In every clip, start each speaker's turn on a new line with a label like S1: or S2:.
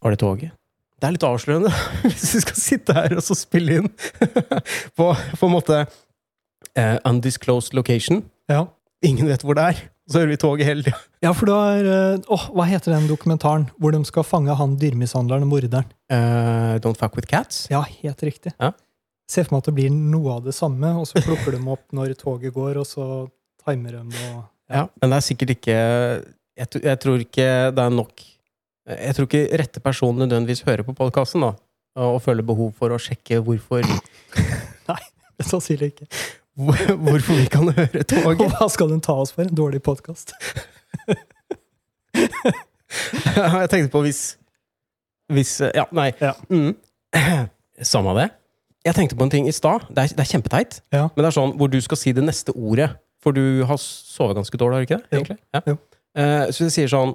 S1: var det toget. Det er litt avslørende hvis vi skal sitte her og så spille inn på, på en måte eh, undisclosed location.
S2: Ja.
S1: Ingen vet hvor det er. Og så hører vi toget hele tida.
S2: ja, for da er eh, Åh, hva heter den dokumentaren hvor de skal fange han dyremishandleren og morderen?
S1: Eh, don't fuck with cats.
S2: Ja, helt riktig.
S1: Ja.
S2: Se for meg at det blir noe av det samme, og så plukker de opp når toget går, og så timer de det. og-
S1: Ja, men det er sikkert ikke jeg, tr- jeg tror ikke det er nok Jeg tror ikke rette person nødvendigvis hører på podkasten og og føler behov for å sjekke hvorfor,
S2: Sannsynlig ikke.
S1: hvor- hvorfor vi kan høre
S2: Og
S1: toget.
S2: hva skal den ta oss for? En dårlig podkast?
S1: Jeg tenkte på hvis Hvis eh, Ja, nei.
S2: Ja.
S1: Mm. Samme det. Jeg tenkte på en ting i stad. Det, er- det er kjempeteit.
S2: Ja.
S1: Men det er sånn hvor du skal si det neste ordet. For du har sovet ganske dårlig, har du ikke det?
S2: Jo.
S1: egentlig? Ja.
S2: Jo.
S1: Eh, så hvis jeg sier sånn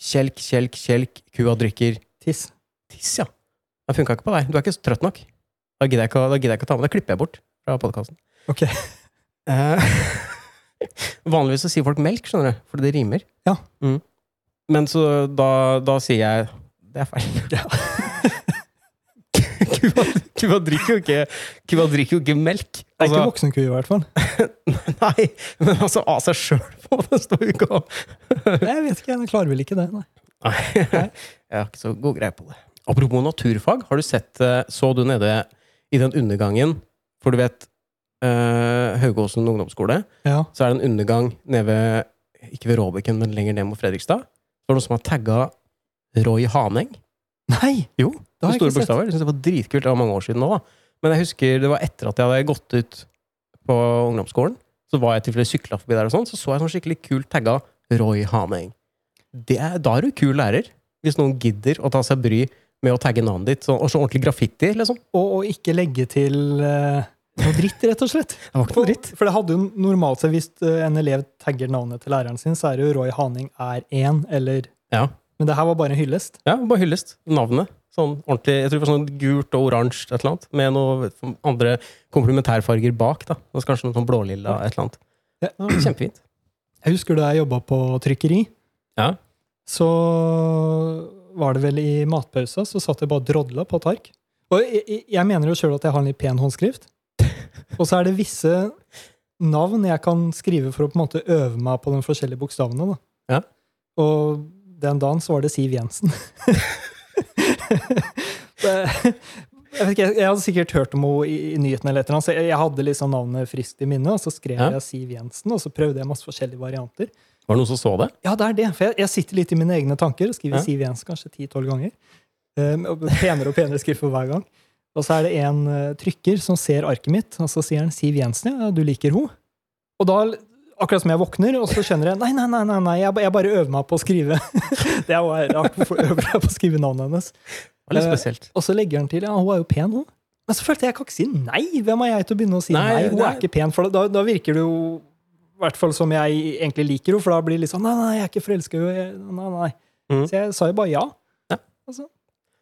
S1: Kjelk, kjelk, kjelk, kua drikker
S2: Tiss.
S1: Tiss, ja. Det funka ikke på deg. Du er ikke så trøtt nok. Da gidder jeg ikke, å- da gidder jeg ikke å ta med. Da klipper jeg bort fra podkasten.
S2: Ok.
S1: vanligvis så sier folk melk, skjønner du, fordi det rimer.
S2: Ja.
S1: Mm. Men så da, da sier jeg Det er feil. Kua, kua drikker jo ikke Kua drikker jo ikke melk.
S2: Det er ikke
S1: Altså,
S2: voksenku, i hvert fall.
S1: nei, men altså av seg sjøl, på det står jo ikke om.
S2: Jeg vet ikke, den klarer vel ikke det. Nei.
S1: Nei, jeg har ikke så god greie på det. Apropos naturfag, har du sett eh, Så du nede i den undergangen For du vet, eh, Haugåsen ungdomsskole,
S2: Ja.
S1: så er det en undergang nede ved Ikke ved Råbekken, men lenger ned mot Fredrikstad. Det var noen som har tagga Roy Haneng.
S2: Nei!
S1: Jo,
S2: det
S1: med
S2: har jeg
S1: store
S2: ikke sett.
S1: bokstaver. Jeg synes det var dritkult. Det var mange år siden nå, da. Men jeg husker det var etter at jeg hadde gått ut på ungdomsskolen. Så var jeg tilfeldig sykla forbi der, og sånn, så så jeg sånn skikkelig kult tagga Roy Haneng. Det er, da er du kul lærer, hvis noen gidder å ta seg bry med å tagge navnet ditt. Så, og så ordentlig graffiti, liksom.
S2: Og, og ikke legge til eh, noe dritt, rett og slett.
S1: Det var ikke
S2: For,
S1: noe dritt.
S2: for det hadde jo normalt sett, hvis eh, en elev tagger navnet til læreren sin, så er det jo Roy Haning er én, eller
S1: Ja.
S2: Men det her var bare en hyllest.
S1: ja, bare hyllest. Navnet. Sånn ordentlig, jeg tror det var sånn gult og oransje, et eller annet. Med noen andre komplementærfarger bak, da. Det var Kanskje noe sånn blålilla, et eller annet.
S2: Ja.
S1: Det var kjempefint.
S2: Jeg husker da jeg jobba på trykkeri.
S1: Ja.
S2: Så var det vel i matpausa, så satt jeg bare og drodla på tark. Og jeg, jeg- jeg mener jo sjøl at jeg har en litt pen håndskrift. Og så er det visse navn jeg kan skrive for å på en måte øve meg på de forskjellige bokstavene. Da. Og den dagen så var det Siv Jensen. Det- jeg, vet ikke, jeg, jeg hadde sikkert hørt om henne i, i nyhetene, eller et eller annet, så jeg, jeg hadde liksom navnet friskt i minnet. Og så skrev
S1: Ja.
S2: jeg Siv Jensen, og så prøvde jeg masse forskjellige varianter.
S1: Var det noen som så det?
S2: Ja, det er det. For jeg, jeg sitter litt i mine egne tanker og skriver
S1: Ja.
S2: Siv Jensen kanskje 10-12 ganger. Um, og penere og penere skrift for hver gang. Og så er det en eh, trykker som ser arket mitt, og så sier han 'Siv Jensen, ja, du liker ho'. Og da, akkurat som jeg våkner, og så skjønner jeg nei, nei, nei, nei, nei jeg, ba- jeg bare øver meg på å skrive. det er jo rart, hvorfor øver jeg på å skrive navnet hennes?
S1: Det var litt
S2: Eh,
S1: spesielt.
S2: Og så legger han til ja, hun er jo pen, hun. Men så følte jeg jeg kan ikke si nei. Hvem er jeg til å begynne å si nei?
S1: Nei,
S2: hun
S1: det
S2: er
S1: er-
S2: ikke pen, for da, da virker det jo i hvert fall som jeg egentlig liker henne, for da blir det litt sånn nei, nei, jeg er ikke forelska i henne. Nei, nei.
S1: Mhm.
S2: Så jeg sa jo bare Mm. ja.
S1: Ja.
S2: Og så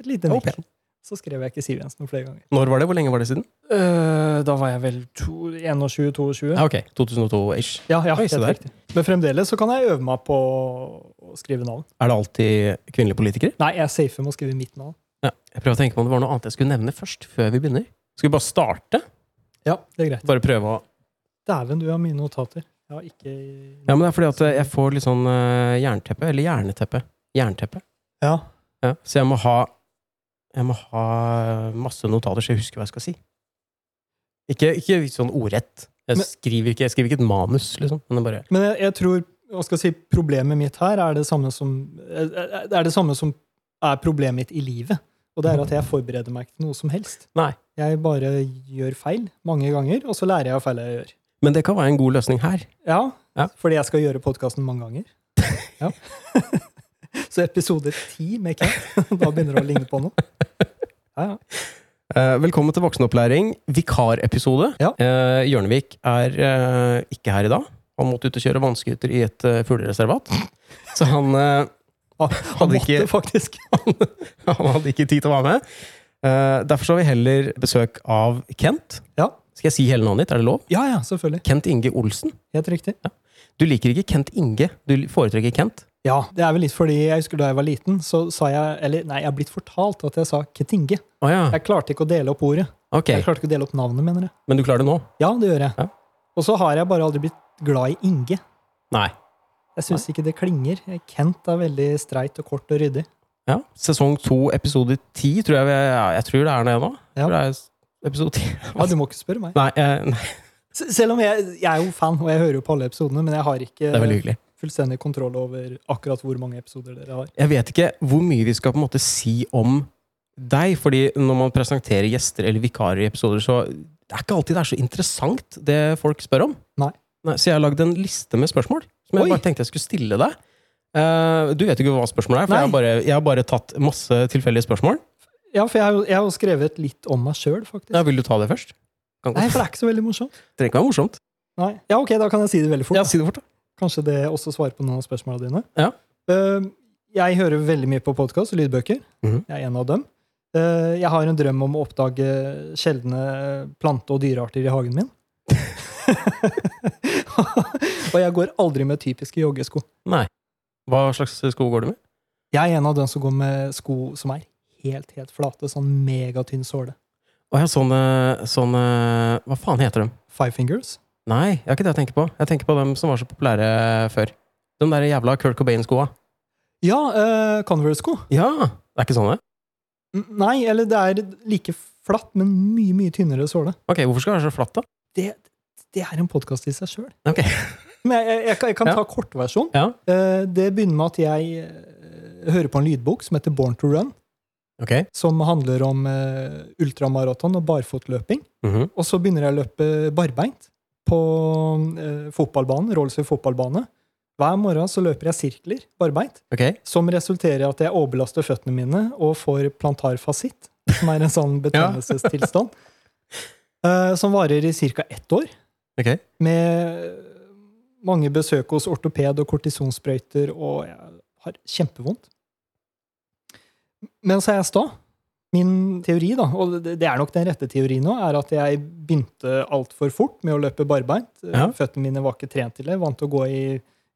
S2: et lite
S1: Det var
S2: nikk.
S1: pen.
S2: Så skrev jeg ikke Siv Jensen noen flere ganger.
S1: Når var det? Hvor lenge var det siden?
S2: Øh, da var jeg vel to- 21-22.
S1: Ja, ok, 2002-ish.
S2: Ja, ja,
S1: Oi,
S2: helt
S1: se der.
S2: riktig. Men fremdeles så kan jeg øve meg på å skrive navn.
S1: Er det alltid kvinnelige politikere?
S2: Nei, jeg er safe med å skrive mitt navn.
S1: Ja. Jeg prøver å tenke på om det var noe annet jeg skulle nevne først, før vi begynner. Skal vi bare starte?
S2: Ja, det er greit.
S1: Bare prøve å
S2: Dæven, du har mye notater. Jeg har ikke
S1: Ja, men det er fordi at jeg får litt sånn eh, jernteppe, eller jerneteppe. Jernteppe.
S2: Ja.
S1: Ja. Så jeg må ha Jeg må ha masse notater, så jeg husker hva jeg skal si. Ikke, ikke sånn ordrett. Jeg
S2: Men-
S1: skriver, ikke, jeg skriver ikke et manus, liksom. Men det er bare
S2: Men jeg, jeg tror hva skal jeg si, problemet mitt her er det samme som er er det samme som er problemet mitt i livet. Og det er at jeg forbereder meg ikke til noe som helst.
S1: Nei.
S2: Jeg bare gjør feil mange ganger, og så lærer jeg av feil jeg gjør.
S1: Men det kan være en god løsning her.
S2: Ja,
S1: Ja.
S2: Fordi jeg skal gjøre podkasten mange ganger. Ja. så episode ti med Kent, da begynner det å ligne på noe. Ja, ja.
S1: Eh, velkommen til voksenopplæring, vikarepisode.
S2: Ja.
S1: Eh, Hjørnevik er eh, ikke her i dag. Han måtte ut og kjøre vannskuter i et eh, fuglereservat. Så han, eh,
S2: Ah, Han
S1: Hadde ikke-
S2: måtte faktisk.
S1: han hadde ikke tid til å være med. Eh, derfor så har vi heller besøk av Kent.
S2: Ja.
S1: Skal jeg si hele navnet ditt? Er det lov?
S2: Ja, ja, selvfølgelig.
S1: Kent Inge Olsen.
S2: Helt riktig.
S1: Du liker ikke Kent Inge. Du li- foretrekker Kent.
S2: Ja, det er vel litt fordi jeg husker da jeg var liten, så sa jeg Eller nei, jeg er blitt fortalt at jeg sa Ketinge.
S1: Å ja.
S2: Jeg klarte ikke å dele opp ordet.
S1: Ok.
S2: Jeg klarte ikke å dele opp navnet, mener jeg.
S1: Men du klarer det nå?
S2: Ja, det gjør jeg.
S1: Ja.
S2: Og så har jeg bare aldri blitt glad i Inge.
S1: Nei.
S2: Jeg syns ikke det klinger. Kent er veldig streit og kort og ryddig.
S1: Ja. Sesong to, episode ti, tror jeg vi ja, Jeg tror det er det nå. Jeg
S2: Ja.
S1: tror det er s- episode ti.
S2: Ja, du må ikke spørre meg.
S1: Nei, eh, nei,
S2: S- Selv om jeg, jeg er jo fan, og jeg hører jo på alle episodene, men jeg har
S1: det er veldig
S2: ikke
S1: hyggelig.
S2: fullstendig kontroll over akkurat hvor mange episoder dere har.
S1: Jeg vet ikke hvor mye vi skal på en måte si om deg, fordi når man presenterer gjester eller vikarer i episoder, så det er ikke alltid det er så interessant, det folk spør om.
S2: Nei.
S1: så jeg har lagd en liste med spørsmål, som jeg
S2: Oi.
S1: bare tenkte jeg skulle stille deg. Eh, du vet jo ikke hva spørsmålet er, for jeg har,
S2: Nei.
S1: bare, jeg har bare tatt masse tilfeldige spørsmål.
S2: Ja, for jeg har jo- jeg har jo skrevet litt om meg sjøl, faktisk.
S1: Ja, vil du ta det først? Kan
S2: Nei,
S1: godt.
S2: for det er ikke så veldig morsomt.
S1: Det trenger ikke være morsomt.
S2: Nei. Ja, ok, da kan jeg si det veldig fort.
S1: Ja, si det fort, da.
S2: Kanskje det også svarer på noen av spørsmålene dine.
S1: Ja.
S2: Eh, Jeg hører veldig mye på podkast og lydbøker.
S1: Mhm.
S2: Jeg er en av dem. Eh, Jeg har en drøm om å oppdage sjeldne eh, plante- og dyrearter i hagen min. og jeg går aldri med typiske joggesko.
S1: Nei. Hva slags sko går du med?
S2: Jeg er en av dem som går med sko som er helt helt flate, sånn megatynn såle.
S1: Å ja, sånne, sånne Hva faen heter de?
S2: Five fingers.
S1: Nei, det er ikke det jeg tenker på. Jeg tenker på dem som var så populære før. De der jævla Kurt Cobain-skoa.
S2: Ja, eh, Converse-sko.
S1: Ja! Det er ikke sånne?
S2: N- Nei, eller det er like flatt, men mye, mye tynnere såle.
S1: Ok, Hvorfor skal det være så flatt, da?
S2: det, det er en podkast i seg sjøl.
S1: Ok.
S2: Men jeg, jeg, jeg, kan- jeg kan
S1: Ja.
S2: ta kortversjon.
S1: Ja.
S2: Eh, Det begynner med at jeg eh, hører på en lydbok som heter Born to Run,
S1: Ok.
S2: som handler om eh, ultramaraton og barfotløping.
S1: Mhm.
S2: Og så begynner jeg å løpe barbeint på eh, fotballbanen, Rollsøy fotballbane. Hver morgen så løper jeg sirkler barbeint,
S1: Ok.
S2: som resulterer i at jeg overbelaster føttene mine og får plantarfasitt, som er en sånn betennelsestilstand, eh, som varer i ca. ett år
S1: Ok.
S2: med mange besøk hos ortoped og kortisonsprøyter, og jeg har kjempevondt. Men så er jeg sta. Min teori, da, og det det er nok den rette teorien nå, er at jeg begynte altfor fort med å løpe barbeint.
S1: Ja.
S2: Føttene mine var ikke trent til det. Jeg Vant til å gå i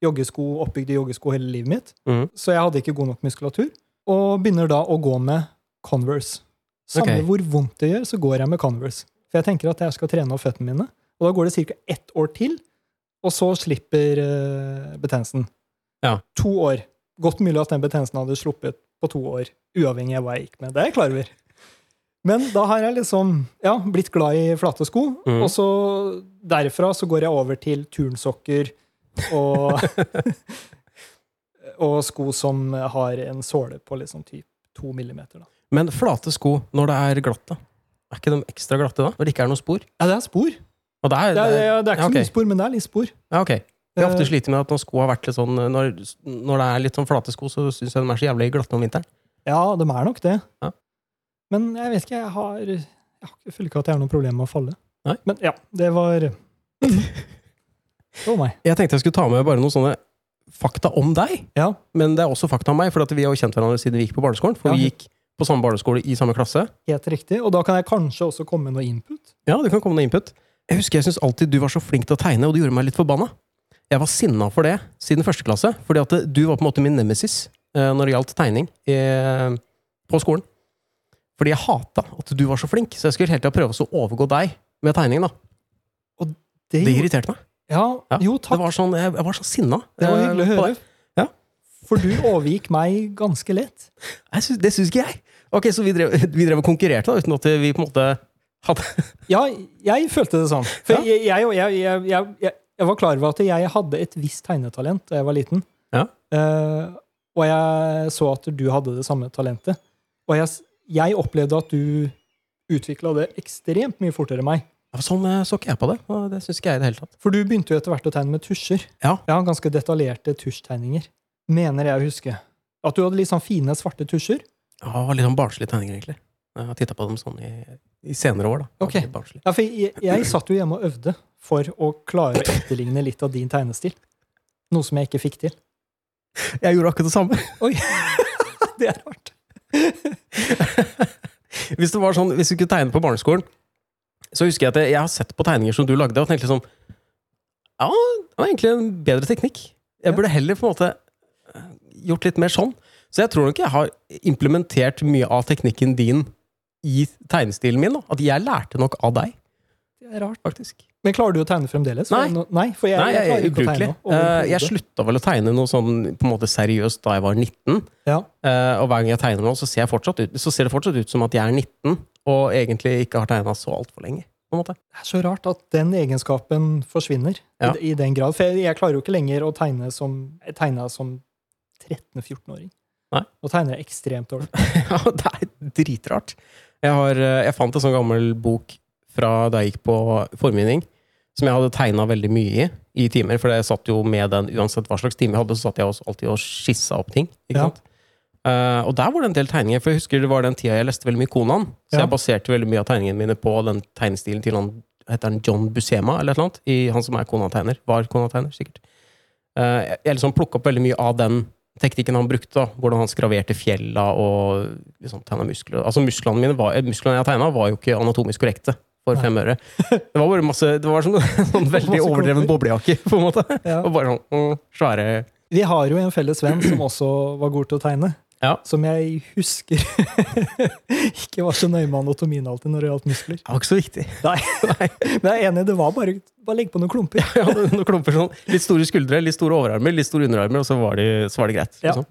S2: joggesko, oppbygde joggesko hele livet mitt.
S1: Mhm.
S2: Så jeg hadde ikke god nok muskulatur. Og begynner da å gå med Converse. Samme
S1: Ok.
S2: hvor vondt det gjør, så går jeg med Converse. For jeg tenker at jeg skal trene opp føttene mine. Og da går det ca. ett år til, og så slipper uh, betennelsen.
S1: Ja.
S2: To år. Godt mulig at den betennelsen hadde sluppet på to år, uavhengig av hva jeg gikk med. Det er jeg klar over. Men da har jeg liksom ja, blitt glad i flate sko,
S1: Mhm.
S2: og så derfra så går jeg over til turnsokker og Og sko som har en såle på liksom typ to millimeter. Da.
S1: Men flate sko når det er glatt, da? Er ikke de ekstra glatte da? Når det ikke er noe spor?
S2: Ja, det er spor.
S1: Og det er,
S2: Det er, det er, det er ikke
S1: ja, Eh. ok.
S2: så mye spor, men det er litt spor.
S1: Ja, ok. Jeg har ofte slitt med at når sko har vært litt sånn Når, når det er litt sånn flate sko, så syns jeg de er så jævlig glatte om vinteren.
S2: Ja, de er nok det.
S1: Ja.
S2: Men jeg vet ikke, jeg har Jeg har- jeg føler ikke at jeg har noe problem med å falle.
S1: Nei.
S2: Men ja, det var Det var meg.
S1: Jeg tenkte jeg skulle ta med bare noen sånne fakta om deg.
S2: Ja.
S1: Men det er også fakta om meg, for at vi har jo kjent hverandre siden vi gikk på barneskolen. For
S2: Ja.
S1: vi gikk på samme barneskole i samme klasse.
S2: Helt riktig. Og da kan jeg kanskje også komme med noe input.
S1: Ja, det kan komme noe input. Jeg husker jeg syntes alltid du var så flink til å tegne, og det gjorde meg litt forbanna. Jeg var sinna for det siden første klasse, fordi at eh, du var på en måte min nemesis eh, når det gjaldt tegning eh, på skolen. Fordi jeg hata at du var så flink, så jeg skulle hele tida prøve å overgå deg med tegning. da.
S2: Det,
S1: Det irriterte meg.
S2: ja,
S1: Ja,
S2: jo,
S1: Det
S2: takk.
S1: var sånn, jeg, jeg var så sinna.
S2: Det var hyggelig å
S1: eh, på
S2: høre.
S1: deg. Ja.
S2: For du overgikk meg ganske lett.
S1: Jeg syns- det syns ikke jeg. Ok, Så vi drev, vi drev og konkurrerte, da, uten at vi på en måte hadde
S2: Ja, jeg følte det sånn. For
S1: Ja.
S2: jeg, jeg, jeg, jeg, jeg, jeg, jeg var klar over at jeg hadde et visst tegnetalent da jeg var liten.
S1: Ja.
S2: Eh, og jeg så at du hadde det samme talentet. Og jeg, s- jeg opplevde at du utvikla det ekstremt mye fortere enn meg.
S1: Sånn eh, så ikke jeg på det. og Det syns ikke jeg i det hele tatt.
S2: For du begynte jo etter hvert å tegne med tusjer.
S1: Ja.
S2: Ganske detaljerte tusjtegninger. Mener jeg å huske. At du hadde litt sånn fine, svarte tusjer.
S1: Ja, det var litt sånn barnslige tegninger, egentlig. Jeg har titta på dem sånn i, i senere år, da.
S2: Ok.
S1: Litt barnslig.
S2: Ja, for jeg, jeg satt jo hjemme og øvde for å klare å etterligne litt av din tegnestil. Noe som jeg ikke fikk til.
S1: Jeg gjorde akkurat det samme.
S2: Oi! det er rart.
S1: Hvis det var sånn, hvis du kunne tegne på barneskolen, så husker jeg at jeg, jeg har sett på tegninger som du lagde, og tenkte liksom Ja, det var egentlig en bedre teknikk. Jeg
S2: Ja.
S1: burde heller på en måte eh, gjort litt mer sånn. Så jeg tror nok jeg har implementert mye av teknikken din i tegnestilen min. Da. At jeg lærte nok av deg,
S2: Det er rart.
S1: faktisk.
S2: Men klarer du å tegne fremdeles? For
S1: Nei.
S2: nå- nei, for jeg,
S1: Nei,
S2: jeg
S1: jeg
S2: klarer
S1: er
S2: ikke å tegne.
S1: ubrukelig. Eh,
S2: overhodet.
S1: Jeg slutta vel å tegne noe sånn på en måte seriøst da jeg var 19.
S2: Ja.
S1: Eh, og hver gang jeg tegner nå, så ser, jeg fortsatt ut, så ser det fortsatt ut som at jeg er 19, og egentlig ikke har tegna så altfor lenge. På en måte.
S2: Det er så rart at den egenskapen forsvinner
S1: Ja.
S2: i, i den grad. For jeg, jeg klarer jo ikke lenger å tegne som, jeg tegnet som 13-14-åring.
S1: Nei.
S2: Nå tegner jeg ekstremt dårlig.
S1: Ja, det er dritrart. Jeg, har, eh, jeg fant en sånn gammel bok fra da jeg gikk på formgivning, som jeg hadde tegna veldig mye i i timer. For jeg satt jo med den uansett hva slags time jeg hadde, så satt jeg også alltid og skissa opp ting. Ikke
S2: Ja.
S1: sant? Eh, og der var det en del tegninger, for jeg husker det var den tida jeg leste veldig mye Konan. Så
S2: Ja.
S1: jeg baserte veldig mye av tegningene mine på den tegnestilen til han heter han John Buscema, eller et eller annet, i, han som er Konan-tegner. Var Konan-tegner, sikkert. Eh, jeg jeg liksom plukka opp veldig mye av den teknikken han brukte. da, Hvordan han skraverte fjella og liksom tegna muskler. Altså Musklene mine var, eh, musklene jeg tegna, var jo ikke anatomisk korrekte for
S2: Nei.
S1: fem øre. Det var bare masse, det var sånn, sånn veldig
S2: Masse
S1: overdreven boblejakke, på en måte.
S2: Ja.
S1: Og bare sånn mm, svære
S2: Vi har jo en felles venn som også var god til å tegne.
S1: Ja.
S2: Som jeg husker ikke var så nøye med anatomien alltid når det gjaldt muskler.
S1: Det var ikke så viktig.
S2: Men jeg er enig, det var bare, bare legge på noen klumper.
S1: Jeg hadde noen klumper sånn. Litt store skuldre, litt store overarmer, litt store underarmer, og så var, de, så var det greit.
S2: Ja.
S1: Liksom.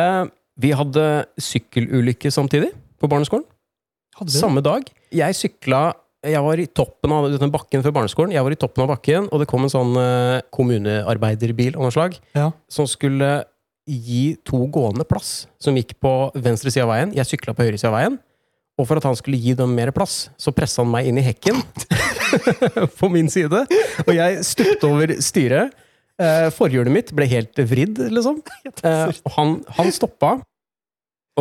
S1: Eh, vi hadde sykkelulykke samtidig på barneskolen.
S2: Hadde vi det?
S1: Samme dag. Jeg sykla Jeg var i toppen av denne bakken før barneskolen. Jeg var i toppen av bakken, og det kom en sånn eh, kommunearbeiderbil av noe slag
S2: Ja.
S1: som skulle gi to gående plass, som gikk på venstre side av veien. Jeg sykla på høyre side av veien. Og for at han skulle gi dem mer plass, så pressa han meg inn i hekken på min side. Og jeg stupte over styret. Eh, Forhjulet mitt ble helt vridd, liksom. Eh, og han, han stoppa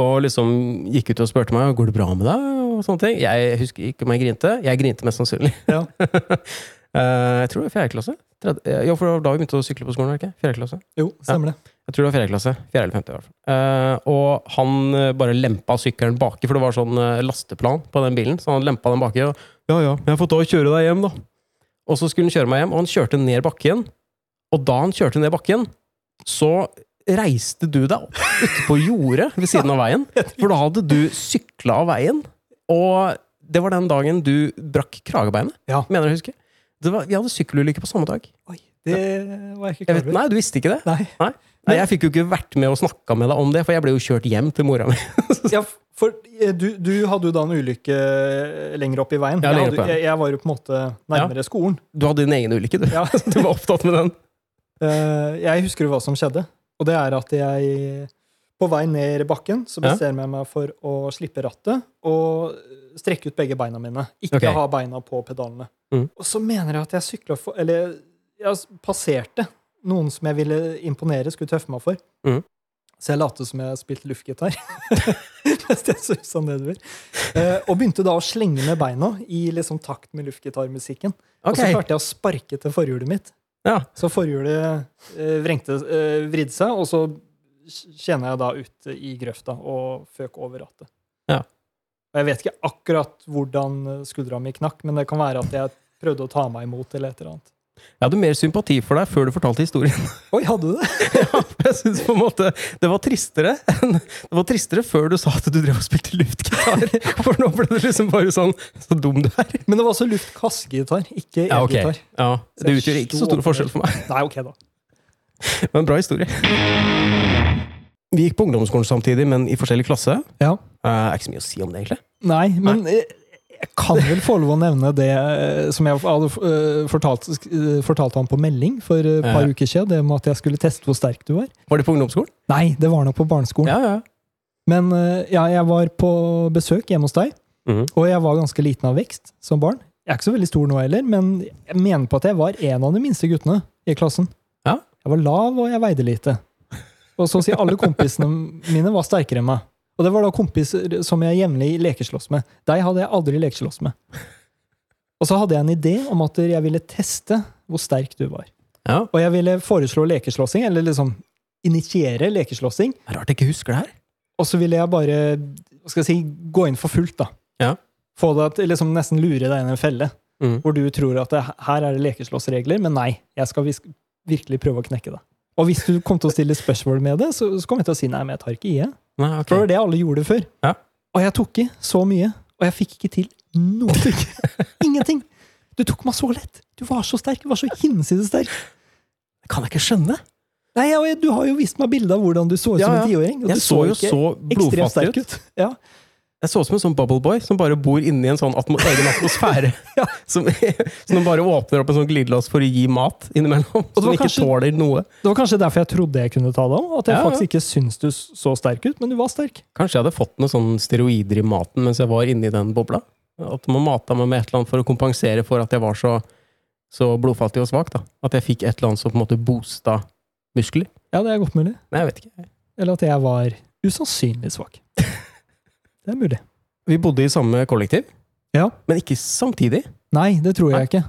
S1: og liksom gikk ut og spurte meg går det bra med deg. og sånne ting. Jeg husker ikke om jeg grinte. Jeg grinte mest sannsynlig.
S2: Ja.
S1: Eh, jeg tror det var fjerde klasse. Tredje- eh, Ja, for det var da vi begynte å sykle på skolen. var det ikke? Fjerde klasse.
S2: Jo, stemmer det.
S1: Jeg tror det var fjerde klasse. Fjerde eller femte, i hvert fall. Eh, og han eh, bare lempa sykkelen baki, for det var sånn eh, lasteplan på den bilen. Så han lempa den baki, og ja, ja, jeg får ta og kjøre deg hjem, da. Og så skulle han kjøre meg hjem, og han kjørte ned bakken. Og da han kjørte ned bakken, så reiste du deg opp ute på jordet ved siden av veien. For da hadde du sykla av veien. Og det var den dagen du brakk kragebeinet,
S2: Ja.
S1: mener jeg å huske. Det var, vi hadde sykkelulykke på samme dag.
S2: Oi, det var jeg
S1: Jeg
S2: ikke klar
S1: vet,
S2: over.
S1: nei, du visste ikke det?
S2: Nei.
S1: Nei, jeg fikk jo ikke vært med og snakka med deg om det, for jeg ble jo kjørt hjem til mora mi.
S2: Ja, for eh, du, du hadde jo da en ulykke eh, lenger opp i veien.
S1: Ja,
S2: jeg,
S1: lenger
S2: hadde,
S1: opp i veien.
S2: jeg, jeg var jo på en måte nærmere skolen.
S1: Du hadde din egen ulykke, du.
S2: Ja.
S1: Du var opptatt med den.
S2: Eh, Jeg husker jo hva som skjedde. Og det er at jeg på vei ned bakken så
S1: Ja.
S2: bestemmer jeg meg for å slippe rattet og strekke ut begge beina mine. Ikke
S1: Ok.
S2: ha beina på pedalene.
S1: Mm.
S2: Og så mener jeg at jeg sykla for Eller jeg s- passerte noen som jeg ville imponere, skulle tøffe meg for.
S1: Mm.
S2: Så jeg lot som jeg spilte luftgitar mens jeg susa nedover. Eh, og begynte da å slenge med beina i liksom takt med luftgitarmusikken. Og så klarte jeg å sparke til forhjulet mitt.
S1: Ja.
S2: Så forhjulet eh, vrengte, eh, vridde seg, og så kjenner jeg da ute i grøfta og føk over rattet.
S1: Ja.
S2: Og jeg vet ikke akkurat hvordan skuldra mi knakk, men det kan være at jeg prøvde å ta meg imot eller et eller annet.
S1: Jeg hadde mer sympati for deg før du fortalte historien.
S2: Oi, hadde du det?
S1: For Jeg synes på en måte Det var tristere enn- Det var tristere før du sa at du drev og spilte luftgitar. For nå ble det liksom bare sånn Så dum du er.
S2: Men det var også luftkassgitar, ikke
S1: Ja, ok.
S2: elgitar.
S1: Ja, Det utgjør ikke så stor forskjell for meg.
S2: Nei, ok, da.
S1: Men bra historie. Vi gikk på ungdomsskolen samtidig, men i forskjellig klasse.
S2: Ja.
S1: Eh, er ikke så mye å si om det, egentlig.
S2: Nei, men eh, jeg kan vel få lov å nevne det eh, som jeg hadde eh, fortalt, eh, fortalt han på melding for eh, et par
S1: Ja.
S2: uker siden, det med at jeg skulle teste hvor sterk du var.
S1: Var det på ungdomsskolen?
S2: Nei, det var nok på barneskolen.
S1: Ja, ja.
S2: Men eh, ja, jeg var på besøk hjemme hos deg,
S1: Mhm.
S2: og jeg var ganske liten av vekst som barn. Jeg er ikke så veldig stor nå heller, men jeg mener på at jeg var en av de minste guttene i klassen.
S1: Ja.
S2: Jeg var lav, og jeg veide lite. Og så å si alle kompisene mine var sterkere enn meg. Og det var da kompiser som jeg jevnlig lekeslåss med. Deg hadde jeg aldri lekeslåss med. Og så hadde jeg en idé om at jeg ville teste hvor sterk du var.
S1: ja.
S2: Og jeg ville foreslå lekeslåssing, eller liksom initiere lekeslåssing.
S1: Rart jeg ikke husker det her.
S2: Og så ville jeg bare hva skal jeg si, gå inn for fullt, da.
S1: Ja.
S2: Få deg til liksom nesten lure deg inn i en felle.
S1: Mm.
S2: hvor du tror at det, her er det lekeslåssregler, men nei, jeg skal vis virkelig prøve å knekke det. Og hvis du kom til å stille spørsmål med det, så, så kom jeg til å si nei, men jeg tar ikke i. jeg».
S1: Nei, ok.
S2: For det var det alle gjorde før.
S1: Ja.
S2: Og jeg tok i så mye, og jeg fikk ikke til noe. Ingenting! Du tok meg så lett! Du var så sterk! Du var så hinsides sterk!
S1: Det kan jeg ikke skjønne!
S2: Nei, og jeg, Du har jo vist meg bilde av hvordan du så ut
S1: Ja,
S2: som
S1: ja.
S2: en tiåring. og du
S1: Jeg så jo
S2: ikke
S1: så
S2: ekstremt
S1: blodfattig
S2: sterk
S1: ut.
S2: ut. Ja.
S1: Jeg så ut som en sånn bubble boy som bare bor inni en sånn atmo egen atmosfære.
S2: Ja.
S1: som, som de bare åpner opp en sånn glidelås for å gi mat innimellom.
S2: det
S1: Som
S2: var
S1: ikke
S2: kanskje-
S1: tåler noe.
S2: Det var kanskje derfor jeg trodde jeg kunne ta deg om. At jeg
S1: Ja, ja.
S2: faktisk ikke syns du så sterk ut, men du var sterk.
S1: Kanskje jeg hadde fått noen sånne steroider i maten mens jeg var inni den bobla? At man mata meg med et eller annet for å kompensere for at jeg var så, så blodfattig og svak. da. At jeg fikk et eller annet som på en måte boosta muskler.
S2: Ja, det er godt mulig.
S1: Nei, jeg vet ikke.
S2: Eller at jeg var usannsynlig svak. Det er mulig.
S1: Vi bodde i samme kollektiv,
S2: Ja.
S1: men ikke samtidig.
S2: Nei, det tror jeg ikke.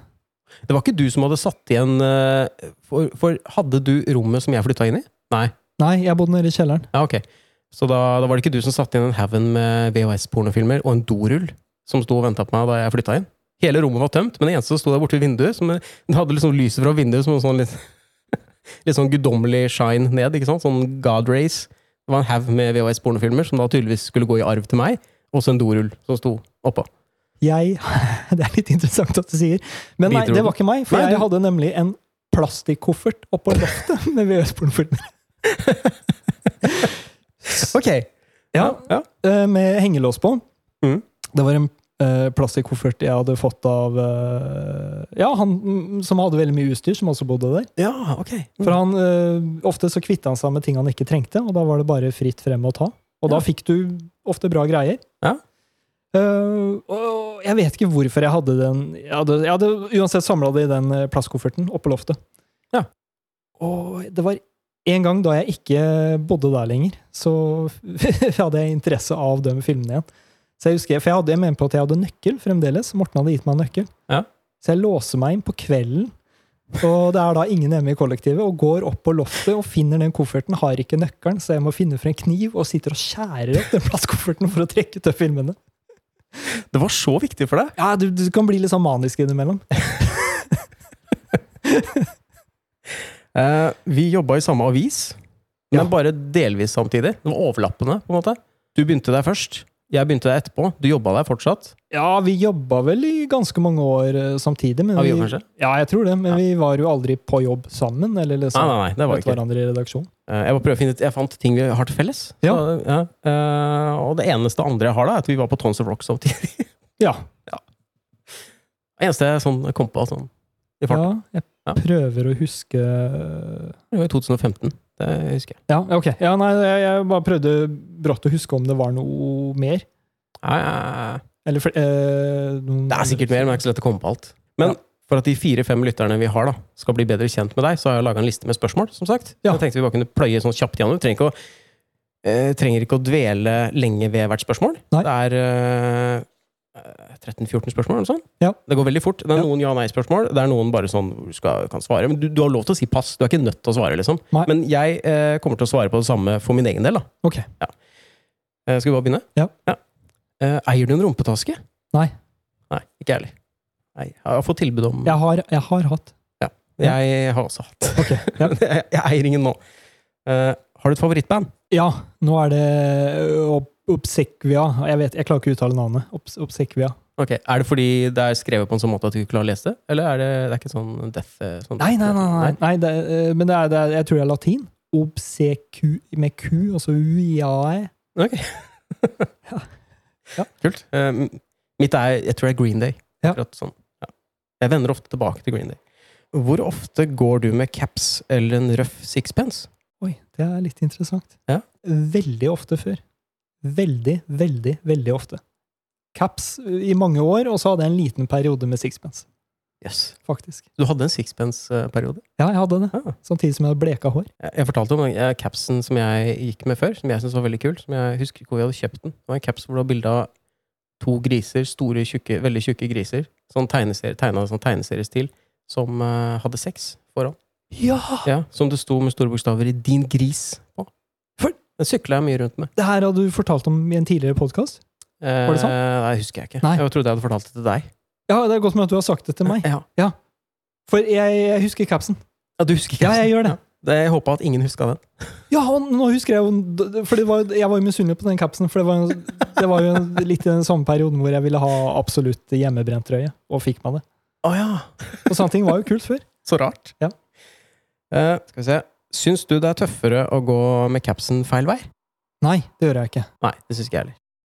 S1: Det var ikke du som hadde satt igjen eh, For, for hadde du rommet som jeg flytta inn i? Nei.
S2: Nei, jeg bodde nede i kjelleren.
S1: Ja, ok. Så da, da var det ikke du som satte inn en haugen med VHS-pornofilmer og en dorull som sto og venta på meg da jeg flytta inn? Hele rommet var tømt, men det eneste som sto der borte ved vinduet, som det hadde liksom lyset fra vinduet som en sånn litt, litt sånn guddommelig shine ned, ikke sant? Sånn God race. Det var en haug med VHS-pornofilmer som da tydeligvis skulle gå i arv til meg, og så en dorull som sto oppå.
S2: Jeg Det er litt interessant at du sier. Men nei,
S1: Bidro
S2: det
S1: du?
S2: var ikke meg. For
S1: Nei,
S2: jeg
S1: du-
S2: hadde nemlig en plastikkoffert oppå loftet med VØS-pornofilmer.
S1: Ok. Ja. ja.
S2: Eh, Med hengelås på.
S1: Mhm.
S2: Det var en eh, plastikkoffert jeg hadde fått av eh, Ja, han mm, som hadde veldig mye utstyr, som også bodde der.
S1: Ja, ok.
S2: For han, eh, ofte så kvitta han seg med ting han ikke trengte, og da var det bare fritt frem å ta. Og da
S1: Ja.
S2: fikk du ofte bra greier.
S1: Ja.
S2: Eh, og jeg vet ikke hvorfor jeg hadde den Jeg hadde, jeg hadde uansett samla det i den eh, plastkofferten oppe på loftet.
S1: Ja.
S2: Og det var en gang da jeg ikke bodde der lenger, så hadde jeg interesse av de filmene igjen. Så jeg husker, For jeg hadde jeg mener på at jeg hadde nøkkel fremdeles. Morten hadde gitt meg nøkkel.
S1: Ja.
S2: Så jeg låser meg inn på kvelden og det er da ingen hjemme i kollektivet, og går opp på loftet og finner den kofferten. Har ikke nøkkelen, så jeg må finne for en kniv og sitter og skjærer opp den plastkofferten for å trekke ut de filmene.
S1: Det var så viktig for deg.
S2: Ja, du, du kan bli litt sånn manisk innimellom.
S1: Eh, vi jobba i samme avis, men
S2: Ja.
S1: bare delvis samtidig. Det var overlappende, på en måte. Du begynte der først. Jeg begynte der etterpå. Du jobba der fortsatt.
S2: Ja, vi jobba vel i ganske mange år eh, samtidig. Men
S1: Ja, vi gjorde kanskje?
S2: ja, jeg tror det, men
S1: Ja.
S2: vi var jo aldri på jobb sammen. Eller
S1: Nei,
S2: liksom
S1: nei, nei, det var
S2: møtte
S1: ikke.
S2: hverandre i redaksjon.
S1: Eh, Jeg bare prøver å finne ut, jeg fant ting vi har til felles.
S2: Ja.
S1: Så, ja. Eh, og det eneste andre jeg har, da, er at vi var på Tons of Rock samtidig.
S2: Ja,
S1: Det eneste jeg sånn kom på sånn, i
S2: ja
S1: farten.
S2: jeg
S1: Ja.
S2: prøver å huske eh,
S1: Det var i 2015. Det husker jeg.
S2: Ja, ok. Ja, nei, jeg, jeg bare prøvde brått å huske om det var noe mer.
S1: Nei, nei, nei.
S2: Eller fl- eh, noen-
S1: Det er sikkert mer, men det er ikke så lett å komme på alt. Men
S2: Ja.
S1: for at de fire-fem lytterne vi har, da, skal bli bedre kjent med deg, så har jeg laga en liste med spørsmål. som sagt.
S2: Ja.
S1: Jeg tenkte vi bare kunne pløye sånn kjapt gjennom. Vi trenger ikke å, eh, trenger ikke å dvele lenge ved hvert spørsmål.
S2: Nei.
S1: Det er eh, 13-14 spørsmål, eller noe sånt.
S2: Ja.
S1: Det går veldig fort. Det er
S2: Ja.
S1: noen ja-nei-spørsmål. Det er noen bare sånn hvor du skal, kan svare. Men du, du har lov til å si pass. Du er ikke nødt til å svare, liksom.
S2: Nei.
S1: Men jeg eh, kommer til å svare på det samme for min egen del, da.
S2: Ok.
S1: Ja. Eh, skal vi bare begynne?
S2: Ja.
S1: Eh, eier du en rumpetaske?
S2: Nei.
S1: Nei, ikke jeg heller. Nei, Jeg har fått tilbud om
S2: Jeg har, jeg har hatt.
S1: Jeg har også hatt.
S2: ja.
S1: Men jeg, jeg eier ingen nå. Eh, har du et favorittband?
S2: Ja, nå er det ø, ob- Obsequia. Jeg vet, jeg klarer ikke å uttale navnet. Obs- Obsequia.
S1: Ok, Er det fordi det er skrevet på en sånn måte at du ikke klarer å lese det? Eller er det, det er ikke sånn death eh, sånn,
S2: Nei, nei, nei. nei. nei det, er, ø, men det er, det er, jeg tror det er latin. Obsecu med Q, altså uiae.
S1: Kult. Eh, m- mitt er Jeg tror det er Green Day.
S2: Ja.
S1: Akkurat sånn. Ja. Jeg vender ofte tilbake til Green Day. Hvor ofte går du med caps eller en røff sixpence?
S2: Oi, det er litt interessant.
S1: Ja.
S2: Veldig ofte før. Veldig, veldig, veldig ofte. Caps ø, i mange år, og så hadde jeg en liten periode med sixpence,
S1: Yes.
S2: faktisk.
S1: Du hadde en sixpence-periode?
S2: Ja, jeg hadde det.
S1: Ah.
S2: Samtidig som jeg hadde bleka hår.
S1: Jeg jeg fortalte om den eh, capsen som jeg gikk med før, som jeg syntes var veldig kul. Som jeg husker ikke hvor jeg hadde kjøpt den. Det var en caps hvor det var bilde av to griser, store, tjukke, veldig tjukke griser, sånn tegneserie, tegna i sånn tegneseriestil, som eh, hadde sex foran.
S2: Ja!
S1: Ja, Som det sto med store bokstaver i 'Din gris' på.
S2: For-
S1: Den sykla jeg mye rundt med.
S2: Det her hadde du fortalt om i en tidligere podkast.
S1: Eh,
S2: Var det sånn?
S1: Nei, husker jeg ikke.
S2: Nei.
S1: Jeg trodde jeg hadde fortalt det til deg.
S2: Ja, det er godt med at du har sagt det til meg.
S1: Ja.
S2: For jeg, jeg husker capsen.
S1: ja, du husker ikke?
S2: Ja, jeg gjør det.
S1: Det, jeg håpa at ingen huska den.
S2: Ja, og nå husker jeg jo For det var, jeg var jo misunnelig på den capsen, for det var, jo- det var jo en- litt i den samme perioden hvor jeg ville ha absolutt hjemmebrentrøye, og fikk meg det.
S1: Å ja.
S2: Og sånne ting var jo kult før.
S1: Så rart.
S2: Ja.
S1: Eh, skal vi se. Syns du det er tøffere å gå med capsen feil vei?
S2: Nei, det gjør jeg ikke.
S1: Nei, det syns ikke jeg heller.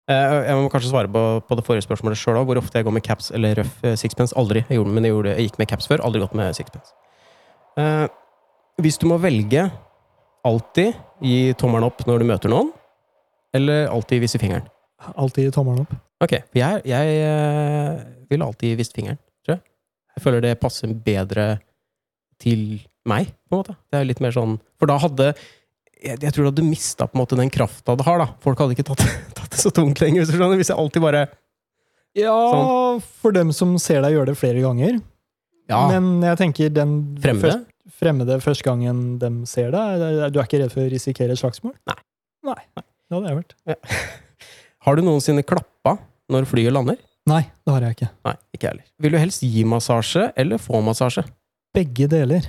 S1: Eh, jeg må kanskje svare på, på det forrige spørsmålet sjøl òg, hvor ofte jeg går med caps eller røff eh, sixpence. Aldri. Jeg, gjorde, men jeg, gjorde, jeg gikk med caps før, aldri gått med sixpence. Eh, hvis du må velge alltid gi tommelen opp når du møter noen, eller alltid vise fingeren?
S2: Alltid tommelen opp.
S1: Ok, for jeg, jeg eh, vil alltid vist fingeren, tror jeg. Jeg føler det passer bedre til meg, på en måte. Det er litt mer sånn For da hadde Jeg, jeg tror du hadde mista på en måte den krafta det har, da. Folk hadde ikke tatt, tatt det så tungt lenger, hvis du skjønner. Hvis jeg alltid bare
S2: Ja, for dem som ser deg gjøre det flere ganger.
S1: Ja,
S2: Men jeg tenker den
S1: fremme det.
S2: først- fremmede første gangen dem ser deg. Du er ikke redd for å risikere et slagsmål?
S1: Nei.
S2: Nei. Det hadde jeg vært.
S1: Har du noensinne klappa når flyet lander?
S2: Nei, det har jeg ikke.
S1: Nei, ikke jeg heller. Vil du helst gi massasje eller få massasje?
S2: Begge deler.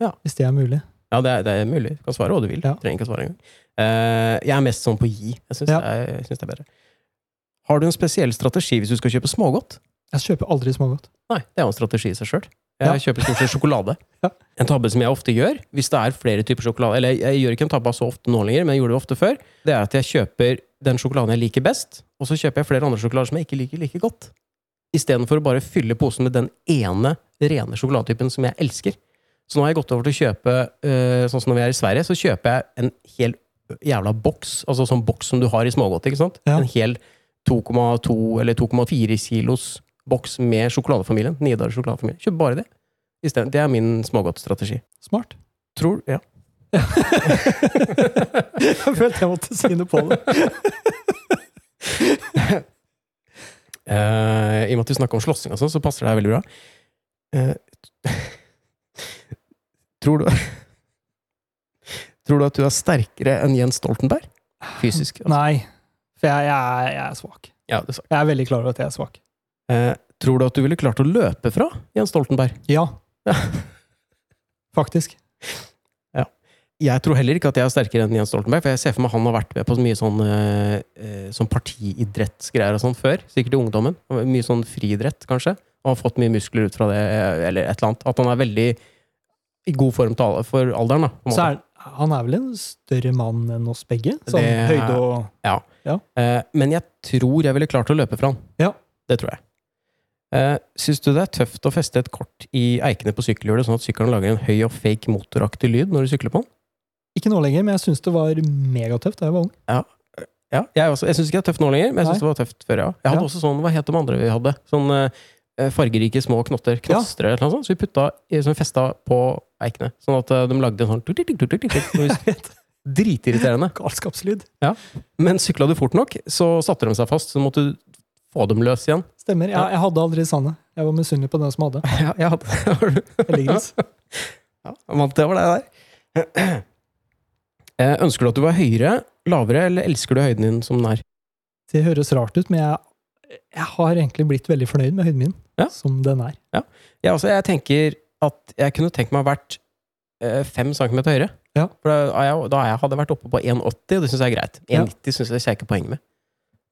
S1: Ja.
S2: Hvis det er mulig.
S1: Ja, det er, det er mulig. Du kan svare hva du vil.
S2: Ja.
S1: Trenger ikke å svare engang. Eh, jeg er mest sånn på gi. Jeg syns
S2: Ja.
S1: det, er- jeg synes det er bedre. Har du en spesiell strategi hvis du skal kjøpe smågodt?
S2: Jeg kjøper aldri smågodt.
S1: Nei, det er jo en strategi i seg sjøl. Jeg
S2: Ja.
S1: kjøper stort sett sjokolade.
S2: Ja.
S1: En tabbe som jeg ofte gjør, hvis det er flere typer sjokolade Eller jeg, jeg gjør ikke en tabbe så ofte nå lenger, men jeg gjorde det ofte før. Det er at jeg kjøper den sjokoladen jeg liker best, og så kjøper jeg flere andre sjokolader som jeg ikke liker like godt. Istedenfor å bare fylle posen med den ene rene sjokoladetypen som jeg elsker. Så nå har jeg gått over til å kjøpe eh, Sånn som når vi er i Sverige, så kjøper jeg en hel jævla boks. Altså sånn boks som du har i smågodt. ikke sant?
S2: Ja.
S1: En hel 2,2 eller 2,4 kilos boks med sjokoladefamilien. Nidar sjokoladefamilie. Kjøp bare det. I stedet. Det er min smågodtstrategi.
S2: Smart.
S1: Tror Ja.
S2: Jeg følte jeg måtte si noe på det.
S1: Eh, I og med at vi snakker om slåssing, og sånn, så passer det her veldig bra. Eh, tror du Tror du at du er sterkere enn Jens Stoltenberg? Fysisk. Altså.
S2: Nei. For jeg, jeg, er, jeg er svak.
S1: Ja, det sa jeg.
S2: Jeg er veldig klar over at jeg er svak.
S1: Eh, tror du at du ville klart å løpe fra Jens Stoltenberg?
S2: Ja. Faktisk.
S1: Jeg tror heller ikke at jeg er sterkere enn Jens Stoltenberg, for jeg ser for meg han har vært med på så mye sånn, eh, eh, sånn partiidrettsgreier og sånn før. Sikkert i ungdommen. Mye sånn friidrett, kanskje. Og har fått mye muskler ut fra det, eh, eller et eller annet. At han er veldig i god form til al- for alderen, da. på en
S2: Så
S1: måte.
S2: er, han er vel en større mann enn oss begge? Sånn
S1: Det er-
S2: høyde og
S1: Eh, men jeg tror jeg ville klart å løpe fra han.
S2: Ja.
S1: Det tror jeg. Eh, Syns du det er tøft å feste et kort i eikene på sykkelhjulet, sånn at sykkelen lager en høy og fake motoraktig lyd når du sykler på den?
S2: Ikke nå lenger, men jeg syns det var megatøft da jeg var ung.
S1: Ja, jeg, også- jeg syns ikke det er tøft nå lenger, men jeg syns det
S2: Nei.
S1: var tøft før, ja. Jeg hadde
S2: Ja.
S1: også sånn, hva het de andre vi hadde? Sånn eh, fargerike små knotter, knastre eller noe sånt, så vi putta, i- som vi festa på eikene. Sånn at eh, de lagde en sånn tuk, tuk, tuk, tuk, tuk, tuk, når vi- Dritirriterende.
S2: Galskapslyd.
S1: Men sykla du fort nok, så satte de seg fast, så måtte du få dem løs igjen.
S2: Stemmer. Jeg, jeg hadde aldri sanne. Jeg var misunnelig på den som hadde.
S1: Ja, jeg hadde
S2: Heldiggris.
S1: Ja, vant det over deg der. Eh, ønsker du at du var høyere, lavere, eller elsker du høyden din som den er?
S2: Det høres rart ut, men jeg, jeg har egentlig blitt veldig fornøyd med høyden min
S1: Ja.
S2: som den er.
S1: Ja, altså, jeg tenker at jeg kunne tenkt meg å ha vært eh, fem centimeter høyere.
S2: Ja.
S1: For da, er jeg, da er jeg, hadde jeg vært oppe på 1,80, og det syns jeg er greit.
S2: Ja.
S1: 1,90 synes jeg ser jeg ikke poeng med.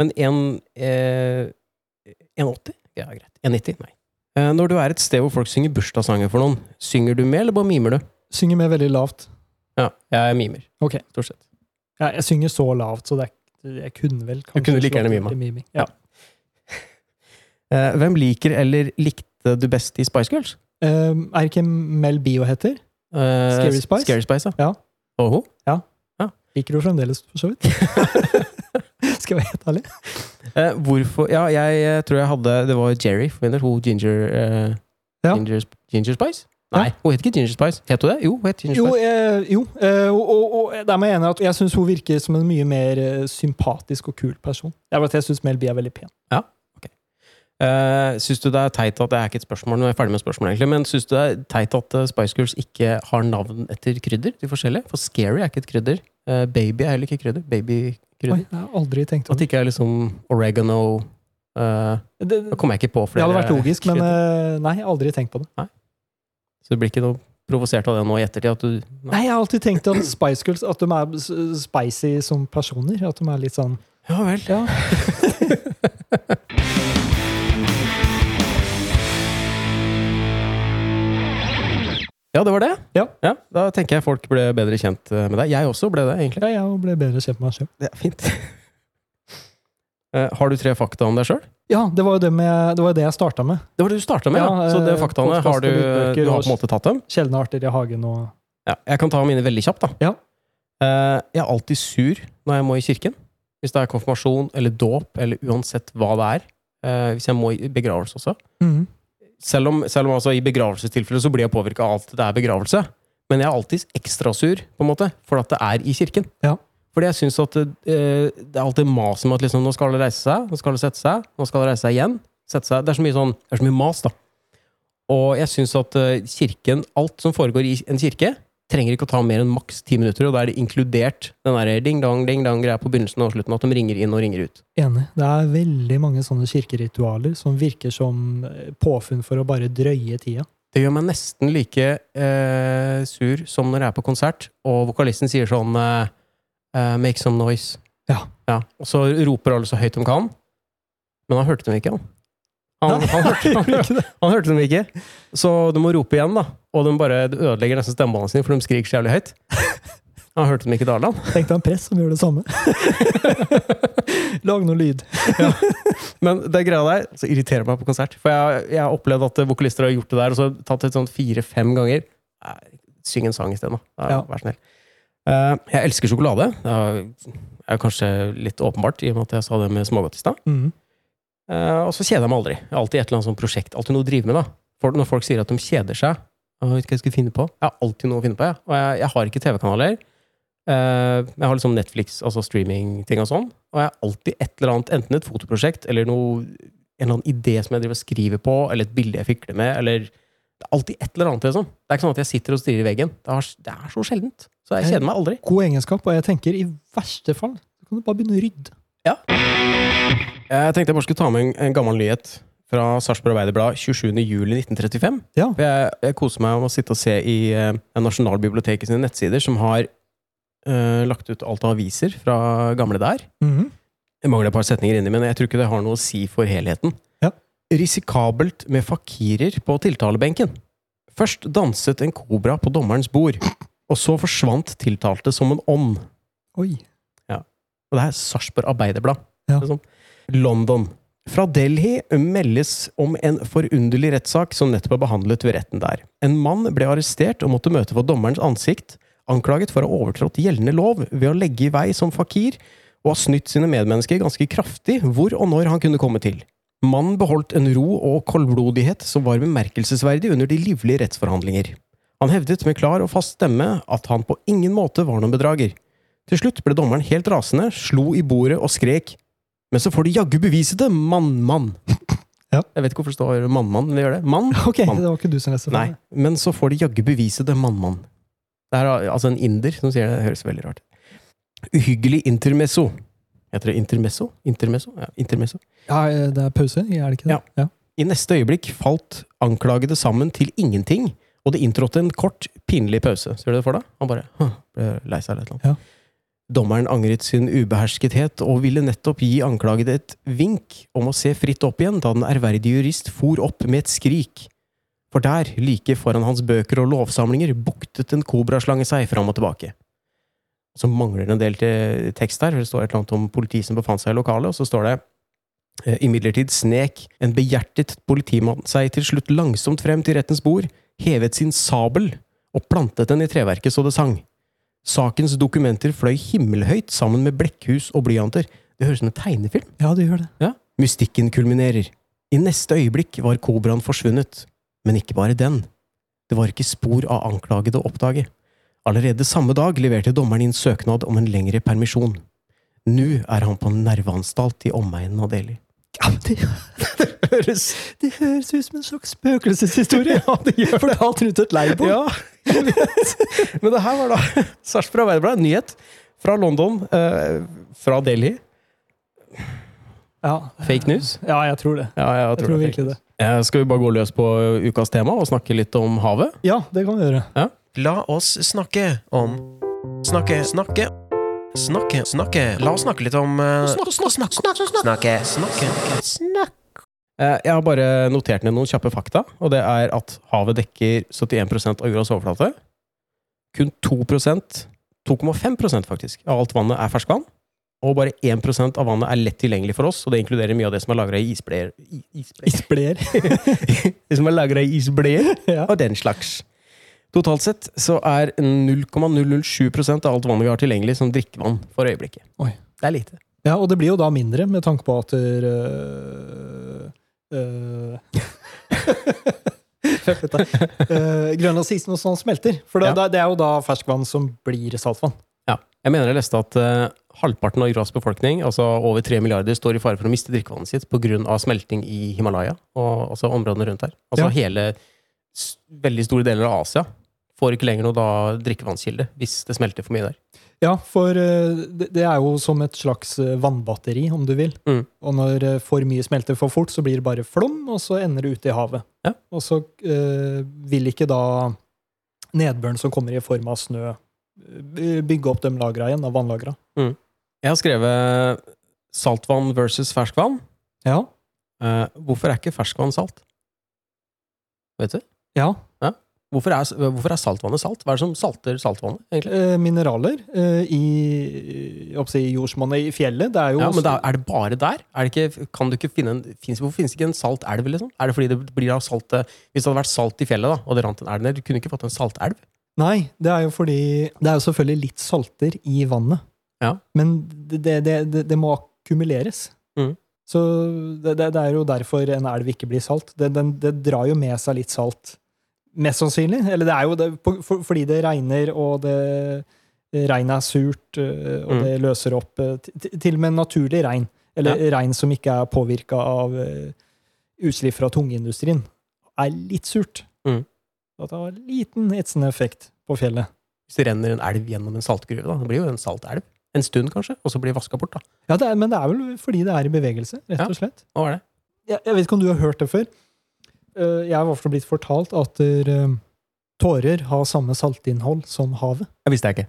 S1: Men 1, eh, 1,80? Ja, greit. 1,90? Nei. Eh, når du er et sted hvor folk synger bursdagssanger for noen, synger du med, eller bare mimer du?
S2: Synger med veldig lavt.
S1: Ja, jeg mimer.
S2: Ok.
S1: Stort sett.
S2: Jeg, jeg synger så lavt, så det er, jeg kunne vel kanskje
S1: kunne like gjerne
S2: slått
S1: mima.
S2: til miming. Ja.
S1: Eh, hvem liker eller likte du best i Spice Girls?
S2: Um, er ikke Mel B og heter?
S1: Eh,
S2: Scary Spice?
S1: Scary Spice,
S2: Ja.
S1: Oho.
S2: Liker du fremdeles, for så vidt? Skal jeg være helt ærlig?
S1: Eh, hvorfor Ja, jeg eh, tror jeg hadde Det var Jerry for min del. Hun Ginger eh,
S2: Ja.
S1: Ginger, Ginger Spice? Nei, hun het ikke Ginger Spice. Het hun det? Jo, hun het Ginger
S2: Jo,
S1: Spice.
S2: eh, jo eh, og, og, og der må jeg enig at jeg syns hun virker som en mye mer eh, sympatisk og kul person. Det er bare at jeg syns Mel B er veldig pen.
S1: Uh, syns du det er teit at Det er ikke et spørsmål, nå er jeg ferdig med spørsmålet, egentlig. Men syns du det er teit at eh, Spice Girls ikke har navn etter krydder? De forskjellige? For Scary er ikke et krydder. Eh, baby er heller ikke krydder. Babykrydder.
S2: Oi, jeg har aldri
S1: At
S2: tenkt over det.
S1: det ikke er liksom oregano Eh,
S2: Det,
S1: Da kom jeg ikke på
S2: det
S1: flere.
S2: hadde vært logisk, men
S1: krydder.
S2: eh, nei, aldri tenkt på det.
S1: Så du blir ikke noe provosert av det nå i ettertid? At du,
S2: Nei, Jeg har alltid tenkt at Spice Girls At de er s- spicy som personer. At de er litt sånn
S1: Ja vel.
S2: Ja.
S1: Ja, det var det.
S2: Ja.
S1: Da tenker jeg folk ble bedre kjent eh, med deg. Jeg også ble det, egentlig.
S2: ja jeg ble bedre kjent med meg sjøl.
S1: Det er fint. Eh, Har du tre fakta om deg sjøl?
S2: Ja, det var jo det, med, det, var jo det jeg starta med.
S1: Det var det du starta med, ja.
S2: Ja,
S1: Så det
S2: eh,
S1: faktaene har du,
S2: podkaster, lydbøker
S1: du har
S2: og-
S1: på en måte tatt dem?
S2: Sjeldne arter i hagen og
S1: Ja, jeg kan ta mine veldig kjapt, da.
S2: Ja.
S1: Eh, jeg er alltid sur når jeg må i kirken. Hvis det er konfirmasjon eller dåp eller uansett hva det er. Eh, hvis jeg må i begravelse også.
S2: Mm.
S1: Selv om, selv om altså i begravelsestilfellet så blir jeg påvirka av alt det er begravelse. Men jeg er alltid ekstra sur, på en måte, for at det er i kirken.
S2: Ja.
S1: Fordi jeg syns at eh, det er alltid mas om at liksom, nå skal alle reise seg, nå skal alle sette seg, nå skal alle reise seg igjen. Sette seg. Det er så mye sånn, det er så mye mas, da. Og jeg syns at eh, kirken, alt som foregår i en kirke, trenger ikke å ta mer enn maks ti minutter, og da er det inkludert den der ding-dong, ding-dong-greia på begynnelsen og slutten, at de ringer inn og ringer ut.
S2: Enig. Det er veldig mange sånne kirkeritualer som virker som eh, påfunn for å bare drøye tida.
S1: Det gjør meg nesten like eh, sur som når jeg er på konsert, og vokalisten sier sånn eh, eh, Make some noise.
S2: Ja.
S1: Og så roper alle så høyt de kan. Men han hørte dem ikke, han. Han,
S2: Nei,
S1: han, hørte,
S2: jeg gjorde
S1: han,
S2: ikke det.
S1: han hørte dem ikke. Så de må rope igjen, da. Og de bare det ødelegger nesten stemmebåndene sine, for de skriker så jævlig høyt. Han hørte dem ikke da, han.
S2: Tenk deg en prest som gjør det samme. Lag noe lyd.
S1: Men det greia der så irriterer meg på konsert. For jeg, jeg har opplevd at vokalister har gjort det der, og så tatt det sånn fire-fem ganger. Nei, Syng en sang isteden, da. Ja.
S2: Ja.
S1: Vær snill. Eh, jeg elsker sjokolade. Det er- er kanskje litt åpenbart, i og med at jeg sa det med smågodt i stad.
S2: Mhm.
S1: Eh, og så kjeder jeg meg aldri. Jeg har alltid et eller annet sånt prosjekt. Alltid noe å drive med, da. For når folk sier at de kjeder seg Jeg vet ikke hva jeg skal finne på. Jeg har alltid noe å finne på, jeg. Og jeg, jeg har ikke TV-kanaler. Eh, jeg har liksom Netflix, altså streaming-ting og sånn. Og jeg har alltid et eller annet, enten et fotoprosjekt eller noe, en eller annen idé som jeg driver og skriver på, eller et bilde jeg fikler med, eller Det er alltid et eller annet, liksom. Det er ikke sånn at jeg sitter og stirrer i veggen. Det er, det er så sjeldent. Så jeg kjeder meg aldri.
S2: God egenskap, og jeg tenker i verste fall så kan du bare begynne å rydde.
S1: Jeg tenkte jeg bare skulle ta med en, en gammel nyhet fra Sarpsborg Arbeiderblad 27.07.1935.
S2: Ja.
S1: For Jeg, jeg koser meg med å sitte og se i eh, Nasjonalbiblioteket sine nettsider, som har eh, lagt ut alt av aviser fra gamle der.
S2: Mhm.
S1: Jeg mangler et par setninger inni, men jeg tror ikke det har noe å si for helheten.
S2: Ja.
S1: Risikabelt med fakirer på tiltalebenken. Først danset en kobra på dommerens bord, og så forsvant tiltalte som en ånd.
S2: Oi.
S1: Og det er Sarpsborg Arbeiderblad.
S2: Ja.
S1: Liksom. London. Fra Delhi meldes om en forunderlig rettssak som nettopp er behandlet ved retten der. En mann ble arrestert og måtte møte for dommerens ansikt, anklaget for å ha overtrådt gjeldende lov ved å legge i vei som fakir, og ha snytt sine medmennesker ganske kraftig hvor og når han kunne komme til. Mannen beholdt en ro og koldblodighet som var bemerkelsesverdig under de livlige rettsforhandlinger. Han hevdet med klar og fast stemme at han på ingen måte var noen bedrager. Til slutt ble dommeren helt rasende, slo i bordet og skrek Men så får du jaggu beviset det, mann, mann!
S2: Ja.
S1: Jeg vet ikke hvorfor det står mann, mann, men det gjør det. Mann?
S2: Ok,
S1: Mann.
S2: det var ikke du som leste
S1: Nei. Men så får de jaggu beviset det, mann, mann. Det er altså en inder som sier det. Det høres veldig rart ut. Uhyggelig intermesso. Heter det intermesso? Intermesso? Ja, intermesso.
S2: Ja, eh, det er pause, er det ikke det? Ja.
S1: I neste øyeblikk falt anklagede sammen til ingenting, og det inntrådte en kort, pinlig pause. Ser du det for deg? Han bare «Hm», ble lei seg eller et eller annet. Dommeren angret sin ubeherskethet og ville nettopp gi anklagede et vink om å se fritt opp igjen da den ærverdige jurist for opp med et skrik. For der, like foran hans bøker og lovsamlinger, buktet en kobraslange seg fram og tilbake. Så mangler det en del til tekst her, for det står et eller annet om politi som befant seg i lokalet, og så står det Eh, Imidlertid snek en behjertet politimann seg til slutt langsomt frem til rettens bord, hevet sin sabel og plantet den i treverket så det sang. Sakens dokumenter fløy himmelhøyt sammen med blekkhus og blyanter. Det høres ut som en tegnefilm.
S2: ja, det gjør det.
S1: Mystikken kulminerer. I neste øyeblikk var kobraen forsvunnet. Men ikke bare den. Det var ikke spor av anklagede å oppdage. Allerede samme dag leverte dommeren inn søknad om en lengre permisjon. Nå er han på en nerveanstalt i omegnen av Delhi.
S2: Ja, men det,
S1: Høres
S2: det høres ut som en slags spøkelseshistorie! ja, det gjør Fortalt rundt et leirbål.
S1: Ja, jeg vet. Men det her var da Sarpsborg Arbeiderblad, nyhet fra London, eh, fra Delhi.
S2: Ja.
S1: Fake news?
S2: ja, jeg tror det.
S1: Ja, jeg
S2: Jeg tror virkelig det.
S1: Eh, Skal vi bare gå løs på eh, ukas tema og snakke litt om havet?
S2: Ja, det kan vi gjøre.
S3: La oss snakke om Snakke, snakke. Snakke, snakke. La oss snakke litt om eh, Snakke, snakke.
S1: Eh, Jeg har bare notert ned noen kjappe fakta, og det er at havet dekker 71 av jordas overflate. Kun 2 2,5 faktisk, av alt vannet er ferskvann. Og bare 1 av vannet er lett tilgjengelig for oss, og det inkluderer mye av det som er lagra i isbleer. i- isbleer.
S2: Isbleer.
S1: Det som er lagret i isbleer.
S2: ja.
S1: og den slags. Totalt sett så er 0,007 av alt vannet vi har tilgjengelig, som drikkevann for øyeblikket.
S2: Oi.
S1: Det er lite.
S2: ja, og det blir jo da mindre, med tanke på at øh, øh, øh, Grønlandsisen og sånn smelter. For da,
S1: Ja.
S2: da- det er jo da ferskvann som blir saltvann.
S1: Ja. Jeg mener jeg leste at eh, halvparten av jordas befolkning, altså over 3 milliarder, står i fare for å miste drikkevannet sitt pga. smelting i Himalaya og altså områdene rundt her. Altså
S2: Ja.
S1: hele s- veldig store deler av Asia får ikke lenger noe da drikkevannskilde hvis det smelter for mye der.
S2: Ja, for eh, det det er jo som et slags eh, vannbatteri, om du vil.
S1: Mm.
S2: Og når eh, for mye smelter for fort, så blir det bare flom, og så ender det ute i havet.
S1: Ja.
S2: Og så eh, vil ikke da nedbøren som kommer i form av snø, eh, bygge opp de lagra igjen, da, vannlagra.
S1: Jeg har skrevet eh, saltvann versus ferskvann.
S2: Ja.
S1: Eh, hvorfor er ikke ferskvann salt? Vet du?
S2: ja.
S1: Hvorfor er, eh, hvorfor er saltvannet salt? Hva er det som salter saltvannet? egentlig?
S2: Eh, mineraler eh, i, jeg holdt på å si, i jordsmonnet, i fjellet. Det er jo
S1: Ja, men
S2: også-
S1: da, Er det bare der? Er det ikke, kan du ikke finne en, finnes, hvorfor finnes det ikke en saltelv? Liksom? Er det fordi det blir av saltet Hvis det hadde vært salt i fjellet, da, og det rant en elv ned, du kunne ikke fått en saltelv?
S2: Nei, det er jo fordi Det er jo selvfølgelig litt salter i vannet.
S1: Ja.
S2: Men det, det, det, det må akkumuleres.
S1: Mhm.
S2: Så det, det, det er jo derfor en elv ikke blir salt. Det, den, det drar jo med seg litt salt. Mest sannsynlig. Eller det er jo det, på- for, fordi det regner, og det regnet er surt, øh, og
S1: Mhm.
S2: det løser opp øh, ti- ti- Til og med naturlig regn. Eller regn som ikke er påvirka av øh, utslipp fra tungindustrien, er litt surt. At det har en liten etsende effekt på fjellet.
S1: Hvis det renner en elv gjennom en saltgruve, da, det blir jo en saltelv. En stund, kanskje, og så blir det vaska bort. da.
S2: Ja, det er, Men det er vel fordi det er i bevegelse, rett
S1: Ja.
S2: og slett.
S1: Hva er det?
S2: Jeg, jeg vet ikke om du har hørt det før. Eh, Jeg har i hvert fall blitt fortalt at eh, tårer har samme saltinnhold som havet.
S1: Jeg visste jeg ikke.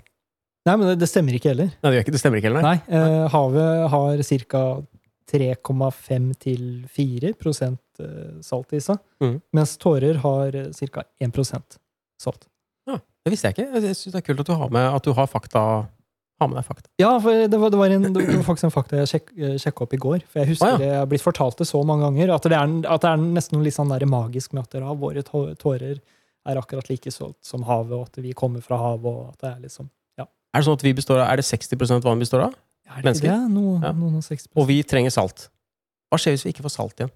S2: Nei, men det, det stemmer ikke heller.
S1: Nei, det, gjør ikke, det stemmer ikke heller, nei.
S2: Nei, eh, Havet har ca. 3,5 til 4 prosent, eh, salt i seg,
S1: Mhm.
S2: mens tårer har ca. 1 prosent salt.
S1: Det visste jeg ikke. Jeg- Jeg syns det er kult at du har med, at du har fakta. Har med deg fakta.
S2: Ja, for det var, det, var en, det var faktisk en fakta jeg sjek, sjekka opp i går. For jeg husker
S1: Å, ja.
S2: det, jeg har blitt fortalt det så mange ganger at det er, at det er nesten noe litt sånn der magisk med at dere har våre tå- tårer er akkurat like salt som havet, og at vi kommer fra havet, og at det er liksom
S1: Er det sånn at vi består av, er det 60 vann vi består av?
S2: er det
S1: Mennesker?
S2: ikke det? Noe,
S1: Ja.
S2: noen og 60
S1: Og vi trenger salt. Hva skjer hvis vi ikke får salt igjen?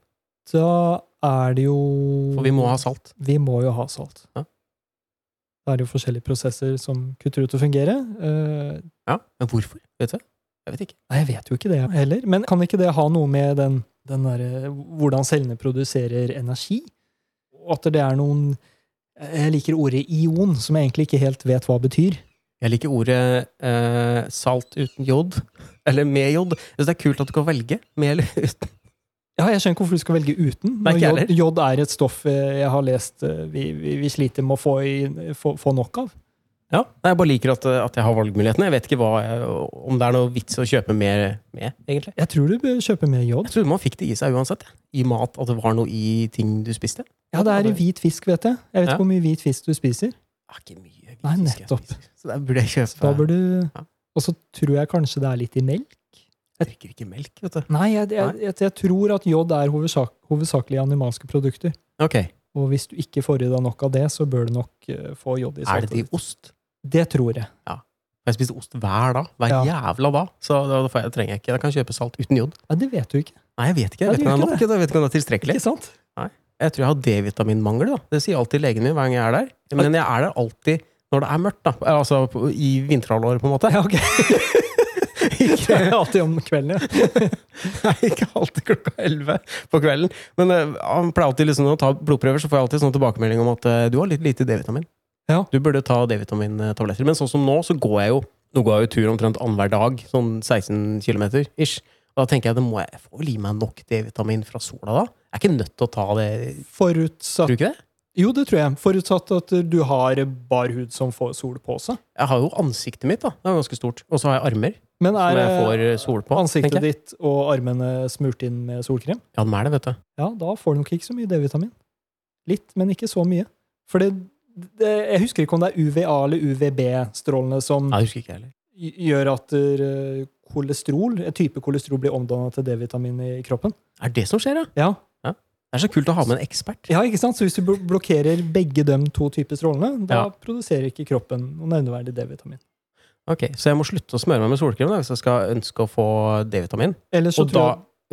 S2: Da er det jo
S1: For vi må ha salt.
S2: Vi må jo ha salt.
S1: Ja.
S2: Da er det jo forskjellige prosesser som kutter ut å fungere. Eh,
S1: Ja, men hvorfor? Vet du? Jeg vet ikke.
S2: Nei, jeg vet jo ikke det heller. Men kan ikke det ha noe med den, den derre- hvordan cellene produserer energi? Og at det er noen eh, Jeg liker ordet ion, som jeg egentlig ikke helt vet hva betyr.
S1: Jeg liker ordet eh, salt uten jod. Eller med jod. Jeg synes det er kult at du kan velge med eller uten.
S2: Ja, Jeg skjønner ikke hvorfor du skal velge uten.
S1: Nei,
S2: når
S1: ikke jeg
S2: jod, jod er et stoff eh, jeg har lest eh, vi, vi, vi sliter med å få, i, få, få nok av.
S1: Ja, nei, Jeg bare liker at, eh, at jeg har valgmulighetene. Jeg vet ikke hva, jeg- om det er noe vits å kjøpe mer med, egentlig.
S2: Jeg tror du bør kjøpe mer jod.
S1: Jeg trodde man fikk det i seg uansett. jeg. I mat, at det var noe i ting du spiste.
S2: Ja, det er i hvit fisk, vet jeg. Jeg vet
S1: Ja.
S2: ikke hvor mye hvit fisk du spiser.
S1: Det er ikke mye hvit
S2: Nei,
S1: fisk jeg
S2: nettopp.
S1: spiser. Så der burde jeg kjøpe
S2: Da bør du
S1: Ja.
S2: Og så tror jeg kanskje det er litt i melk.
S1: Jeg drikker ikke melk, vet du.
S2: Nei, jeg, jeg, jeg, jeg tror at jod er hovedsak, hovedsakelig animalske produkter.
S1: Ok,
S2: Og hvis du ikke får i deg nok av det, så bør du nok eh, få jod i
S1: Er det
S2: saltet.
S1: til
S2: ditt.
S1: ost?
S2: Det tror jeg.
S1: Jeg spiser ost hver dag. Hver jævla dag. Så da får jeg, trenger jeg ikke. Jeg kan kjøpe salt uten jod.
S2: Ja, det vet du ikke.
S1: Nei, jeg vet ikke. Jeg vet ikke om
S2: Nei, det gjør
S1: det
S2: ikke
S1: er nok. Jeg vet ikke om det er tilstrekkelig.
S2: Ikke sant?
S1: Jeg tror jeg har D-vitaminmangel. da. Det sier alltid legen min hver gang jeg er der. Men jeg er der alltid når det er mørkt. da. Altså på- i vinterhalvåret, på en måte.
S2: Ja, ok. Det er alltid om kvelden, ja.
S1: Nei, ikke alltid klokka elleve på kvelden. Men eh, han pleier alltid liksom, når han tar blodprøver, så får jeg alltid sånn tilbakemelding om at eh, du har litt lite D-vitamin.
S2: Ja.
S1: Du burde ta D-vitamintabletter. Men sånn som nå, så går jeg jo nå går jeg jo tur omtrent annenhver dag. Sånn 16 km ish. Og Da tenker jeg det må jeg, jeg får vel gi meg nok D-vitamin fra sola, da. Jeg er ikke nødt til å ta det. Tror
S2: Forutsatt
S1: du ikke det?
S2: Jo, det tror jeg. Forutsatt at du har bar hud som får sol på seg.
S1: Jeg har jo ansiktet mitt, da. Det er ganske stort. Og så har jeg armer
S2: Men
S1: som
S2: er
S1: jeg får
S2: eh,
S1: eh, sol på.
S2: ansiktet
S1: tenker jeg.
S2: ditt og armene smurt inn med solkrem?
S1: Ja, den er det, vet du.
S2: Ja, da får du nok ikke så mye D-vitamin. Litt, men ikke så mye. For det, det, jeg husker ikke om det er UVA eller UVB-strålene som
S1: Nei, jeg husker ikke jeg heller.
S2: gj- gjør at eh, kolesterol, en type kolesterol blir omdannet til D-vitamin i kroppen.
S1: Er det som skjer, ja?
S2: Ja.
S1: Det er så kult å ha med en ekspert.
S2: ja, ikke sant? Så hvis du bl- blokkerer begge de to typer strålene, da
S1: Ja.
S2: produserer ikke kroppen noe nevneverdig D-vitamin.
S1: Ok, Så jeg må slutte å smøre meg med solkrem da, hvis jeg skal ønske å få D-vitamin?
S2: Ellers så
S1: Og
S2: tror
S1: da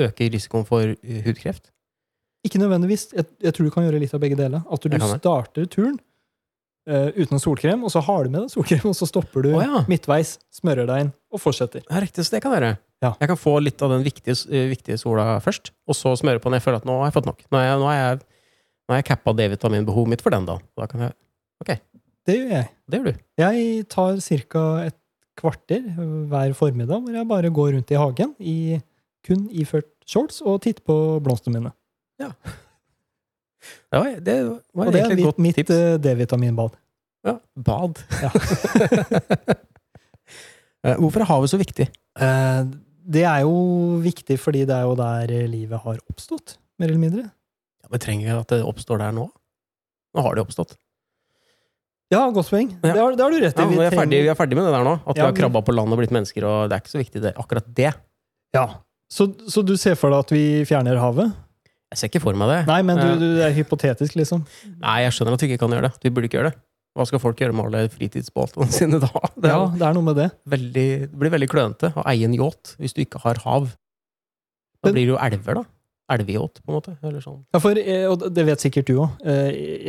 S2: jeg
S1: øker risikoen for eh, hudkreft?
S2: Ikke nødvendigvis. Jeg, jeg tror du kan gjøre litt av begge deler. At du
S1: Jeg kan det.
S2: starter turen eh, uten solkrem, og så har du med deg solkrem, og så stopper du
S1: Å ja.
S2: midtveis, smører deg inn og fortsetter.
S1: Ja, riktig, så det kan være.
S2: Ja.
S1: Jeg kan få litt av den viktige, eh, viktige sola først, og så smøre på den. Jeg føler at nå har jeg fått nok. Nå har jeg, nå har jeg, nå har jeg cappa D-vitaminbehovet mitt for den, da. Da kan jeg,
S2: Det gjør jeg.
S1: det gjør du.
S2: Jeg tar ca. et kvarter hver formiddag hvor jeg bare går rundt i hagen i kun iført shorts og titter på blomstene mine.
S1: Det var, det var
S2: Og det er
S1: egentlig et
S2: mitt,
S1: godt
S2: mitt
S1: tips.
S2: eh, D-vitaminbad.
S1: Ja, bad.
S2: Ja.
S1: Eh, Hvorfor er havet så viktig?
S2: Eh, Det er jo viktig fordi det er jo der livet har oppstått, mer eller mindre.
S1: Ja, men Trenger vi at det oppstår der nå? Nå har det oppstått.
S2: Ja, godt poeng.
S1: Ja.
S2: Det, har, det har du rett
S1: Ja,
S2: i. Vi
S1: vi, er
S2: trenger-
S1: ferdig, vi er ferdig med det der nå. At
S2: Ja,
S1: vi har
S2: men-
S1: krabba på land og blitt mennesker. og Det er ikke så viktig, det. akkurat det.
S2: Ja. Så, så du ser for deg at vi fjerner havet?
S1: Jeg ser ikke for meg det.
S2: Nei, men du,
S1: Ja.
S2: du, det er hypotetisk, liksom.
S1: Nei, jeg skjønner at vi ikke kan gjøre det. Vi burde ikke gjøre det. Hva skal folk gjøre med alle fritidsbåtene sine da? Det, er
S2: Ja,
S1: jo
S2: det er noe med det.
S1: veldig, det blir veldig klønete å eie en yacht hvis du ikke har hav. Da
S2: Men-
S1: blir det jo elver, da. Elveyacht, på en måte. Eller sånn.
S2: Ja, for, eh, og det vet sikkert du òg.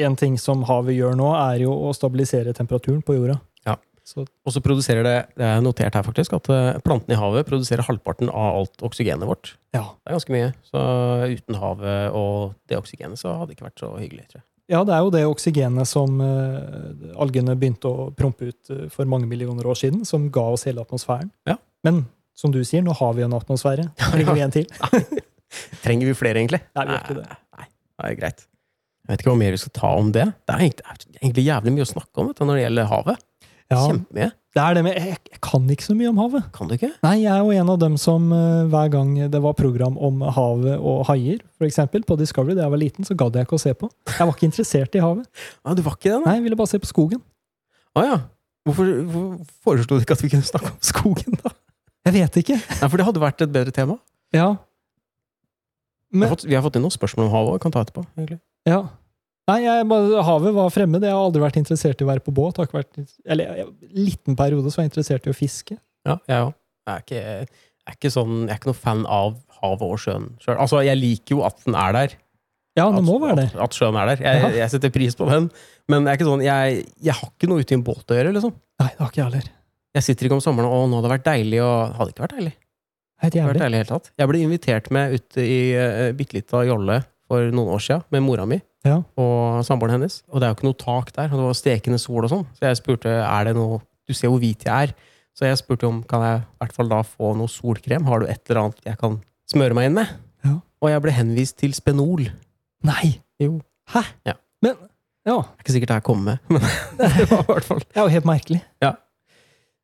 S2: En ting som havet gjør nå, er jo å stabilisere temperaturen på jorda.
S1: Ja.
S2: Så,
S1: Og så produserer det Det er notert her, faktisk, at eh, plantene i havet produserer halvparten av alt oksygenet vårt.
S2: ja.
S1: Det er ganske mye. Så uten havet og det oksygenet, så hadde det ikke vært så hyggelig, tror jeg.
S2: ja, det er jo det oksygenet som eh, algene begynte å prompe ut eh, for mange millioner år siden, som ga oss hele atmosfæren.
S1: Ja.
S2: Men som du sier, nå har vi jo en atmosfære. Trenger vi en til?
S1: Trenger vi flere, egentlig?
S2: Nei, vi gjør ikke det.
S1: Nei, det er greit. Jeg vet ikke hva mer vi skal ta om det. Det er egentlig, det er egentlig jævlig mye å snakke om vet du, når det gjelder havet.
S2: Ja,
S1: Kjempemye.
S2: det er det med jeg, jeg kan ikke så mye om havet.
S1: Kan du ikke?
S2: Nei, jeg er jo en av dem som eh, hver gang det var program om havet og haier, for eksempel, på Discovery da jeg var liten, så gadd jeg ikke å se på. Jeg var ikke interessert i havet.
S1: Ja, du var ikke det, da?
S2: Nei, jeg ville bare se på skogen.
S1: Å ja. Hvorfor, hvorfor foreslo du ikke at vi kunne snakke om skogen, da?
S2: Jeg vet ikke.
S1: Nei, For det hadde vært et bedre tema.
S2: Ja.
S1: Vi har
S2: Men,
S1: fått, vi har fått inn noen spørsmål om havet òg, kan ta etterpå. egentlig.
S2: ja. Nei, jeg, bare- havet var fremmed. Jeg har aldri vært interessert i å være på båt. Jeg Har ikke vært, eller, jeg- en liten periode så var jeg interessert i å fiske.
S1: Ja, jeg òg. Jeg er ikke, jeg er ikke sånn, jeg er ikke noen fan av havet og sjøen sjøl. Altså, jeg liker jo at den er der.
S2: Ja, det
S1: At-
S2: må være det.
S1: At, at sjøen er der. Jeg,
S2: Ja.
S1: jeg setter pris på den, men jeg, er ikke sånn, jeg, jeg har ikke noe ute i en båt å gjøre, liksom.
S2: Nei, det har ikke jeg heller.
S1: Jeg sitter ikke om sommeren og å, nå hadde det vært deilig, og det hadde ikke vært deilig.
S2: Helt
S1: Det hadde vært deilig i
S2: jævlig.
S1: det hele tatt. Jeg ble invitert med ut i uh, bitte lita jolle for noen år siden med mora mi
S2: Ja.
S1: og samboeren hennes. Og det er jo ikke noe tak der, og det var stekende sol og sånn. Så jeg spurte er det noe Du ser hvor hvit jeg er. Så jeg spurte om kan jeg i hvert fall da få noe solkrem. Har du et eller annet jeg kan smøre meg inn med?
S2: Ja.
S1: Og jeg ble henvist til Spenol.
S2: Nei!
S1: Jo.
S2: Hæ?
S1: Ja.
S2: Men, ja.
S1: Det er ikke sikkert det her kommer med, men det var i hvert fall
S2: Det er jo helt merkelig.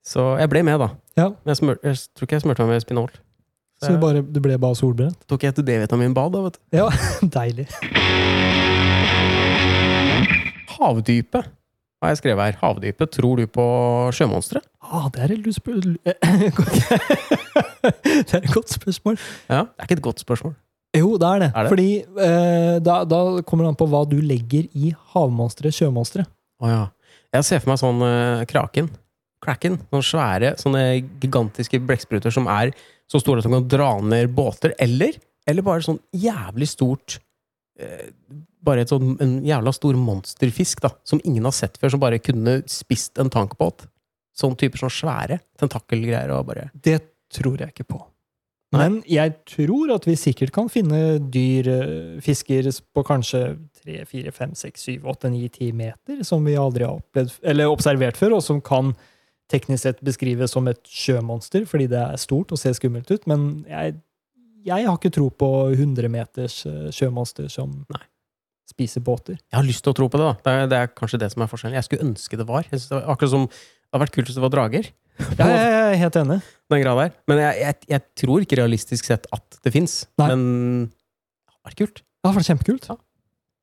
S1: Så jeg ble med, da.
S2: Ja.
S1: Men jeg, smør, jeg tror ikke jeg smurte meg med Spenol.
S2: Så du, bare, du ble bare solbrent?
S1: tok jeg et D-vitaminbad, da, vet du.
S2: Ja, deilig.
S1: Havdypet har jeg skrevet her. Havdypet. Tror du på sjømonstre?
S2: Ah, det er et lurt spør- Det er et godt spørsmål.
S1: Ja. Det er ikke et godt spørsmål.
S2: Jo, det er det.
S1: Er det?
S2: Fordi eh, da, da kommer det an på hva du legger i havmonstre, sjømonstre.
S1: Å ja. Jeg ser for meg sånn eh, kraken. Kraken. Sånne svære, sånne gigantiske blekkspruter som er så store at de kan dra ned båter. Eller, eller bare sånn jævlig stort eh, Bare et sånn, en jævla stor monsterfisk da, som ingen har sett før, som bare kunne spist en tankbåt. Sånn typer sånn svære tentakelgreier og bare
S2: Det tror jeg ikke på. Men jeg tror at vi sikkert kan finne dyr, eh, fisker på kanskje 3, 4, 5, 6, 7, 8, 9, 10 meter, som vi aldri har opplevd, eller observert før, og som kan teknisk sett beskrives som et sjømonster, fordi det er stort og ser skummelt ut. Men jeg jeg har ikke tro på 100 meters eh, sjømonster som
S1: Nei.
S2: spiser båter.
S1: Jeg har lyst til å tro på det, da. Det er, det er kanskje det som er forskjellen. Jeg skulle ønske det var. Jeg synes det var akkurat som det hadde vært kult hvis det var drager.
S2: Ja, jeg, jeg er helt enig.
S1: den grad der. Men jeg, jeg, jeg tror ikke realistisk sett at det fins.
S2: Nei.
S1: Men det hadde vært kult.
S2: Det hadde vært kjempekult.
S1: Ja.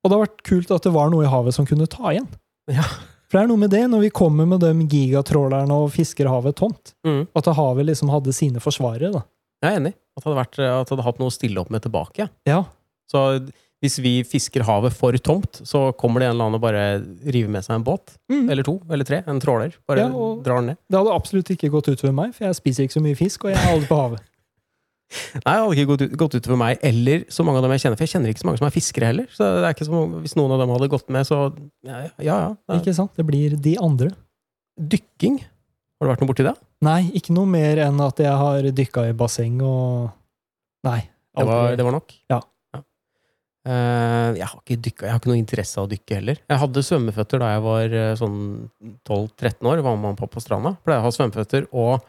S2: Og det hadde vært kult at det var noe i havet som kunne ta igjen.
S1: Ja.
S2: For det er noe med det, når vi kommer med de gigatrålerne og fisker havet tomt, at havet liksom hadde sine forsvarere, da.
S1: Jeg er enig. At det hadde, vært, at det hadde hatt noe å stille opp med tilbake. ja.
S2: Ja.
S1: Så hvis vi fisker havet for tomt, så kommer det en eller annen og bare river med seg en båt.
S2: Mm.
S1: Eller to. Eller tre. En tråler. Bare
S2: Ja, og-
S1: drar den ned.
S2: Det hadde absolutt ikke gått utover meg, for jeg spiser ikke så mye fisk, og jeg er aldri på havet.
S1: Nei, det hadde ikke gått, ut- gått utover meg eller så mange av dem jeg kjenner. For jeg kjenner ikke så mange som er fiskere heller. Så det er ikke som, Hvis noen av dem hadde gått med, så ja, ja. ja. Det er-
S2: Ikke sant? Det blir de andre.
S1: Dykking. Har du vært noe borti det?
S2: Nei, ikke noe mer enn at jeg har dykka i basseng og Nei.
S1: Det var,
S2: aldri.
S1: det var nok?
S2: Ja.
S1: Eh, jeg har ikke dykka, jeg har ikke noe interesse av å dykke heller. Jeg hadde svømmeføtter da jeg var eh, sånn 12-13 år. Var med mamma og pappa på stranda. Pleide å ha svømmeføtter og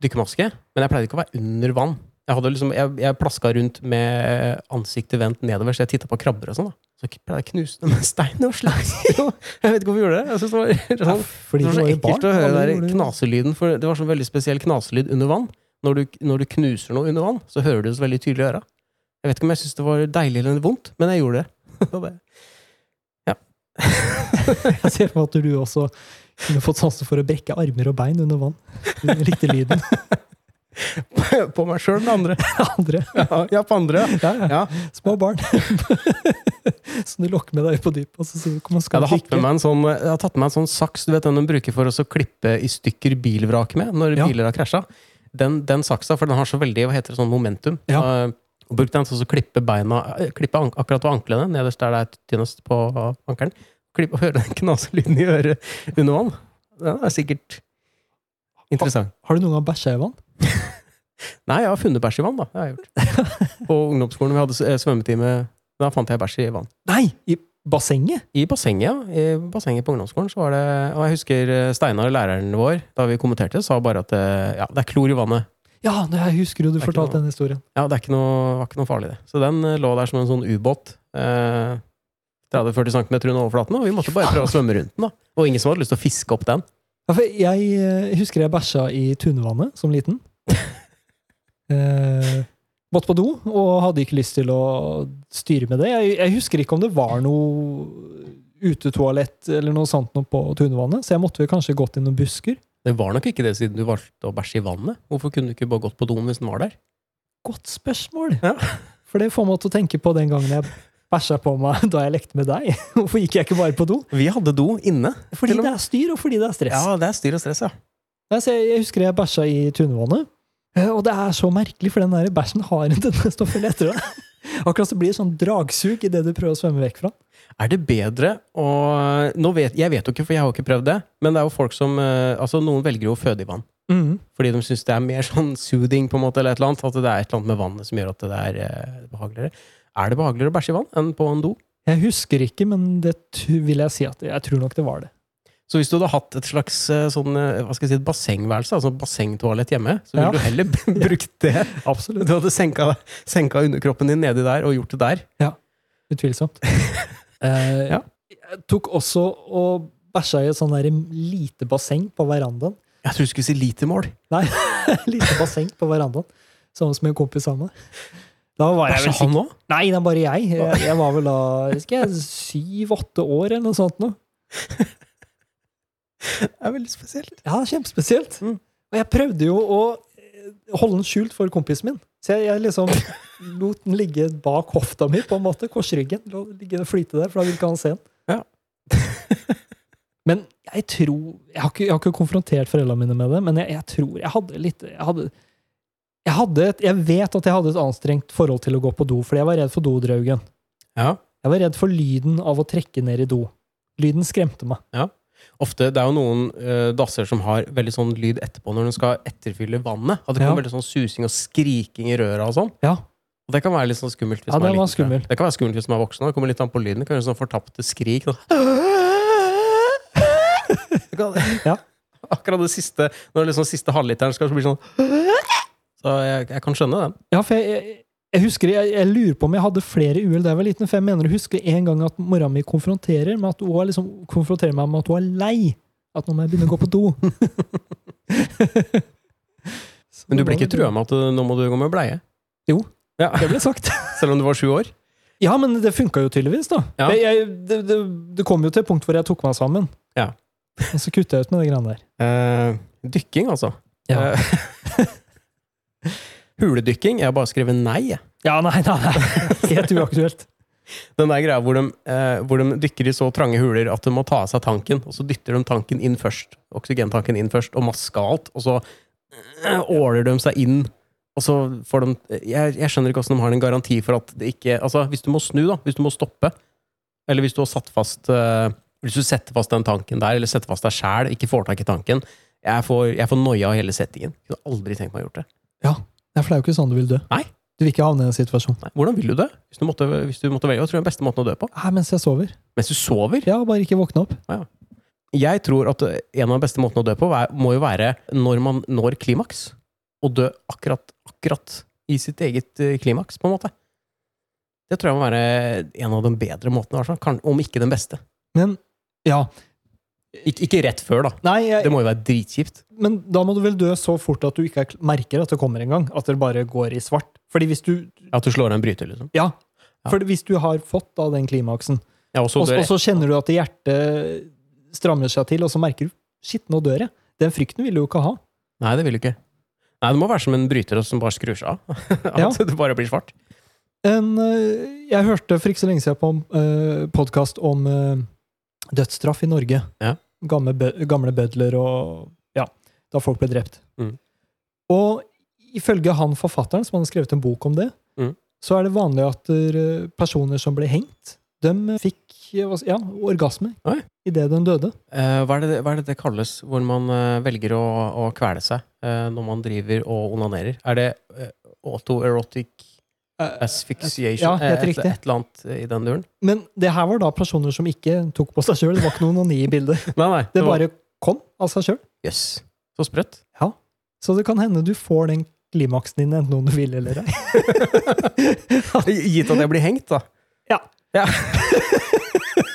S1: dykkermaske, men jeg pleide ikke å være under vann. Jeg, hadde liksom, jeg, jeg plaska rundt med ansiktet vendt nedover, så jeg titta på krabber og sånn. da Så jeg pleide jeg å knuse dem med stein og slags. jeg vet ikke hvorfor vi gjorde det. Jeg synes det var sånn
S2: Fordi
S1: det var så
S2: jo
S1: ekkelt
S2: barn,
S1: å høre
S2: alle
S1: den
S2: gjorde
S1: der
S2: det.
S1: knaselyden, for det var sånn veldig spesiell knaselyd under vann. Når du, når du knuser noe under vann, så hører du det så veldig tydelig i øra. Jeg vet ikke om jeg syntes det var deilig eller vondt, men jeg gjorde det. Og det.
S2: Jeg ser for meg at du også kunne fått sansen for å brekke armer og bein under vann. Du likte lyden.
S1: På meg sjøl med andre.
S2: Andre.
S1: Ja, ja, på andre. ja.
S2: Ja, ja.
S1: Ja.
S2: Små barn. Som du lokker med deg på dypet, og så sier du 'kom og
S1: Jeg
S2: skal
S1: hadde, hatt med
S2: dykke'.
S1: meg en sånn, jeg hadde tatt med meg en sånn saks du vet den de bruker for å så klippe i stykker bilvrak med når
S2: Ja.
S1: biler har krasja. Den, den saksa, for den har så veldig hva heter det, sånn momentum.
S2: Ja.
S1: Eh, og brukte den til å så klippe beina eh, klippe an akkurat ved anklene, nederst der det er tynnest på eh, ankelen. Klipp og høre den knaselyden i øret under vann. Den er sikkert interessant.
S2: Har du noen gang bæsja i vann?
S1: Nei, jeg har funnet bæsj i vann, da. Det har jeg gjort. På ungdomsskolen vi hadde s- eh, svømmetime, da fant jeg bæsj i vann.
S2: Nei! I bassenget?
S1: I bassenget, ja. I bassenget på ungdomsskolen så var det Og jeg husker eh, Steinar, læreren vår, da vi kommenterte, sa bare at eh, ja, det er klor i vannet.
S2: Ja, det- jeg husker jo du
S1: Det er ikke
S2: fortalte
S1: noe-
S2: den historien.
S1: Ja, det er ikke noe, var ikke noe farlig, det. Så den eh, lå der som en sånn ubåt. Eh, 30-40 cm under overflaten, og vi måtte bare prøve å svømme rundt den. da Og ingen som hadde lyst til å fiske opp den.
S2: Ja, for jeg eh, husker jeg bæsja i Tunvannet som liten. Eh, Måtte på do, og hadde ikke lyst til å styre med det. Jeg, jeg husker ikke om det var noe utetoalett eller noe sånt noe på Tunvannet, så jeg måtte vel kanskje gått i noen busker.
S1: Det var nok ikke det, siden du valgte å bæsje i vannet. Hvorfor kunne du ikke bare gått på doen hvis den var der?
S2: Godt spørsmål!
S1: Ja.
S2: For det får meg til å tenke på den gangen jeg bæsja på meg da jeg lekte med deg. Hvorfor gikk jeg ikke bare på do?
S1: Vi hadde do inne.
S2: Fordi
S1: Til og
S2: det er styr, og fordi det er stress.
S1: Ja, det er styr og stress, ja.
S2: Nei, så jeg, jeg husker jeg bæsja i Tunvannet. Eh, Og det er så merkelig, for den der bæsjen har en tendens til å følge etter deg. Akkurat som det blir et sånn dragsug idet du prøver å svømme vekk fra.
S1: Er det bedre å nå vet, Jeg vet jo ikke, for jeg har jo ikke prøvd det. Men det er jo folk som eh, Altså, noen velger jo å føde i vann.
S2: Mm.
S1: Fordi de syns det er mer sånn soothing, på en måte, eller et eller annet. At det er et eller annet med vannet som gjør at det er eh, behageligere. Er det behageligere å bæsje i vann enn på en do?
S2: Jeg husker ikke, men det tu- vil jeg si at jeg tror nok det var det.
S1: Så hvis du hadde hatt et slags eh, sånn, eh, hva skal jeg si, et bassengværelse, altså bassengtoalett hjemme, så ville
S2: Ja.
S1: du heller b- brukt det.
S2: Absolutt.
S1: Du hadde senka, senka underkroppen din nedi der og gjort det der.
S2: Utvilsomt. Eh,
S1: Ja.
S2: Jeg tok også og bæsja i et sånn der lite basseng på verandaen.
S1: Jeg tror du skulle si litermål.
S2: Nei, lite basseng på verandaen. Sammen med en kompis av meg. Da var jeg vel
S1: Bæsja
S2: sikkert
S1: han òg?
S2: Nei, det er bare jeg. Jeg, jeg var vel da husker jeg, syv-åtte år eller noe sånt. Nå.
S1: Det er veldig spesielt.
S2: Ja, kjempespesielt.
S1: Mm.
S2: Og jeg prøvde jo å eh, holde den skjult for kompisen min. Så jeg, jeg liksom lot den ligge bak hofta mi, på en måte. Korsryggen. La den ligge og flyte der, for da vil ikke han se den.
S1: Ja.
S2: men jeg tror Jeg har ikke, jeg har ikke konfrontert foreldrene mine med det, men jeg, jeg tror jeg hadde litt jeg hadde, jeg, hadde et, jeg vet at jeg hadde et anstrengt forhold til å gå på do, fordi jeg var redd for dodraugen.
S1: Ja.
S2: Jeg var redd for lyden av å trekke ned i do. Lyden skremte meg.
S1: Ofte, Det er jo noen eh, dasser som har veldig sånn lyd etterpå når de skal etterfylle vannet. At det kommer
S2: Ja.
S1: veldig sånn susing og skriking i røra og sånn.
S2: Ja.
S1: Og Det kan være litt sånn skummelt hvis
S2: Ja,
S1: man er
S2: den var
S1: liten. tror jeg.
S2: skummel.
S1: Det kan være skummelt hvis man er voksen. og Det kommer litt an på lyden. Det kan være sånn fortapte skrik. Sånn. Det kan-
S2: Ja.
S1: Akkurat det siste når liksom siste halvliteren skal så bli sånn Så jeg, jeg kan skjønne den.
S2: Ja, for jeg, jeg, Jeg husker, jeg, jeg lurer på om jeg hadde flere uhell da jeg var liten, for jeg mener å huske en gang at mora mi konfronterer, med at hun var liksom, konfronterer meg med at hun er lei. At nå må jeg begynne å gå på do. Så
S1: Men du
S2: det
S1: ble
S2: var
S1: ikke
S2: vel-
S1: trua med at eh, nå må du gå med bleie?
S2: Jo.
S1: Ja,
S2: Det ble sagt.
S1: Selv om du var sju år?
S2: Ja, men det funka jo tydeligvis, da.
S1: Ja.
S2: Jeg, jeg, det, det, det kom jo til et punkt hvor jeg tok meg sammen.
S1: Ja.
S2: Og så kutta jeg ut med de greiene der.
S1: Eh, dykking, altså.
S2: Ja.
S1: Eh, huledykking. Jeg har bare skrevet nei. jeg.
S2: Ja, nei, nei, nei. Helt uaktuelt.
S1: Den der greia hvor de, eh, hvor de dykker i så trange huler at de må ta av seg tanken, og så dytter de tanken inn først. Oksygentanken inn først, og maske alt. Og så eh, åler de seg inn, og så får de Jeg, jeg skjønner ikke åssen de har en garanti for at det ikke Altså, hvis du må snu, da. Hvis du må stoppe. Eller hvis du har satt fast eh, Hvis du setter fast den tanken der, eller setter fast deg sjæl, ikke får tak i tanken. Jeg får, jeg får noia av hele settingen. Kunne aldri tenkt meg å gjort det.
S2: Nei, for det er jo ikke sånn du vil dø.
S1: Nei.
S2: Du vil ikke havne i en situasjon.
S1: Nei, hvordan vil du dø? Hvis du måtte, hvis du måtte velge, hva tror du er den beste måten å dø på?
S2: Nei, mens jeg sover.
S1: Mens du sover?
S2: Ja, bare ikke våkne opp.
S1: Jeg tror at en av de beste måtene å dø på er, må jo være når man når klimaks. Å dø akkurat, akkurat i sitt eget eh, klimaks, på en måte. Det tror jeg må være en av de bedre måtene, i hvert fall. Kan- om ikke den beste.
S2: Men ja.
S1: Ik ikke rett før, da.
S2: Nei,
S1: Det
S2: jeg,
S1: må jo være dritkjipt.
S2: men da må du vel dø så fort at du ikke er kl- merker at det kommer engang. At det bare går i svart. Fordi hvis du
S1: At du slår av en bryter, liksom.
S2: Ja.
S1: Ja.
S2: Fordi hvis du har fått da den klimaksen,
S1: Ja, og så
S2: og
S1: dør
S2: og så kjenner du at hjertet strammer seg til, og så merker du Shit, nå dør jeg. Den frykten vil du jo ikke ha.
S1: Nei, det vil du ikke. Nei, det må være som en bryter som bare skrur seg av. At
S2: Ja.
S1: det bare blir svart.
S2: En, eh, jeg hørte for ikke så lenge siden på en eh, podkast om eh, dødsstraff i Norge.
S1: Ja.
S2: Gamle, bø- gamle bødler og Ja, da folk ble drept.
S1: Mm.
S2: Og ifølge han forfatteren som hadde skrevet en bok om det,
S1: Mm.
S2: så er det vanlig at eh, personer som ble hengt, de fikk eh, hva s- ja, orgasme
S1: Oi.
S2: idet de døde.
S1: Eh, hva, er det, hva er det det kalles hvor man eh, velger å, å kvele seg eh, når man driver og onanerer? Er det eh, autoerotic
S2: Eh,
S1: asphyxiation?
S2: Ja, helt
S1: Eh, et,
S2: riktig.
S1: et eller annet eh, i den duren?
S2: Men det her var da personer som ikke tok på seg sjøl. Det var ikke noen onani i bildet.
S1: Nei, nei.
S2: Det
S1: var-
S2: bare kom av seg sjøl.
S1: Jøss. Så sprøtt.
S2: Så det kan hende du får den klimaksen din, enten om du vil eller ei.
S1: Gitt at jeg blir hengt, da.
S2: Ja.
S1: Ja.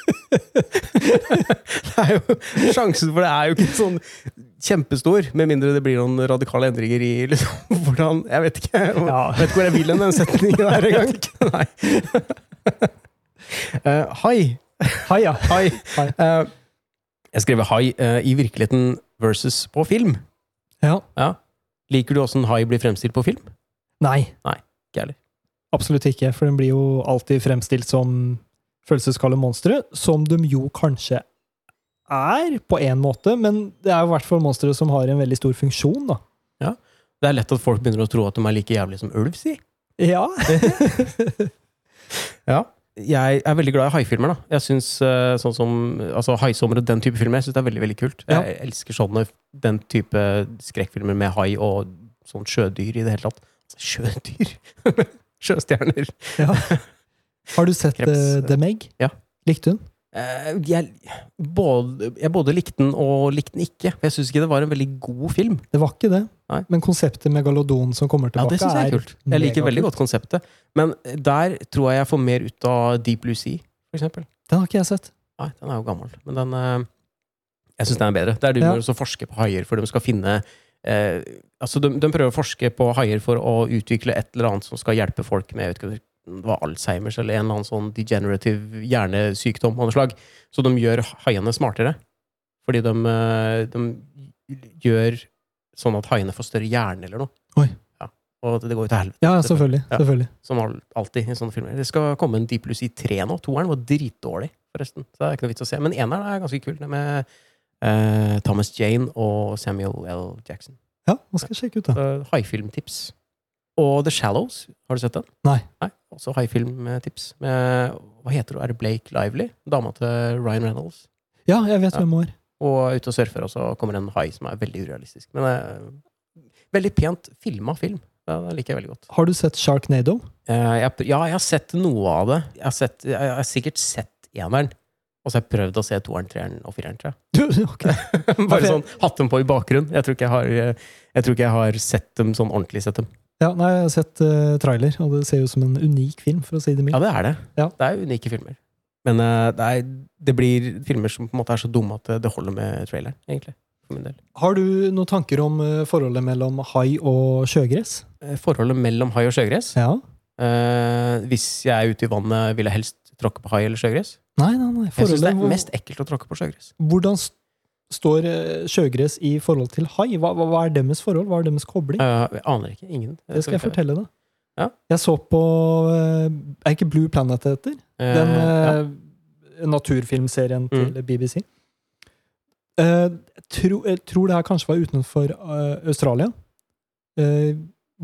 S1: det er jo, sjansen for det er jo ikke sånn kjempestor, med mindre det blir noen radikale endringer i liksom, hvordan Jeg vet ikke. om- Jeg vet ikke hvor jeg vil hen, den setningen der engang. Nei. Eh, hai.
S2: Hei, ja.
S1: Hai.
S2: Hai.
S1: Eh, jeg skrev hai eh, i virkeligheten versus på film.
S2: ja.
S1: Liker du åssen hai blir fremstilt på film?
S2: Nei.
S1: Nei, ikke heller.
S2: Absolutt ikke, for den blir jo alltid fremstilt som følelseskalde monstre, som de jo kanskje er, på én måte, men det er jo i hvert fall monstre som har en veldig stor funksjon, da.
S1: Det er lett at folk begynner å tro at de er like jævlig som ulv, si.
S2: Ja.
S1: Jeg er veldig glad i haifilmer. da. Jeg synes, eh, sånn som, altså Haisommer og den type filmer jeg synes det er veldig veldig kult.
S2: Ja.
S1: Jeg elsker sånne, den type skrekkfilmer med hai og sånn sjødyr i det hele tatt. Altså, Sjødyr? Sjøstjerner.
S2: Har du sett
S1: Kreps.
S2: eh, The Meg?
S1: Ja.
S2: Likte hun?
S1: Eh, jeg, både, jeg både likte den og likte den ikke. For jeg syns ikke det var en veldig god film.
S2: Det var ikke det.
S1: Nei.
S2: Men konseptet megalodon som kommer
S1: Ja,
S2: tilbake,
S1: det synes jeg er kult. Jeg liker veldig godt konseptet. Men der tror jeg jeg får mer ut av Deep Blue Sea, for eksempel.
S2: Den har ikke jeg sett.
S1: Nei, den er jo gammel, men den eh, Jeg syns den er bedre. Det er de
S2: Ja.
S1: som forsker på haier, for de skal finne eh, Altså, de, de prøver å forske på haier for å utvikle et eller annet som skal hjelpe folk med jeg vet ikke, om det var Alzheimers eller en eller annen sånn degenerative hjernesykdom av noe slag. Så de gjør haiene smartere. Fordi de, eh, de gjør sånn at haiene får større hjerne eller noe.
S2: Oi.
S1: Ja. Og det går jo til helvete.
S2: Ja, ja, selvfølgelig.
S1: Ja.
S2: selvfølgelig.
S1: Som al- alltid i sånne filmer. Det skal komme en Deep Blue Sea 3 nå. Toeren var dritdårlig, forresten. Så det er ikke noe vits å se. Men eneren er ganske kul. Det med eh, Thomas Jane og Samuel L. Jackson.
S2: Ja, nå skal jeg sjekke ut den.
S1: Uh, Haifilmtips. Og The Shallows. Har du sett den?
S2: Nei.
S1: Nei, Også haifilmtips. Med Hva heter hun? Er det Blake Lively? Dama til Ryan Reynolds.
S2: Ja, jeg vet
S1: Ja.
S2: hvem hun er.
S1: Og er ute og surfer, og så kommer en hai som er veldig urealistisk. Men eh, veldig pent filma film. Ja, Det liker jeg veldig godt.
S2: Har du sett Sharknado?
S1: Eh, jeg, pr- ja, jeg har sett noe av det. Jeg har, sett, jeg, jeg har sikkert sett eneren. Og så har jeg prøvd å se toeren, treeren og fireren. tror jeg.
S2: Du, ok.
S1: Bare sånn, Hatt dem på i bakgrunnen. Jeg tror ikke jeg har, eh, jeg tror ikke jeg har sett dem sånn ordentlig. sett dem
S2: Ja, nei, jeg har sett eh, trailer, og det ser jo som en unik film, for å si det mildt.
S1: Ja, det er det.
S2: Ja.
S1: Det er unike filmer. Men eh, det, er, det blir filmer som på en måte er så dumme at det- det holder med traileren, egentlig. For min del.
S2: Har du noen tanker om eh, forholdet mellom hai og sjøgress?
S1: Eh, Forholdet mellom hai og sjøgress
S2: Ja.
S1: eh, Hvis jeg er ute i vannet, vil jeg helst tråkke på hai eller sjøgress.
S2: Nei, nei, nei.
S1: Jeg syns det
S2: hvor-
S1: er mest ekkelt å tråkke på sjøgress.
S2: Hvordan st står eh, sjøgress i forhold til hai? Hva, hva, hva er deres forhold? Hva er deres kobling?
S1: Eh, jeg aner ikke. Ingen. Eh,
S2: Det skal jeg fortelle deg.
S1: Ja.
S2: Jeg så på eh, Er ikke Blue Planet det heter?
S1: Eh,
S2: Den
S1: ja.
S2: eh, naturfilmserien
S1: Mm.
S2: til BBC. Eh, jeg tro, jeg tror det her kanskje var utenfor eh, Australia. Eh,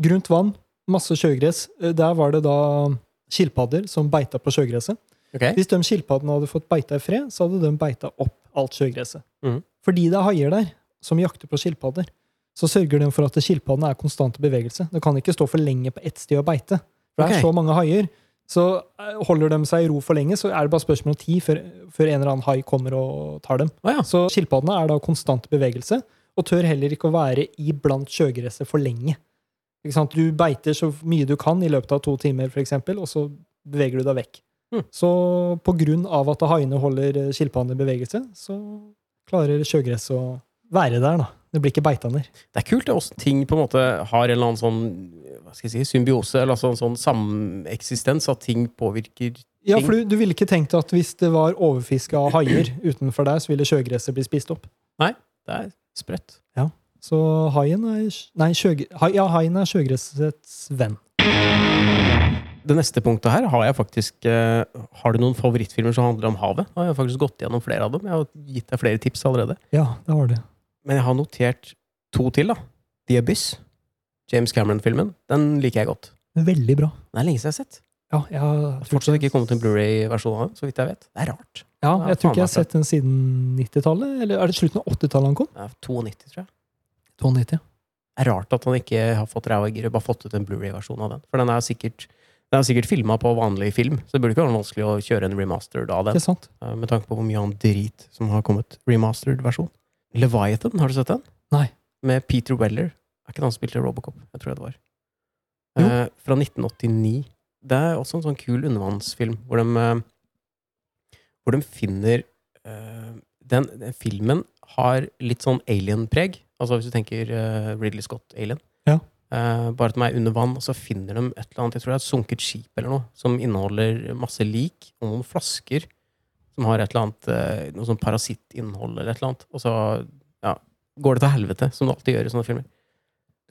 S2: grunt vann, masse sjøgress. Eh, der var det da skilpadder som beita på sjøgresset.
S1: Ok.
S2: Hvis de skilpaddene hadde fått beita i fred, så hadde de beita opp alt sjøgresset.
S1: Mhm.
S2: Fordi det er haier der som jakter på skilpadder, så sørger de for at skilpaddene er konstant i bevegelse. De kan ikke stå for lenge på ett sted og beite. For det
S1: Ok.
S2: er så mange haier. Så eh, holder de seg i ro for lenge, så er det bare spørsmål om tid før, før en eller annen hai kommer og tar dem.
S1: Å ja.
S2: Så skilpaddene er da konstant i bevegelse, og tør heller ikke å være iblant sjøgresset for lenge. Ikke sant? Du beiter så mye du kan i løpet av to timer, for eksempel, og så beveger du deg vekk.
S1: Mm.
S2: Så på grunn av at haiene holder eh, skilpaddene i bevegelse, så klarer sjøgresset å være der, da. Det blir ikke beitander.
S1: Det er kult det er også ting på en måte har en eller annen sånn hva skal jeg si, symbiose, eller altså en sånn sameksistens, at ting påvirker
S2: Ja, for du, du ville ikke tenkt at hvis det var overfiske av haier utenfor deg, så ville sjøgresset bli spist opp.
S1: Det er sprøtt.
S2: Så haien er Nei, sjøg, hai, ja, haien er sjøgressets venn.
S1: Det neste punktet her har jeg faktisk eh, Har du noen favorittfilmer som handler om havet? Da har jeg faktisk gått gjennom flere av dem. Jeg har gitt deg flere tips allerede.
S2: Ja, det var det.
S1: Men jeg har notert to til, da. The Abyss. James Cameron-filmen. Den liker jeg godt.
S2: Veldig bra.
S1: Den er lenge siden jeg har sett.
S2: Ja, jeg har
S1: Det har fortsatt ikke kommet en Blu-ray-versjon av den, så vidt jeg vet. Det er rart.
S2: Ja,
S1: Ja,
S2: jeg tror
S1: faen meg
S2: ikke jeg har
S1: bra.
S2: sett den siden 90-tallet. Eller er det slutten av 80-tallet han kom?
S1: Det er 92, tror jeg.
S2: 92.
S1: Det er rart at han ikke har fått reagere, bare fått ut en Blu-ray-versjon av den. For den er sikkert, den er sikkert filma på vanlig film, så det burde ikke være vanskelig å kjøre en remastered av den.
S2: Ikke sant?
S1: Eh, Med tanke på hvor mye annen drit som har kommet remastered-versjon. Leviathan, har du sett den?
S2: Nei.
S1: Med Peter Weller. Er ikke det han som spilte Robocop? Jeg tror det var.
S2: Jo.
S1: Eh, fra 1989. Det er også en sånn kul undervannsfilm hvor de, eh, hvor de finner eh, den, den filmen har litt sånn alien-preg. Altså hvis du tenker eh, Ridley Scott Alien.
S2: Ja.
S1: Eh, bare at de er under vann, og så finner de et eller annet Jeg tror det er et sunket skip eller noe, som inneholder masse lik og noen flasker som har et eller annet eh, noe sånn parasittinnhold eller et eller annet. Og så ja, går det til helvete, som det alltid gjør i sånne filmer.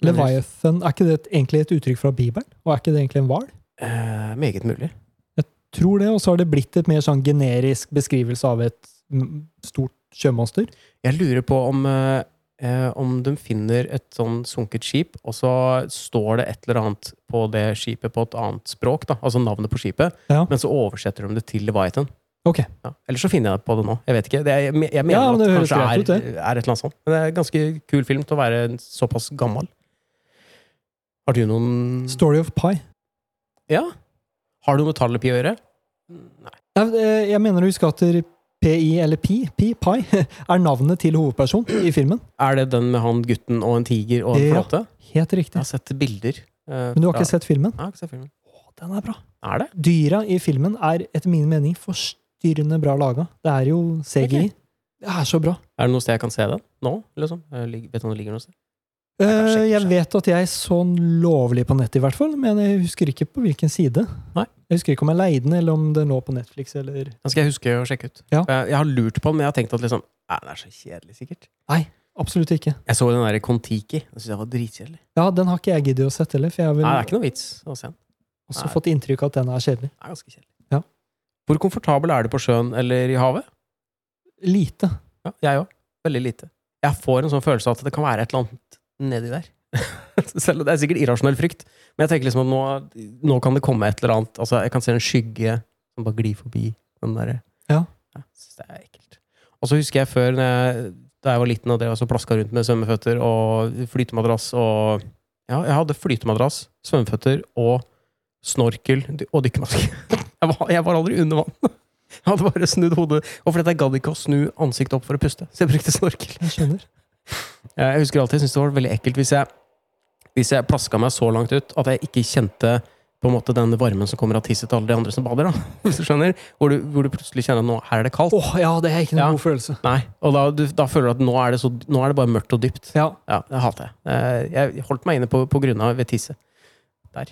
S1: Men ellers-
S2: Leviathan, er ikke det et, egentlig et uttrykk fra Bibelen? Og er ikke det egentlig en hval?
S1: Eh, meget mulig.
S2: Tror det, og så har det blitt et mer sånn generisk beskrivelse av et mm, stort sjømonster.
S1: Jeg lurer på om, eh, eh, om de finner et sånn sunket skip, og så står det et eller annet på det skipet på et annet språk, da, altså navnet på skipet,
S2: Ja.
S1: men så oversetter de det til Leviathan.
S2: Ok.
S1: Ja. Eller så finner jeg på det nå. Jeg vet ikke. Det er, jeg, me- jeg mener
S2: Ja, men
S1: at
S2: det
S1: det
S2: høres
S1: kanskje
S2: greit
S1: er,
S2: ut, det.
S1: er et eller annet sånt. Men det er en ganske kul film til å være en såpass gammel. Har du noen
S2: Story of Pie.
S1: Ja? Har du noe metallepi å gjøre? Nei.
S2: Nei, eh, Jeg mener å huske at der PI, eller Pi, Pi, Pi, er navnet til hovedpersonen i filmen.
S1: Er det den med han gutten og en tiger og en
S2: Ja.
S1: flåte?
S2: Helt
S1: Jeg
S2: riktig.
S1: har sett bilder. eh,
S2: Men du har
S1: fra-
S2: ikke sett filmen?
S1: Nei, jeg har ikke sett filmen.
S2: Å, den er bra.
S1: Er det?
S2: Dyra i filmen er etter min mening forstyrrende bra laga. Det er jo CGI. Det er så bra.
S1: Er det noe sted jeg kan se den? Nå? Liksom? Jeg lig- Vet du om det ligger noe sted? kan
S2: Eh,
S1: sjekke
S2: Jeg
S1: selv.
S2: vet at jeg så den lovlig på nettet, i hvert fall, men jeg husker ikke på hvilken side.
S1: Nei.
S2: Jeg husker ikke om jeg leide den, eller om den lå på Netflix. Eller...
S1: Den skal jeg huske å sjekke ut.
S2: Ja.
S1: For Jeg, jeg har lurt på den, men jeg har tenkt at liksom Nei, den er så kjedelig, sikkert.
S2: Absolutt ikke.
S1: Jeg så den der Kon-Tiki. Den syns jeg var dritkjedelig.
S2: Ja, Den har ikke jeg giddet å sette heller, for jeg har vel
S1: Nei, det er ikke noe vits å se den.
S2: også
S1: nei.
S2: fått inntrykk av at den er kjedelig.
S1: Den er ganske kjedelig.
S2: Ja.
S1: Hvor komfortabel er du på sjøen eller i havet?
S2: Lite.
S1: Ja, jeg òg. Veldig lite. Jeg får en sånn følelse av at det kan være et eller annet nedi der. Selv om det er sikkert irrasjonell frykt. Men jeg tenker liksom at nå, nå kan det komme et eller annet. Altså, jeg kan se en skygge som bare glir forbi den derre
S2: Ja.
S1: Jeg synes det er ekkelt. Og så husker jeg før, når jeg, da jeg var liten og drev og så plaska rundt med svømmeføtter og flytemadrass og Ja, jeg hadde flytemadrass, svømmeføtter og snorkel dy- og dykkermaske. Jeg, var- jeg var aldri under vann. Jeg hadde bare snudd hodet og fordi at jeg gadd ikke å snu ansiktet opp for å puste, så jeg brukte snorkel.
S2: Jeg skjønner.
S1: Eh, Jeg husker alltid jeg syntes det var veldig ekkelt hvis jeg hvis jeg plaska meg så langt ut at jeg ikke kjente på en måte den varmen som kommer av tisset til alle de andre som bader. da, hvis du skjønner, Hvor du, hvor du plutselig kjenner at nå her er det kaldt.
S2: Åh, ja, det er ikke noen
S1: Ja.
S2: god følelse.
S1: Nei, Og da, du, da føler du at nå er, det så, nå er det bare mørkt og dypt.
S2: Ja.
S1: Ja, det hater jeg. Eh, Jeg holdt meg inne på, på grunna ved tisset. Der.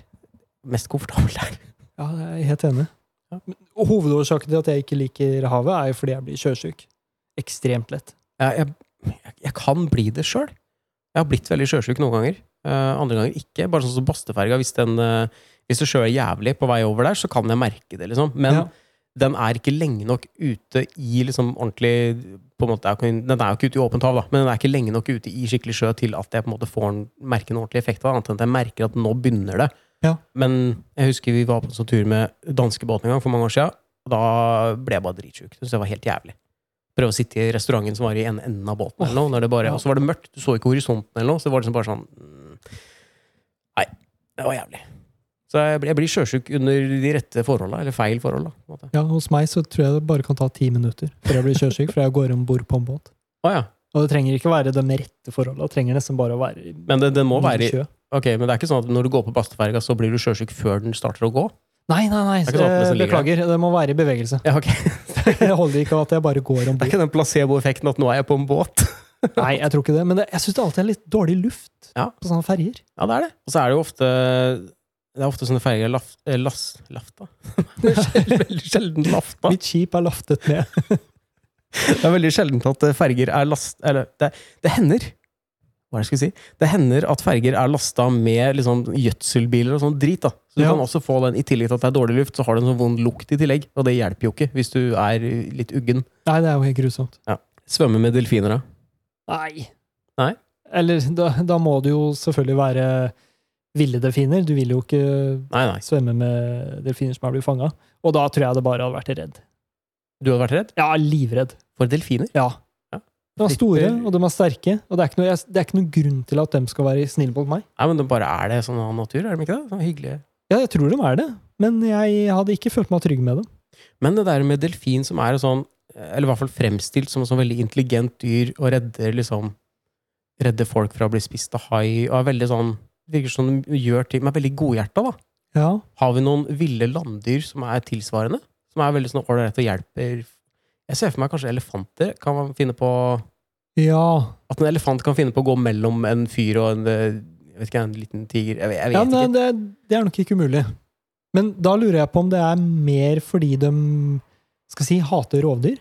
S1: Mest komfortabel der.
S2: ja, jeg er helt enig.
S1: Ja.
S2: Men Hovedårsaken til at jeg ikke liker havet, er jo fordi jeg blir sjøsyk. Ekstremt lett.
S1: Jeg, jeg, jeg kan bli det sjøl. Jeg har blitt veldig sjøsjuk noen ganger. eh, andre ganger ikke. Bare sånn som Basteferga. Hvis, den, eh, hvis det sjøer jævlig på vei over der, så kan jeg merke det, liksom. Men
S2: Ja.
S1: den er ikke lenge nok ute i liksom ordentlig på en måte, det er jo ikke- Den er jo ikke ute i åpent hav, da, men den er ikke lenge nok ute i skikkelig sjø til at jeg på en måte får en, merker en ordentlig effekt av det, annet enn at jeg merker at nå begynner det.
S2: Ja.
S1: Men jeg husker vi var på en sånn tur med danskebåten en gang for mange år siden. Og da ble jeg bare dritsjuk. Synes det var helt jævlig. Prøve å sitte i restauranten som var i en enden av båten, eller noe, når det bare,
S2: ja.
S1: og så var det mørkt. Du så ikke horisonten, eller noe, så det var liksom bare sånn mm, Nei, det var jævlig. Så jeg, blir- jeg blir sjøsjuk under de rette forholda, eller feil forhold, da. På en måte.
S2: Ja, Hos meg så tror jeg det bare kan ta ti minutter før jeg blir sjøsyk, for jeg går om bord på en båt.
S1: Å ja.
S2: Og det trenger ikke være de rette forholda. Det trenger nesten bare å være i
S1: Men det, den må være i-
S2: sjø.
S1: Ok, men det er ikke sånn at når du går på basteferga, så blir du sjøsjuk før den starter å gå?
S2: Nei, nei, nei.
S1: Det er ikke sånn at det
S2: eh,
S1: ligger
S2: Beklager. Det må være i bevegelse.
S1: Ja, ok.
S2: Det holder ikke at jeg bare går om
S1: Det er
S2: bord.
S1: ikke den placeboeffekten at nå er jeg på en båt.
S2: Nei, jeg tror ikke det. Men det, jeg syns det alltid er litt dårlig luft
S1: Ja.
S2: på sånne ferjer.
S1: Ja, det er det. Og så er det jo ofte Det er ofte sånne ferger laf, eh, las, lafta. veldig sjelden lafta.
S2: Mitt skip er laftet ned.
S1: Det er veldig sjelden at eh, ferger er last... Eller, det, det hender. Hva er det jeg skulle si? Det hender at ferger er lasta med liksom, gjødselbiler og sånn drit. da. Så du
S2: Ja.
S1: kan også få den, I tillegg til at det er dårlig luft, så har du en sånn vond lukt i tillegg. Og det hjelper jo ikke hvis du er eh, litt uggen.
S2: Nei, det er jo helt grusomt.
S1: Svømme med delfiner, da.
S2: Nei.
S1: Nei?
S2: Eller da, da må det jo selvfølgelig være ville delfiner. Du vil jo ikke
S1: Nei, nei.
S2: svømme med delfiner som er blitt fanga. Og da tror jeg det bare hadde vært redd.
S1: Du hadde vært redd?
S2: Ja, livredd.
S1: For delfiner?
S2: Ja.
S1: Ja.
S2: De er store, og de er sterke. Og det er ikke noe, jeg, det er ikke noe grunn til at de skal være snille mot meg.
S1: Nei, men det bare er det sånn av natur, er de ikke det? Sånn hyggelige.
S2: Ja, jeg tror de er det, men jeg hadde ikke følt meg trygg med dem.
S1: Men det der med delfin som er en sånn, eller i hvert fall fremstilt som et sånn veldig intelligent dyr, og redder liksom, redder folk fra å bli spist av hai, og er veldig sånn, virker som de gjør ting, men er veldig godhjerta da.
S2: Ja.
S1: Har vi noen ville landdyr som er tilsvarende? Som er veldig sånn ålreit og hjelper? Jeg ser for meg kanskje elefanter kan man finne på,
S2: Ja,
S1: at en elefant kan finne på å gå mellom en fyr og en, eh, jeg vet ikke, en liten tiger, jeg, vet- jeg vet
S2: ja
S1: ikke.
S2: men det, det er nok ikke umulig. Men da lurer jeg på om det er mer fordi de skal si, hater rovdyr.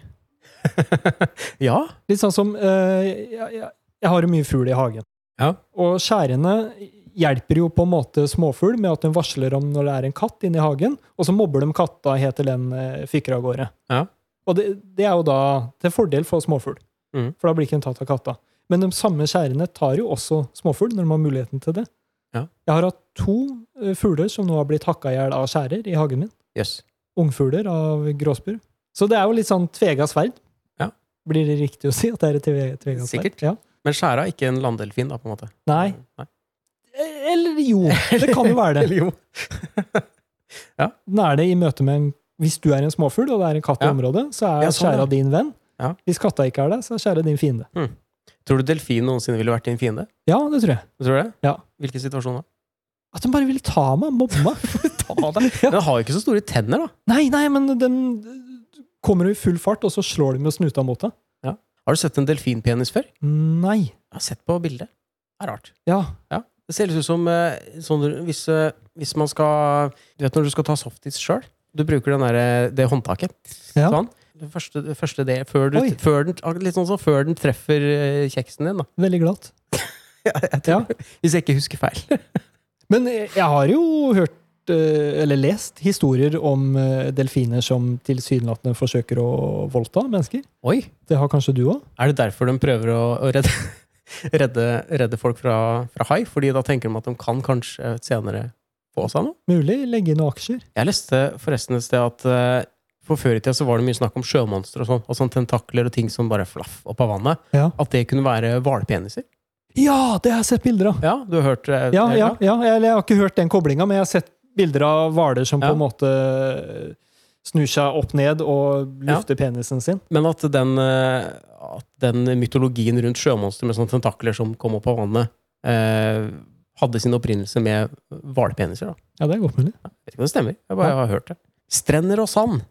S1: ja,
S2: Litt sånn som eh, jeg, jeg, jeg har jo mye fugl i hagen.
S1: Ja.
S2: Og skjærene hjelper jo på en måte småfugl med at de varsler om når det er en katt inne i hagen, og så mobber de katta helt til den eh, fyker av gårde.
S1: Ja.
S2: Og det, det er jo da til fordel for småfugl,
S1: Mhm.
S2: for da blir ikke den tatt av katta. Men de samme skjærene tar jo også småfugl når de har muligheten til det.
S1: Ja.
S2: Jeg har hatt to eh, fugler som nå har blitt hakka i hjel av skjærer i hagen min
S1: jøss.
S2: ungfugler av gråspurv. Så det er jo litt sånn tvega sverd.
S1: Ja.
S2: Blir det riktig å si at det er et tve- tvega sverd?
S1: Sikkert.
S2: Ja.
S1: Men skjæra er ikke en landdelfin, da, på en måte.
S2: Nei. Eller jo, det kan jo være det.
S1: Eller jo.
S2: Den er det i møte med en, Hvis du er en småfugl, og det er en katt i
S1: Ja.
S2: området, så er
S1: Ja, sånn, ja.
S2: skjæra din venn.
S1: Ja.
S2: Hvis katta ikke er det, så er skjæra din fiende.
S1: Tror du delfin noensinne ville vært din fiende?
S2: Ja, det tror jeg.
S1: Tror du det?
S2: Ja.
S1: Hvilken situasjon da?
S2: At de bare vil ta meg, mobbe meg.
S1: Ta deg. Men Den har jo ikke så store tenner, da.
S2: Nei, nei, men de kommer jo i full fart, og så slår de med snuta mot deg.
S1: Har du sett en delfinpenis før?
S2: Nei.
S1: Jeg har sett på bildet. Det er rart.
S2: Ja.
S1: Det ser litt ut som eh, sånn, hvis, eh, hvis man skal Du vet når du skal ta softis sjøl? Du bruker den der, eh, det håndtaket.
S2: Ja.
S1: Sånn. Det første, det første det, før, du,
S2: Oi.
S1: før, den, litt sånn som før den treffer eh, kjeksen din, da.
S2: Veldig glatt. Ja.
S1: Hvis jeg ikke husker feil.
S2: Men jeg jeg har jo hørt, eh, eller lest, historier om eh, delfiner som tilsynelatende forsøker å voldta mennesker.
S1: Oi!
S2: Det har kanskje du òg?
S1: Er det derfor de prøver å, å redde, redde, redde folk fra, fra hai? Fordi da tenker de at de kan kanskje senere få seg noe?
S2: Mulig. Legge inn noen aksjer.
S1: Jeg leste forresten et sted at eh, for før i tida så var det mye snakk om sjømonstre og sånn, og sånn tentakler og ting som bare flaff opp av vannet.
S2: Ja.
S1: At det kunne være hvalpeniser.
S2: ja, det har jeg sett bilder av!
S1: Ja, du har hørt eh,
S2: Ja,
S1: det,
S2: ja, ja, Eller jeg har ikke hørt den koblinga, men jeg har sett bilder av hvaler som
S1: Ja.
S2: på en måte eh, snur seg opp ned og lufter penisen sin.
S1: Men at den, eh, at den mytologien rundt sjømonstre med sånne tentakler som kom opp av vannet, eh, hadde sin opprinnelse med hvalpeniser. da.
S2: Ja, det er godt mulig.
S1: Vet ikke om det stemmer. Jeg bare har hørt det. Strender og sand.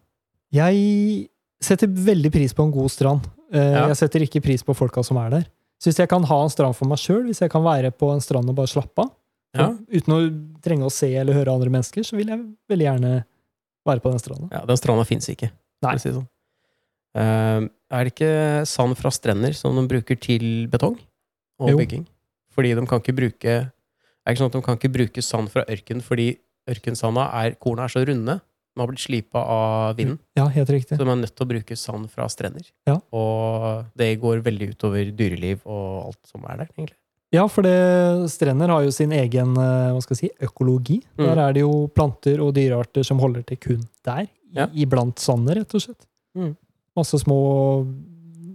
S2: Jeg setter veldig pris på en god strand. Eh,
S1: Ja.
S2: Jeg setter ikke pris på folka som er der. Så hvis jeg kan ha en strand for meg sjøl, hvis jeg kan være på en strand og bare slappe av,
S1: Ja.
S2: og uten å trenge å se eller høre andre mennesker, så vil jeg veldig gjerne være på den stranda.
S1: Ja, Den stranda fins ikke. for
S2: Nei.
S1: å Si det sånn. Ehm, er det ikke sand fra strender som de bruker til betong og
S2: Jo.
S1: bygging? Fordi de kan ikke bruke Er det ikke sånn at de kan ikke bruke sand fra ørken fordi ørkensanda er Korna er så runde. De har blitt slipa av vinden.
S2: Mm, Ja, helt riktig.
S1: Så de er nødt til å bruke sand fra strender.
S2: Ja.
S1: Og det går veldig utover dyreliv og alt som er der, egentlig.
S2: Ja, for det, strender har jo sin egen eh, hva skal jeg si, økologi.
S1: Mm.
S2: Der er det jo planter og dyrearter som holder til kun der, i-
S1: Ja.
S2: iblant sandet, rett og slett.
S1: Mm.
S2: Masse små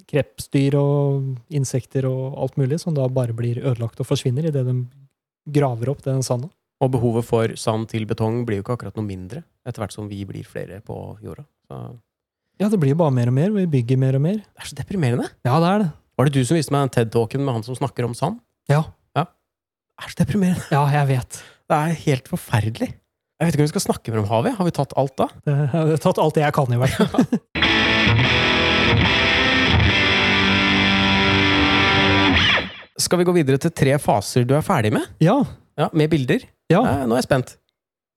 S2: krepsdyr og insekter og alt mulig som da bare blir ødelagt og forsvinner idet de graver opp den sanda.
S1: Og behovet for sand til betong blir jo ikke akkurat noe mindre etter hvert som vi blir flere på jorda. Så
S2: Ja, det blir jo bare mer og mer, og vi bygger mer og mer.
S1: det er så deprimerende!
S2: Ja, det er det.
S1: Var det du som viste meg den TED-talken med han som snakker om sand?
S2: Ja.
S1: Det er så deprimerende!
S2: Ja, jeg vet.
S1: Det er helt forferdelig! Jeg vet ikke om vi skal snakke mer om havet. Har vi tatt alt da?
S2: Det jeg har tatt alt det jeg kan, i hvert fall.
S1: Skal vi gå videre til tre faser du er ferdig med?
S2: Ja.
S1: Ja, Med bilder?
S2: ja.
S1: Eh, Nå er jeg spent.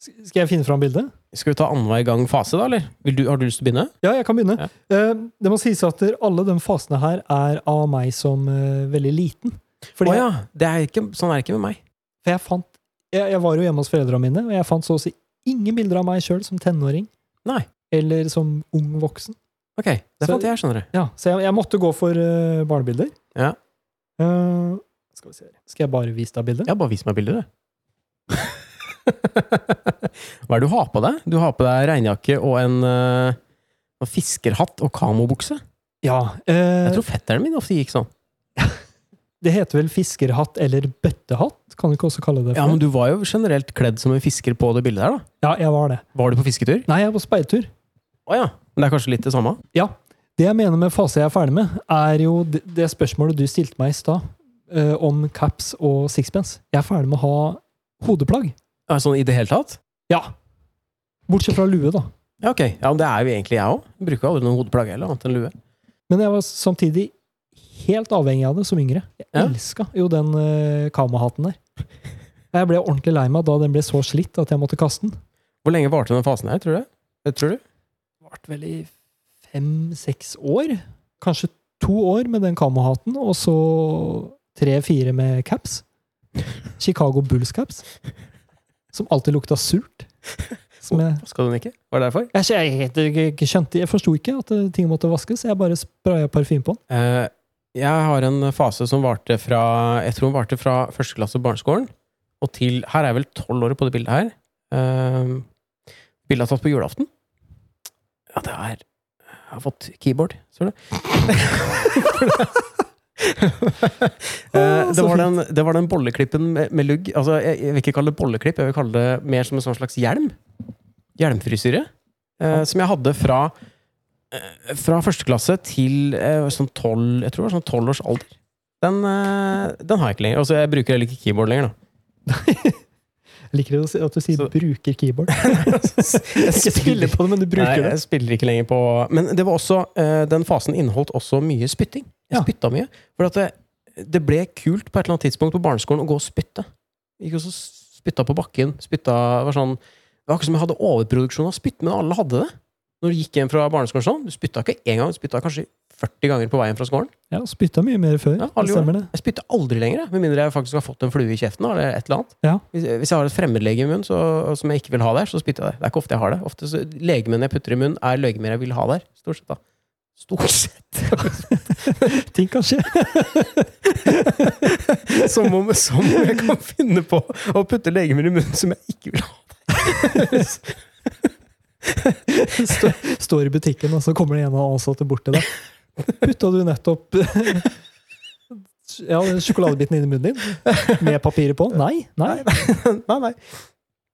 S2: Skal jeg finne fram bildet?
S1: Skal vi ta annenhver gang fase, da? eller? Vil du, har du lyst til å begynne?
S2: Ja, jeg kan begynne.
S1: Ja.
S2: Eh, det må sies at alle de fasene her er av meg som eh, veldig liten. Fordi
S1: Å ja! Det er ikke, sånn er det ikke med meg.
S2: jeg, for jeg fant jeg, jeg var jo hjemme hos foreldrene mine, og jeg fant så å si ingen bilder av meg sjøl som tenåring.
S1: Nei.
S2: Eller som ung voksen.
S1: Ok, det
S2: Så-
S1: fant jeg, skjønner du.
S2: Ja, så jeg, jeg måtte gå for eh, barnebilder.
S1: Ja.
S2: Eh, skal vi se her. Skal jeg bare vise deg bildet?
S1: Ja, bare vis meg bilder, du. Hva er det du har på deg? Du har på deg regnjakke og en, eh, en fiskerhatt og kamobukse.
S2: Ja. eh,
S1: Jeg tror fetteren min ofte gikk sånn.
S2: Det heter vel fiskerhatt eller bøttehatt? Kan du ikke også kalle det for
S1: Ja, Men du var jo generelt kledd som en fisker på det bildet der, da.
S2: ja, jeg var det.
S1: Var du på fisketur?
S2: Nei, jeg var på speidertur.
S1: Å ja. Men det er kanskje litt det samme?
S2: Det jeg mener med fase jeg er ferdig med, er jo det, det spørsmålet du stilte meg i stad, eh, om caps og sixpence. Jeg er ferdig med å ha hodeplagg.
S1: Ja, Sånn i det hele tatt?
S2: Ja. Bortsett fra lue, da.
S1: Ja, ok. Ja, men Det er jo egentlig jeg òg. Bruker jo aldri noen hodeplagg eller annet enn lue.
S2: Men jeg var samtidig helt avhengig av det som yngre. Jeg
S1: Ja.
S2: elska jo den uh, kamahatten der. Jeg ble ordentlig lei meg da den ble så slitt at jeg måtte kaste den.
S1: Hvor lenge varte den fasen her, tror du? Det tror du?
S2: Det varte vel i fem-seks år. Kanskje to år med den kamahatten, og så tre-fire med caps. Chicago Bulls-caps. Som alltid lukta surt. Som jeg,
S1: Vaska den ikke? Var det derfor?
S2: jeg, skj- jeg, helt ikke- ikke skjønte Jeg forsto ikke at eh, ting måtte vaskes. Jeg bare spraya parfyme på den.
S1: Eh, jeg har en fase som varte fra Jeg tror den varte fra første klasse på barneskolen og til Her er jeg vel tolv år på det bildet her. Uh, bildet er tatt på julaften. Ja, det er Jeg har fått keyboard, ser du. Eh,
S2: Å,
S1: det,
S2: så
S1: var den, det var den bolleklippen med, med lugg. Altså, jeg, jeg vil ikke kalle det bolleklipp, jeg vil kalle det mer som en sånn slags hjelm. Hjelmfrisyre. eh, Som jeg hadde fra eh, Fra første klasse til eh, sånn 12, jeg tror det var sånn 12 års alder. Den, eh, den har jeg ikke lenger. Altså, jeg bruker heller ikke keyboard lenger. Da.
S2: Jeg liker å si- at du sier
S1: Så-
S2: 'bruker keyboard'.
S1: Jeg
S2: Ikke spiller på det, men du bruker
S1: Nei,
S2: det.
S1: jeg spiller ikke lenger på Men det var også, eh, den fasen inneholdt også mye spytting. Jeg
S2: Ja.
S1: spytta mye. For at det, det ble kult på et eller annet tidspunkt på barneskolen å gå og spytte. Jeg Gikk og så spytta på bakken. Spytta, var sånn, det var akkurat som jeg hadde overproduksjon av spytt, men alle hadde det. Når du gikk hjem fra barneskolen sånn, du spytta ikke én gang, du spytta kanskje 40 ganger på veien fra skolen.
S2: Ja, Spytta mye mer før.
S1: Ja, alle
S2: det stemmer det.
S1: Jeg spytter aldri lenger, jeg, med mindre jeg faktisk har fått en flue i kjeften. Eller et eller annet.
S2: Ja.
S1: Hvis, hvis jeg har et fremmedlegeme i munnen så, som jeg ikke vil ha der, så spytter jeg der. Det er ikke ofte jeg har det. Ofte så, Legemen jeg putter i munnen, er legemer jeg vil ha der. Stort sett, da. Stort sett!
S2: Ting kan skje.
S1: som, om, som om jeg kan finne på å putte legemer i munnen som jeg ikke vil ha.
S2: Stå, står i butikken, og så kommer det en av ansatte bort til deg. Putta du nettopp ja, sjokoladebiten inn i munnen din? Med papiret på? Nei. nei.
S1: nei, nei.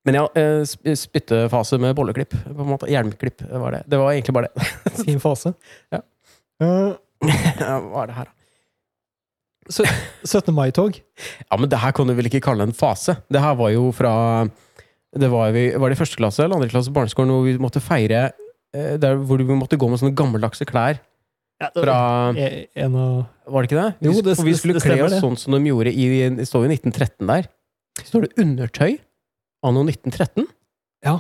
S1: Men ja, eh, sp- spyttefase med bolleklipp. på en måte. Hjelmklipp det var det. Det var egentlig bare det.
S2: Fin fase.
S1: Ja.
S2: Eh,
S1: Hva er det her, da?
S2: sø- 17. mai-tog.
S1: Ja, men det her kan du vel ikke kalle en fase? Det her var jo fra Det var, vi, var det i første klasse eller andre klasse på barneskolen hvor vi måtte feire eh, der hvor vi måtte gå med sånne gammeldagse klær fra
S2: E- En av
S1: Var det ikke det? Vi,
S2: Jo, det-
S1: og vi skulle
S2: det
S1: kle
S2: stemmer
S1: oss
S2: det.
S1: sånn som de gjorde i Det står jo 1913 der. Står det undertøy anno 1913?
S2: Ja,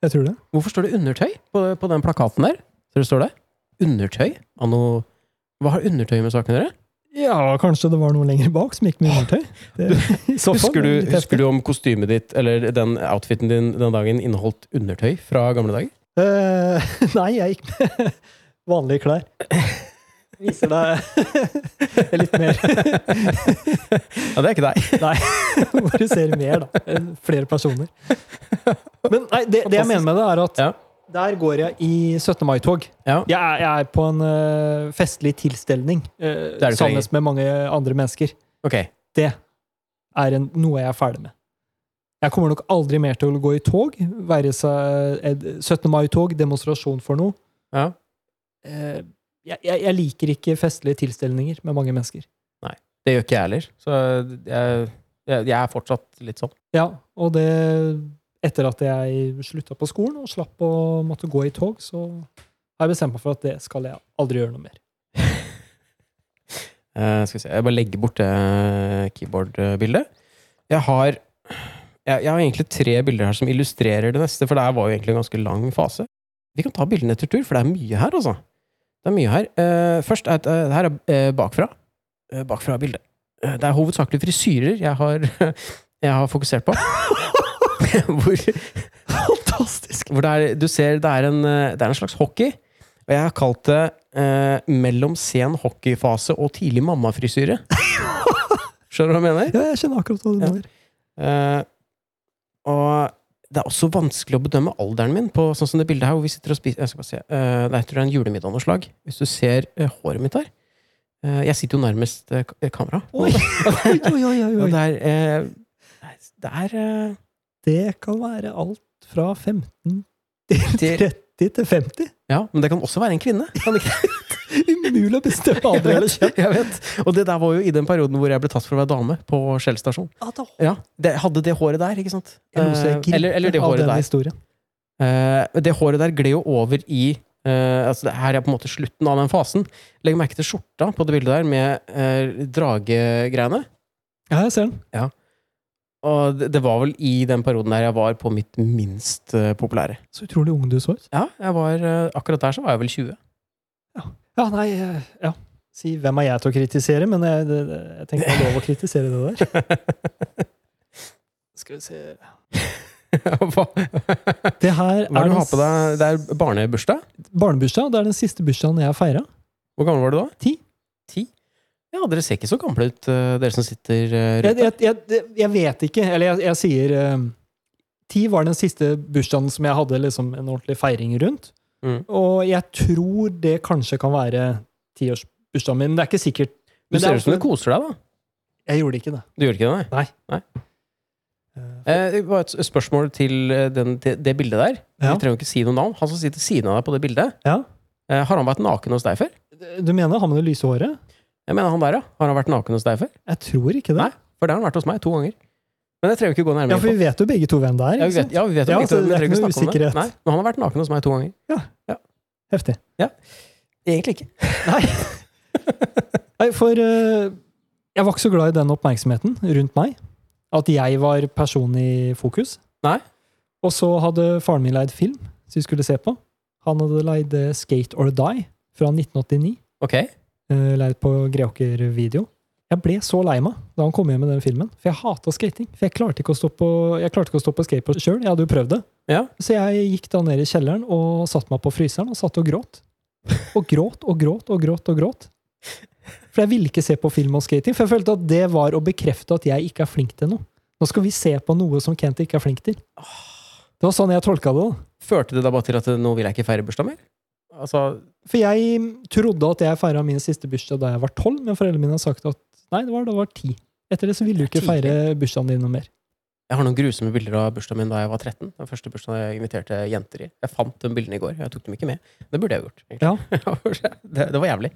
S2: jeg tror det.
S1: Hvorfor står det undertøy på, på den plakaten der? Så det står det? Undertøy anno Hva har undertøy med saken å gjøre?
S2: Ja, kanskje det var noe lenger bak som gikk med undertøy. Det- i så fall,
S1: Husker,
S2: det er
S1: du-
S2: litt heftig.
S1: husker du om kostymet ditt, eller den outfiten din den dagen, inneholdt undertøy fra gamle dager?
S2: Eh, nei, jeg gikk med vanlige klær. Viser deg litt mer
S1: Ja, det er ikke deg.
S2: hvor du ser mer, da. enn Flere personer. Men nei, det, det jeg mener med det, er at
S1: Ja.
S2: der går jeg i 17. mai-tog.
S1: Ja.
S2: Jeg, er- jeg er på en eh, festlig tilstelning eh,
S1: Det er du
S2: sammen
S1: trenger.
S2: med mange andre mennesker.
S1: Ok.
S2: er en, noe jeg er ferdig med. Jeg kommer nok aldri mer til å gå i tog, være seg et 17. mai-tog, demonstrasjon for noe.
S1: Ja.
S2: Eh, Jeg, jeg, jeg liker ikke festlige tilstelninger med mange mennesker.
S1: Det gjør ikke jeg heller. Så jeg, jeg, jeg er fortsatt litt sånn.
S2: Ja, og det Etter at jeg slutta på skolen og slapp å måtte gå i tog, så har jeg bestemt meg for at det skal jeg aldri gjøre noe mer.
S1: Eh, skal vi se. Jeg bare legger bort det eh, keyboard-bildet. Jeg har jeg, jeg har egentlig tre bilder her som illustrerer det neste, for det her var jo egentlig en ganske lang fase. Vi kan ta bildene etter tur, for det er mye her, altså. Det er mye her. Eh, først er et, eh, det her er eh, bakfra. Eh, bakfra bildet. Eh, det er hovedsakelig frisyrer jeg har, jeg har fokusert på. Hvor
S2: Fantastisk!
S1: Hvor det er, du ser det er, en, eh, det er en slags hockey. Og jeg har kalt det eh, mellom sen hockeyfase og tidlig mammafrisyre. Skjønner du hva jeg mener?
S2: Ja, jeg skjønner akkurat hva du
S1: Ja.
S2: mener.
S1: Eh, og det er også vanskelig å bedømme alderen min på sånn som det bildet her. hvor vi sitter og spiser, jeg skal bare se, eh, Det er tror jeg en julemiddag av noe slag. Hvis du ser eh, håret mitt her Eh, Jeg sitter jo nærmest eh, ka- kamera.
S2: Oi, oi, oi, oi, oi,
S1: Og
S2: oi.
S1: det er, eh, nei, det er eh,
S2: Det kan være alt fra 15
S1: Til-
S2: til 30 til 50.
S1: Ja, men det kan også være en kvinne. Kan det ikke?
S2: Umulig å bestemme alder eller kjønn.
S1: Jeg vet. Og det der var jo i den perioden hvor jeg ble tatt for å være dame på Skjell stasjon. Ja, det, hadde det håret der, ikke sant?
S2: Jeg må se
S1: Eh,
S2: gripe
S1: eller, eller det
S2: av
S1: håret
S2: den
S1: der.
S2: historien.
S1: Eh, det håret der gled jo over i eh, altså det Her er på en måte slutten av den fasen. Legg merke til skjorta på det bildet der med eh, dragegreiene.
S2: Ja, jeg ser den.
S1: Og det, det var vel i den perioden der jeg var på mitt minst eh, populære.
S2: Så utrolig ung du så ut.
S1: Ja, jeg var, eh, akkurat der så var jeg vel 20.
S2: Ja, nei, eh, ja. Si hvem er jeg til å kritisere, men jeg, det, det- jeg tenker det er lov å kritisere det der. Skal vi se
S1: Hva, Hva
S2: Det her
S1: er det
S2: er,
S1: du
S2: den
S1: har på deg? Det er barnebursdag?
S2: s- barnebursdag. og Det er den siste bursdagen jeg feira.
S1: Hvor gammel var du da?
S2: Ti.
S1: Ti? Ja, dere ser ikke så gamle ut, eh, dere som sitter eh,
S2: Jeg,
S1: rundt.
S2: jeg, jeg, det- jeg vet ikke, eller jeg, jeg sier eh, Ti var den siste bursdagen som jeg hadde liksom, en ordentlig feiring rundt.
S1: Mm.
S2: Og jeg tror det kanskje kan være tiårsbursdagen min. men Det er ikke sikkert.
S1: Du
S2: Men det er
S1: ser ut som
S2: også-
S1: du koser deg, da.
S2: Jeg gjorde ikke det.
S1: Du gjør ikke det?
S2: Eh,
S1: Eh, det var et spørsmål til eh, den, det, det bildet der.
S2: Ja.
S1: Vi trenger jo ikke si noe navn. Han som sitter ved siden av deg på det bildet,
S2: Ja.
S1: eh, har han vært naken hos deg før?
S2: Du mener han med det lyse håret?
S1: Jeg mener han der, ja. Har han vært naken hos deg før?
S2: Jeg tror ikke det.
S1: Nei, For det har han vært hos meg to ganger. Men jeg trenger ikke gå nærmere
S2: ja, for vi vet jo begge to hvem det er.
S1: Ja,
S2: Ikke
S1: vi vet,
S2: sant?
S1: ja, vi vet jo
S2: Ja,
S1: ikke,
S2: så
S1: men
S2: det er
S1: vi trenger ikke
S2: ikke
S1: snakke om
S2: noe
S1: det.
S2: usikkerhet.
S1: Nei, men han har vært naken hos meg to ganger.
S2: Heftig.
S1: Egentlig ikke.
S2: Nei, for eh, jeg var ikke så glad i den oppmerksomheten rundt meg. At jeg var personen i fokus.
S1: Nei.
S2: Og så hadde faren min leid film som vi skulle se på. Han hadde leid eh, Skate or Die fra 1989.
S1: Ok.
S2: eh, Leid på Greåker video. Jeg ble så lei meg da han kom hjem med den filmen, for jeg hata skating. For jeg klarte ikke å stå på, jeg klarte ikke å stå på skateboard sjøl. Jeg hadde jo prøvd det.
S1: Ja.
S2: Så jeg gikk da ned i kjelleren og satte meg på fryseren og satt og gråt. Og gråt og gråt og gråt og gråt. For jeg ville ikke se på film om skating, for jeg følte at det var å bekrefte at jeg ikke er flink til noe. Nå skal vi se på noe som Kent ikke er flink til. Det var sånn jeg tolka det. da.
S1: Førte det da bare til at eh, nå vil jeg ikke feire bursdag mer? Altså,
S2: For jeg trodde at jeg feira min siste bursdag da jeg var tolv, men foreldrene mine har sagt at nei, det var da jeg var ti. Etter det så ville du
S1: Det er
S2: ikke feire bursdagen din noe mer.
S1: jeg har noen grusomme bilder av bursdagen min da jeg var 13. Den første bursdagen jeg inviterte jenter i. Jeg fant de bildene i går. Jeg tok dem ikke med. Det burde jeg gjort. egentlig.
S2: Ja.
S1: det, det var jævlig.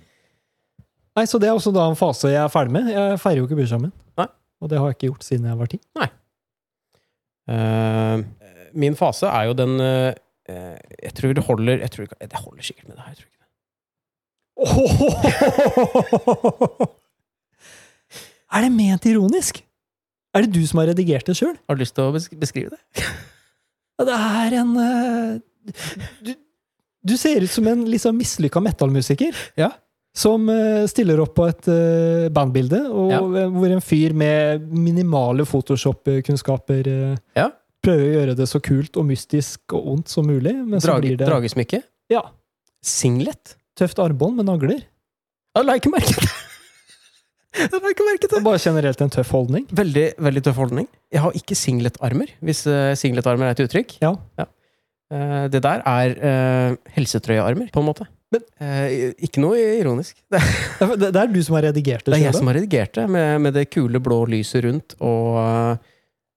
S2: Nei, Så det er også da en fase jeg er ferdig med. Jeg feirer jo ikke bursdagen min.
S1: Nei.
S2: Og det har jeg ikke gjort siden jeg var ti.
S1: Eh, min fase er jo den eh, eh, Jeg tror det holder jeg tror, ikke- Det holder sikkert med det her. Jeg tror ikke det.
S2: Er det ment ironisk? Er det du som har redigert det sjøl?
S1: Har du lyst til å besk- beskrive det?
S2: Ja, det er en eh, du, du ser ut som en liksom mislykka metallmusiker.
S1: Ja.
S2: Som eh, stiller opp på et eh, bandbilde, og, hvor en fyr med minimale Photoshop-kunnskaper eh,
S1: Ja.
S2: prøver å gjøre det så kult og mystisk og ondt som mulig. Men så
S1: Drage,
S2: blir det
S1: dragesmykke?
S2: Ja.
S1: Singlet?
S2: tøft armbånd med nagler.
S1: Jeg la ikke merke til det! Jeg la ikke merke til
S2: Og
S1: det!
S2: bare generelt en tøff holdning.
S1: Veldig, veldig tøff holdning. Jeg har ikke singletarmer, hvis eh, singletarmer er et uttrykk.
S2: Ja.
S1: Eh, det der er eh, helsetrøyearmer, på en måte.
S2: Men-
S1: Eh, ikke noe ironisk. Det er,
S2: Det er- Det er du som har redigert det.
S1: det er jeg
S2: selv, da.
S1: som har redigert det, med, med det kule blå lyset rundt og,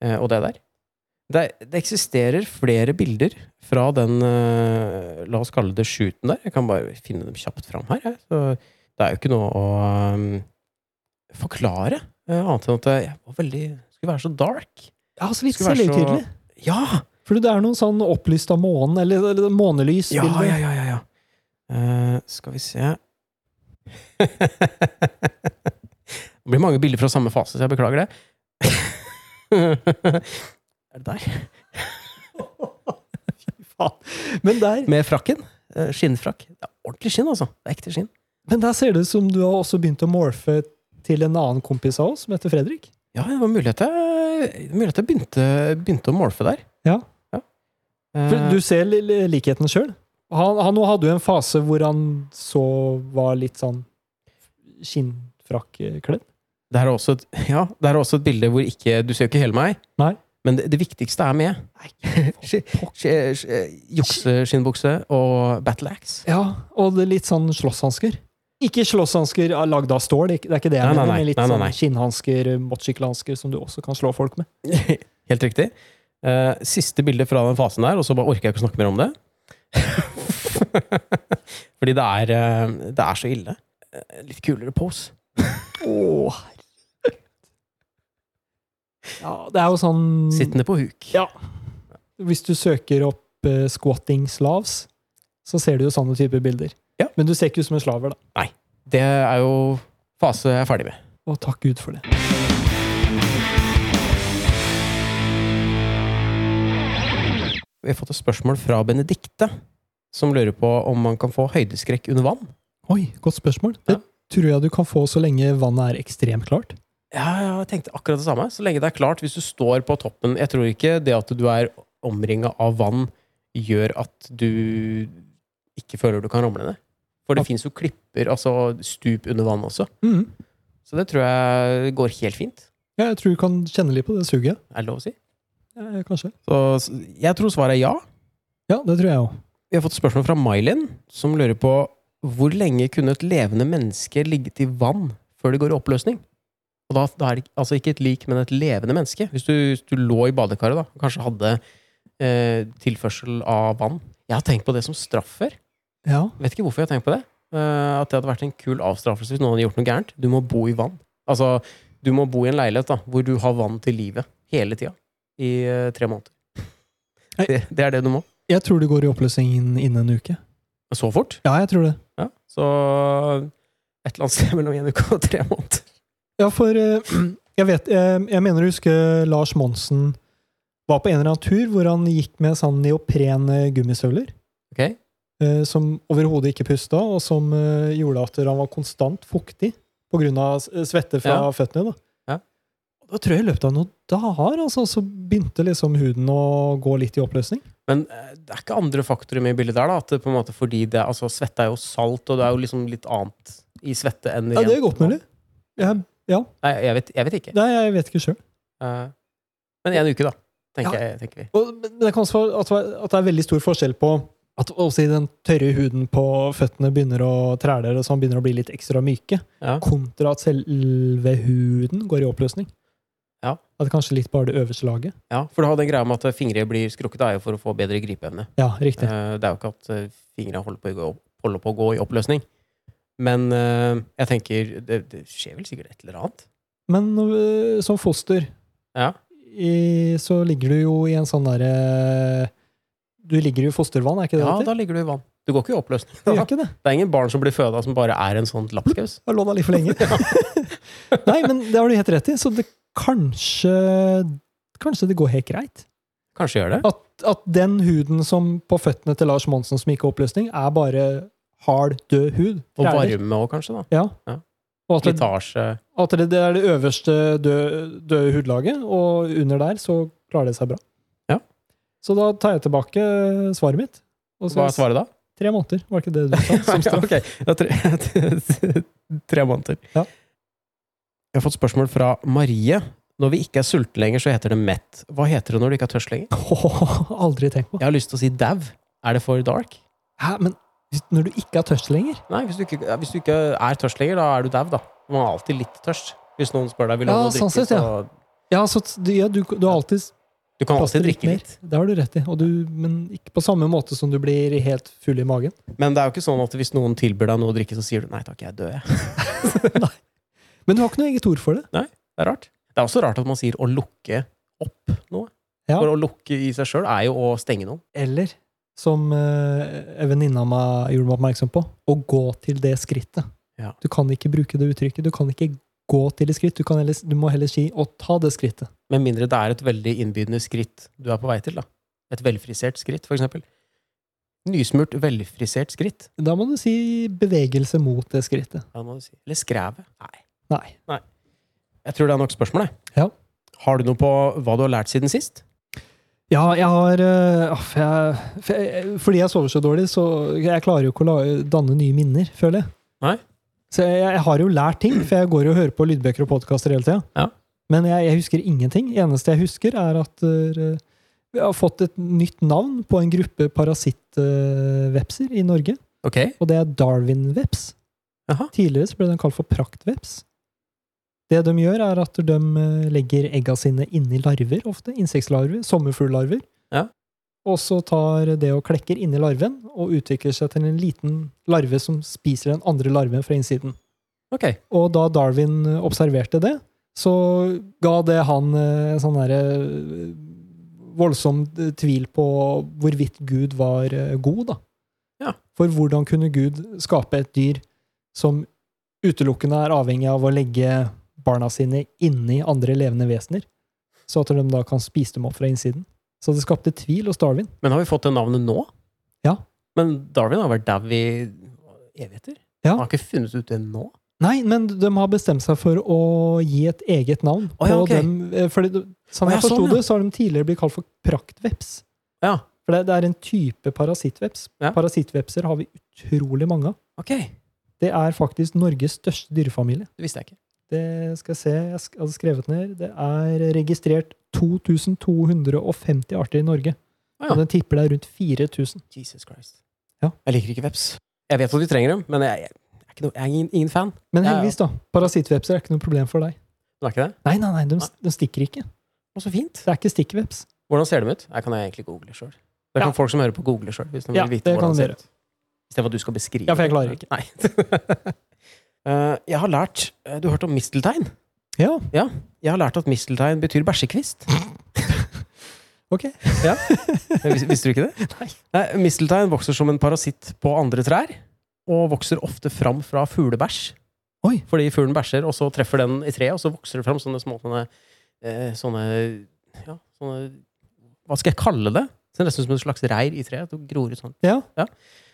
S1: eh, og det der. Det, er- det eksisterer flere bilder fra den eh, La oss kalle det shooten der. Jeg kan bare finne dem kjapt fram her. Jeg. Så det er jo ikke noe å eh, forklare, eh, annet enn at jeg var veldig Skulle være så dark.
S2: Ja, så litt
S1: Skulle være så-
S2: selvhøytidelig.
S1: Ja!
S2: For det er noen sånn opplyst av månen, eller, eller månelys.
S1: Ja,
S2: bilder.
S1: ja, ja, ja, ja. Eh, skal vi se Det blir mange bilder fra samme fase, så jeg beklager det. er det der?
S2: Men der
S1: Med frakken. Eh, Skinnfrakk. Det er ordentlig skinn, altså. Det er ekte skinn.
S2: Men der ser det ut som du har også begynt å morfe til en annen kompis av oss, som heter Fredrik.
S1: Ja, det var mulighet jeg, mulighet jeg begynte, begynte å morfe der.
S2: Ja.
S1: Eh,
S2: For du ser li- li- likheten sjøl. Han, han hadde jo en fase hvor han så var litt sånn skinnfrakkkledd.
S1: det, her er også et, ja, det her er også et bilde hvor ikke Du ser jo ikke hele meg.
S2: Nei.
S1: Men det, det viktigste er med. Sk- sk- sk- Jukseskinnbukse og battle axe.
S2: Ja, og det er litt sånn slåsshansker. Ikke slåsshansker av- lagd av stål, det er ikke- det er ikke det jeg
S1: Nei, nei,
S2: mener,
S1: nei.
S2: men litt
S1: Nei, nei, nei.
S2: sånn skinnhansker, motorsykkelhansker, som du også kan slå folk med.
S1: Helt riktig. Eh, siste bilde fra den fasen der, og så bare orker jeg ikke å snakke mer om det. Fordi det er, eh, det er så ille. Eh, litt kulere pose.
S2: Å, herregud. Ja, det er jo sånn
S1: Sittende på huk.
S2: Ja. Hvis du søker opp eh, squatting slavs, så ser du jo sånne typer bilder.
S1: Ja.
S2: Men du ser ikke ut som en slaver, da.
S1: Det er jo fase jeg er ferdig med.
S2: Og takk Gud for det.
S1: Vi har fått et spørsmål fra Benedikte, som lurer på om man kan få høydeskrekk under vann.
S2: Oi, godt spørsmål. Det
S1: Ja.
S2: tror jeg du kan få så lenge vannet er ekstremt klart.
S1: Ja, ja, jeg tenkte akkurat det samme. Så lenge det er klart, hvis du står på toppen Jeg tror ikke det at du er omringa av vann, gjør at du ikke føler du kan ramle ned. For det
S2: Ja.
S1: fins jo klipper, altså stup under vann også.
S2: Mhm.
S1: Så det tror jeg går helt fint.
S2: Ja, jeg tror du kan kjenne litt på det suget.
S1: Er det lov å si?
S2: Ja, kanskje.
S1: Så s- jeg tror svaret er ja.
S2: Ja, det tror jeg òg.
S1: Vi har fått spørsmål fra Mailin, som lurer på hvor lenge kunne et levende menneske ligget i vann før det går i oppløsning? Og da, da er det ikke- altså ikke et lik, men et levende menneske. Hvis du, hvis du lå i badekaret da, og kanskje hadde eh, tilførsel av vann. Jeg har tenkt på det som straff før.
S2: Ja.
S1: Vet ikke hvorfor jeg har tenkt på det. Eh, at det hadde vært en kul avstraffelse hvis noen hadde gjort noe gærent. Du må bo i vann. Altså, du må bo i en leilighet da, hvor du har vann til livet hele tida. I eh, tre måneder.
S2: Nei.
S1: Det, det er det du må.
S2: Jeg tror det går i oppløsning innen- innen en uke.
S1: Så fort?
S2: Ja, jeg tror det.
S1: Ja, så et eller annet sted mellom en uke og tre måneder.
S2: Ja, for eh, jeg vet Jeg, jeg mener å huske Lars Monsen var på en eller annen tur hvor han gikk med sånn neopren eh, gummistøvler.
S1: Ok.
S2: eh, som overhodet ikke pusta, og som eh, gjorde at han var konstant fuktig pga. svette fra
S1: Ja.
S2: føttene. Da.
S1: Ja.
S2: Og da tror jeg i løpet av noen dager altså, så begynte liksom huden å gå litt i oppløsning.
S1: Men eh, det er ikke andre faktorer med i bildet der, da. At det på en måte fordi det, altså, svette er jo salt, og det er jo liksom litt annet i svette enn
S2: Ja, det
S1: rent
S2: er godt mulig. Jeg,
S1: Nei, jeg vet, jeg vet ikke.
S2: nei, jeg vet ikke sjøl.
S1: Eh, men en uke, da. Tenker,
S2: Ja.
S1: jeg, tenker vi.
S2: Men det kan også være at, at det er veldig stor forskjell på at også i den tørre huden på føttene begynner å træle, så han begynner å bli litt ekstra myke,
S1: Ja.
S2: kontra at selve huden går i oppløsning.
S1: Ja.
S2: At kanskje litt bare det øverste laget.
S1: ja, For du har den greia med at eh, fingre blir skrukket, det er jo for å få bedre gripeevne.
S2: Ja, riktig.
S1: Eh, Det er jo ikke at eh, fingrene holder på, å gå- holder på å gå i oppløsning. Men eh, jeg tenker det, det skjer vel sikkert et eller annet.
S2: Men øh, som foster
S1: Ja.
S2: i, så ligger du jo i en sånn derre Du ligger jo i fostervann, er ikke det
S1: Ja,
S2: det heter?
S1: da ligger du i vann. Du går ikke i oppløsning.
S2: Du gjør ikke det?
S1: Det er ingen barn som blir føda som bare er en sånn lapskaus.
S2: Jeg har lånt litt for lenge. Nei, men det har du helt rett i. Så det kanskje Kanskje det går helt greit.
S1: Kanskje gjør det.
S2: At, at den huden som på føttene til Lars Monsen som gikk i oppløsning, er bare hard, død hud.
S1: Og
S2: Træler.
S1: varme òg, kanskje. da
S2: Ja.
S1: Ja.
S2: Og at det,
S1: Slitasje.
S2: at det, det er det øverste døde, døde hudlaget, og under der så klarer det seg bra.
S1: Ja.
S2: Så da tar jeg tilbake svaret mitt. Og så
S1: Hva er svaret da?
S2: Tre måneder, var ikke det du sa? Som straff.
S1: ok, det er tre, tre måneder.
S2: Ja.
S1: Jeg har fått spørsmål fra Marie. Når vi ikke er sultne lenger, så heter det mett. Hva heter det når du ikke er tørst lenger?
S2: aldri tenkt på.
S1: Jeg har lyst til å si dau. Er det for dark?
S2: Hæ, men når du ikke er tørst lenger
S1: Nei, hvis du ikke, ja, hvis du ikke er tørst lenger, da er du dau, da. Man er alltid litt tørst. Hvis noen spør deg vil du ha
S2: Ja,
S1: noe å drikke,
S2: sånn sett, ja.
S1: så
S2: Ja, så t- du, ja, du, du har alltid
S1: Du kan
S2: plass til
S1: alltid
S2: litt
S1: drikke
S2: mer.
S1: litt.
S2: Det har du rett i. Og du, men ikke på samme måte som du blir helt full i magen.
S1: Men det er jo ikke sånn at hvis noen tilbyr deg noe å drikke, så sier du nei takk, jeg er død, jeg.
S2: Men du har ikke noe eget ord for det.
S1: Det er rart. Det er også rart at man sier å lukke opp noe.
S2: Ja.
S1: For å lukke i seg sjøl er jo å stenge noen.
S2: Eller, som eh, en venninne av meg gjorde meg oppmerksom på, å gå til det skrittet.
S1: Ja.
S2: Du kan ikke bruke det uttrykket. Du kan ikke gå til et skritt. Du, kan heller, du må heller si 'å ta det skrittet'.
S1: Med mindre det er et veldig innbydende skritt du er på vei til. da. Et velfrisert skritt, for eksempel. Nysmurt, velfrisert skritt.
S2: Da må du si 'bevegelse mot det skrittet'.
S1: Ja, må du si. Eller skrevet. Nei.
S2: Nei.
S1: Jeg tror det er nok spørsmål, jeg.
S2: Ja.
S1: Har du noe på hva du har lært siden sist?
S2: Ja, jeg har øh, åh, for jeg, for jeg, Fordi jeg sover så dårlig, så jeg klarer jo ikke å la, danne nye minner, føler jeg.
S1: Nei.
S2: Så jeg, jeg har jo lært ting, for jeg går jo og hører på lydbøker og podkaster hele tida.
S1: Ja.
S2: Men jeg, jeg husker ingenting. Eneste jeg husker, er at øh, vi har fått et nytt navn på en gruppe parasittvepser i Norge.
S1: Ok.
S2: Og det er darwinveps.
S1: Jaha.
S2: Tidligere så ble den kalt for praktveps. Det de gjør, er at de eh, legger egga sine inni larver, ofte. Insektlarver. Sommerfugllarver.
S1: Ja.
S2: Og så tar det og klekker inni larven og utvikler seg til en liten larve som spiser den andre larven fra innsiden.
S1: Ok.
S2: Og da Darwin eh, observerte det, så ga det han eh, en sånn derre eh, voldsom eh, tvil på hvorvidt Gud var eh, god, da.
S1: Ja.
S2: For hvordan kunne Gud skape et dyr som utelukkende er avhengig av å legge barna sine inni andre levende vesener, så at de da kan spise dem opp fra innsiden? Så det skapte tvil hos Darwin.
S1: Men har vi fått det navnet nå?
S2: Ja.
S1: Men Darwin har vært dau i evigheter?
S2: Ja.
S1: Han har ikke funnet ut det nå?
S2: Nei, men de har bestemt seg for å gi et eget navn.
S1: Å ja,
S2: på
S1: ok.
S2: dem, eh, fordi, de- sånn
S1: Å ja,
S2: jeg forsto
S1: sånn, ja.
S2: det, så har de tidligere blitt kalt for praktveps.
S1: Ja.
S2: For det, det er en type parasittveps.
S1: Ja.
S2: Parasittvepser har vi utrolig mange av.
S1: Ok. Det
S2: Det er faktisk Norges største dyrefamilie.
S1: visste jeg ikke.
S2: Det skal jeg se, jeg sk- hadde skrevet ned. Det er registrert 2250 arter i Norge.
S1: Å ja.
S2: Og den tipper det er rundt 4000.
S1: Jesus Christ.
S2: Ja.
S1: Jeg liker ikke veps. Jeg vet at vi trenger dem, men jeg, jeg, er, ikke noe, jeg er ingen, ingen fan. Ja,
S2: Men
S1: ja.
S2: heldigvis, da. Parasittvepser er ikke noe problem for deg.
S1: Du er ikke det?
S2: Nei, nei, nei, de,
S1: Nei.
S2: de stikker ikke.
S1: Å, så fint.
S2: Det er ikke stikkveps.
S1: Hvordan ser de ut? Jeg kan jeg egentlig google sjøl. Det kan
S2: Ja.
S1: folk som hører på, google sjøl. Hvis de
S2: Ja,
S1: vil vite
S2: det
S1: hvordan det
S2: kan
S1: ser
S2: dere.
S1: ut. Istedenfor at du skal beskrive.
S2: Ja, for jeg klarer
S1: det. Nei. Eh, jeg har lært eh, Du har hørt om misteltein?
S2: Ja,
S1: Jeg har lært at misteltein betyr bæsjekvist.
S2: ok.
S1: Vis, visste du ikke det?
S2: Nei.
S1: misteltein vokser som en parasitt på andre trær, og vokser ofte fram fra fuglebæsj.
S2: Oi.
S1: Fordi fuglen bæsjer, og så treffer den i treet, og så vokser det fram sånne små sånne, eh, sånne, ja, sånne Hva skal jeg kalle det? Det ser nesten ut som en slags reir i treet. Det gror ut sånn.
S2: Ja.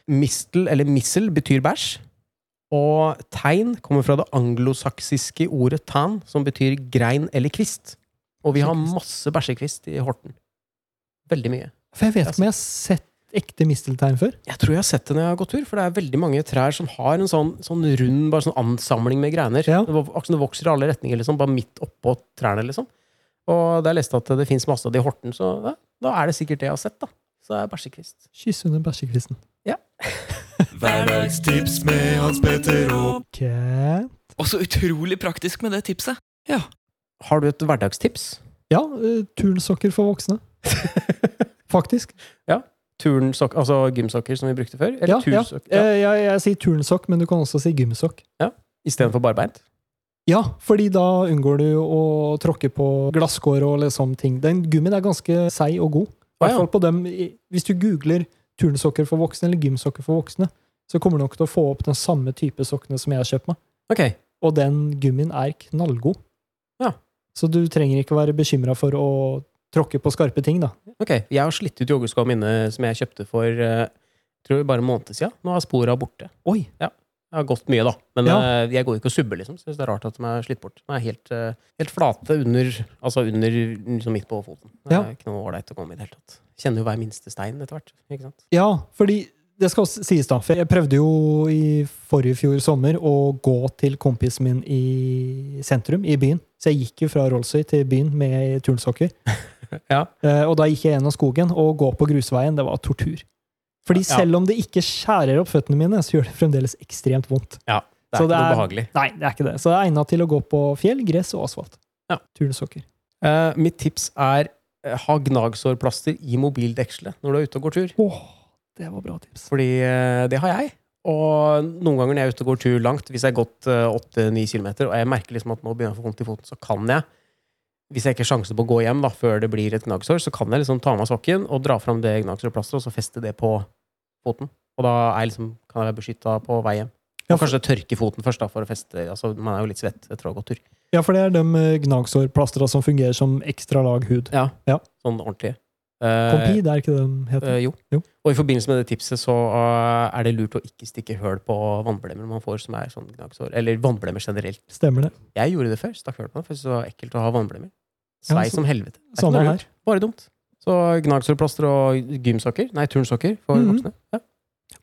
S1: Mistel eller missel betyr bæsj. Og tegn kommer fra det anglosaksiske ordet tan, som betyr grein eller kvist. Og vi har masse bæsjekvist i Horten. Veldig mye.
S2: For jeg vet ikke om jeg har
S1: Altså-
S2: sett ekte misteltein før.
S1: Jeg tror jeg har sett det når jeg har gått tur, for det er veldig mange trær som har en sånn, sånn rund bare sånn ansamling med greiner.
S2: Ja.
S1: Det var- Akkurat som det vokser i alle retninger, liksom, bare midt oppå trærne. liksom. Og da jeg leste at det fins masse av det i Horten, så ja, da er det sikkert det jeg har sett. da. Så det er bæsjekvist.
S2: Kyss under bæsjekvisten.
S4: Hverdagstips med Hans Petter og
S2: Ok.
S4: Og så utrolig praktisk med det tipset.
S1: Har du et hverdagstips?
S2: Ja, eh, turnsokker for voksne. Faktisk.
S1: Ja. turnsokk, altså gymsokker som vi brukte før? Eller
S2: Ja, ja.
S1: tursokk? Ja.
S2: Eh, Jeg, jeg sier turnsokk, men du kan også si gymsokk.
S1: Istedenfor barbeint?
S2: Ja, fordi da unngår du å tråkke på glasskår og liksom ting. Den gummien er ganske seig og god. I
S1: Å,
S2: hvert
S1: ja.
S2: fall på dem. i- Hvis du googler turnsokker for voksne eller gymsokker for voksne, så kommer du nok til å få opp den samme type sokkene som jeg har kjøpt meg.
S1: Ok.
S2: Og den gummien er knallgod.
S1: Ja.
S2: Så du trenger ikke være bekymra for å tråkke på skarpe ting, da.
S1: ok. Jeg har slitt ut joggeskoa mine som jeg kjøpte for eh, tror jeg bare en måned siden. Nå er spora borte.
S2: Oi!
S1: Jeg har gått mye, da. Men
S2: Ja.
S1: eh, jeg går jo ikke og subber, liksom. Så det er rart at de er slitt bort. De er helt, eh, helt flate under Altså under liksom midt på foten. Det
S2: Ja.
S1: er ikke noe ålreit å gå med i det hele tatt. Kjenner jo hver minste stein etter hvert. Ikke sant?
S2: Ja, fordi det skal også sies da, for jeg prøvde jo i forrige fjor sommer å gå til kompisen min i sentrum, i byen. Så jeg gikk jo fra Rollsøy til byen med turnsokker.
S1: Ja.
S2: Eh, og da gikk jeg gjennom skogen, og å gå på grusveien, det var tortur. Fordi
S1: Ja.
S2: selv om det ikke skjærer opp føttene mine, så gjør det fremdeles ekstremt vondt.
S1: Det er
S2: Så
S1: ikke
S2: det
S1: noe
S2: er-
S1: behagelig.
S2: Nei, det er ikke det. Så det er egnet til å gå på fjell, gress og asfalt.
S1: Ja.
S2: Turnsokker.
S1: Eh, mitt tips er eh, ha gnagsårplaster i mobildekselet når du er ute og går tur.
S2: Åh, det var bra tips.
S1: Fordi eh, det har jeg. Og noen ganger når jeg er ute og går tur langt, hvis jeg har gått eh, 8-9 km, og jeg merker liksom at nå begynner jeg å få vondt i foten, så kan jeg, hvis jeg ikke har sjanse på å gå hjem da, før det blir et gnagsår, så kan jeg liksom ta av meg sokken og dra fram det gnagsårplasteret, og så feste det på foten. Og da er jeg liksom, kan jeg være beskytta på vei hjem.
S2: Ja,
S1: Og kanskje tørke foten først, da, for å feste altså, Man er jo litt svett etter å ha gått tur.
S2: Ja, for det er de eh, gnagsårplastra som fungerer som ekstra lag hud. Ja.
S1: Sånn ordentlig. Eh,
S2: Kompid, er ikke det den heter?
S1: Eh, jo.
S2: Jo.
S1: Og i forbindelse med det tipset så eh, er det lurt å ikke stikke høl på vannblemmer man får som er sånn gnagsår. Eller vannblemmer generelt.
S2: Stemmer det.
S1: Jeg gjorde det før. Stakk høl på det, for jeg syntes det var ekkelt å ha vannblemmer.
S2: Ja,
S1: Svei
S2: så-
S1: som helvete. Det er ikke
S2: Samme
S1: noe lurt.
S2: her.
S1: Bare dumt. Så gnagsårplaster og gymsokker, nei, turnsokker for
S2: Mhm.
S1: voksne. Ja.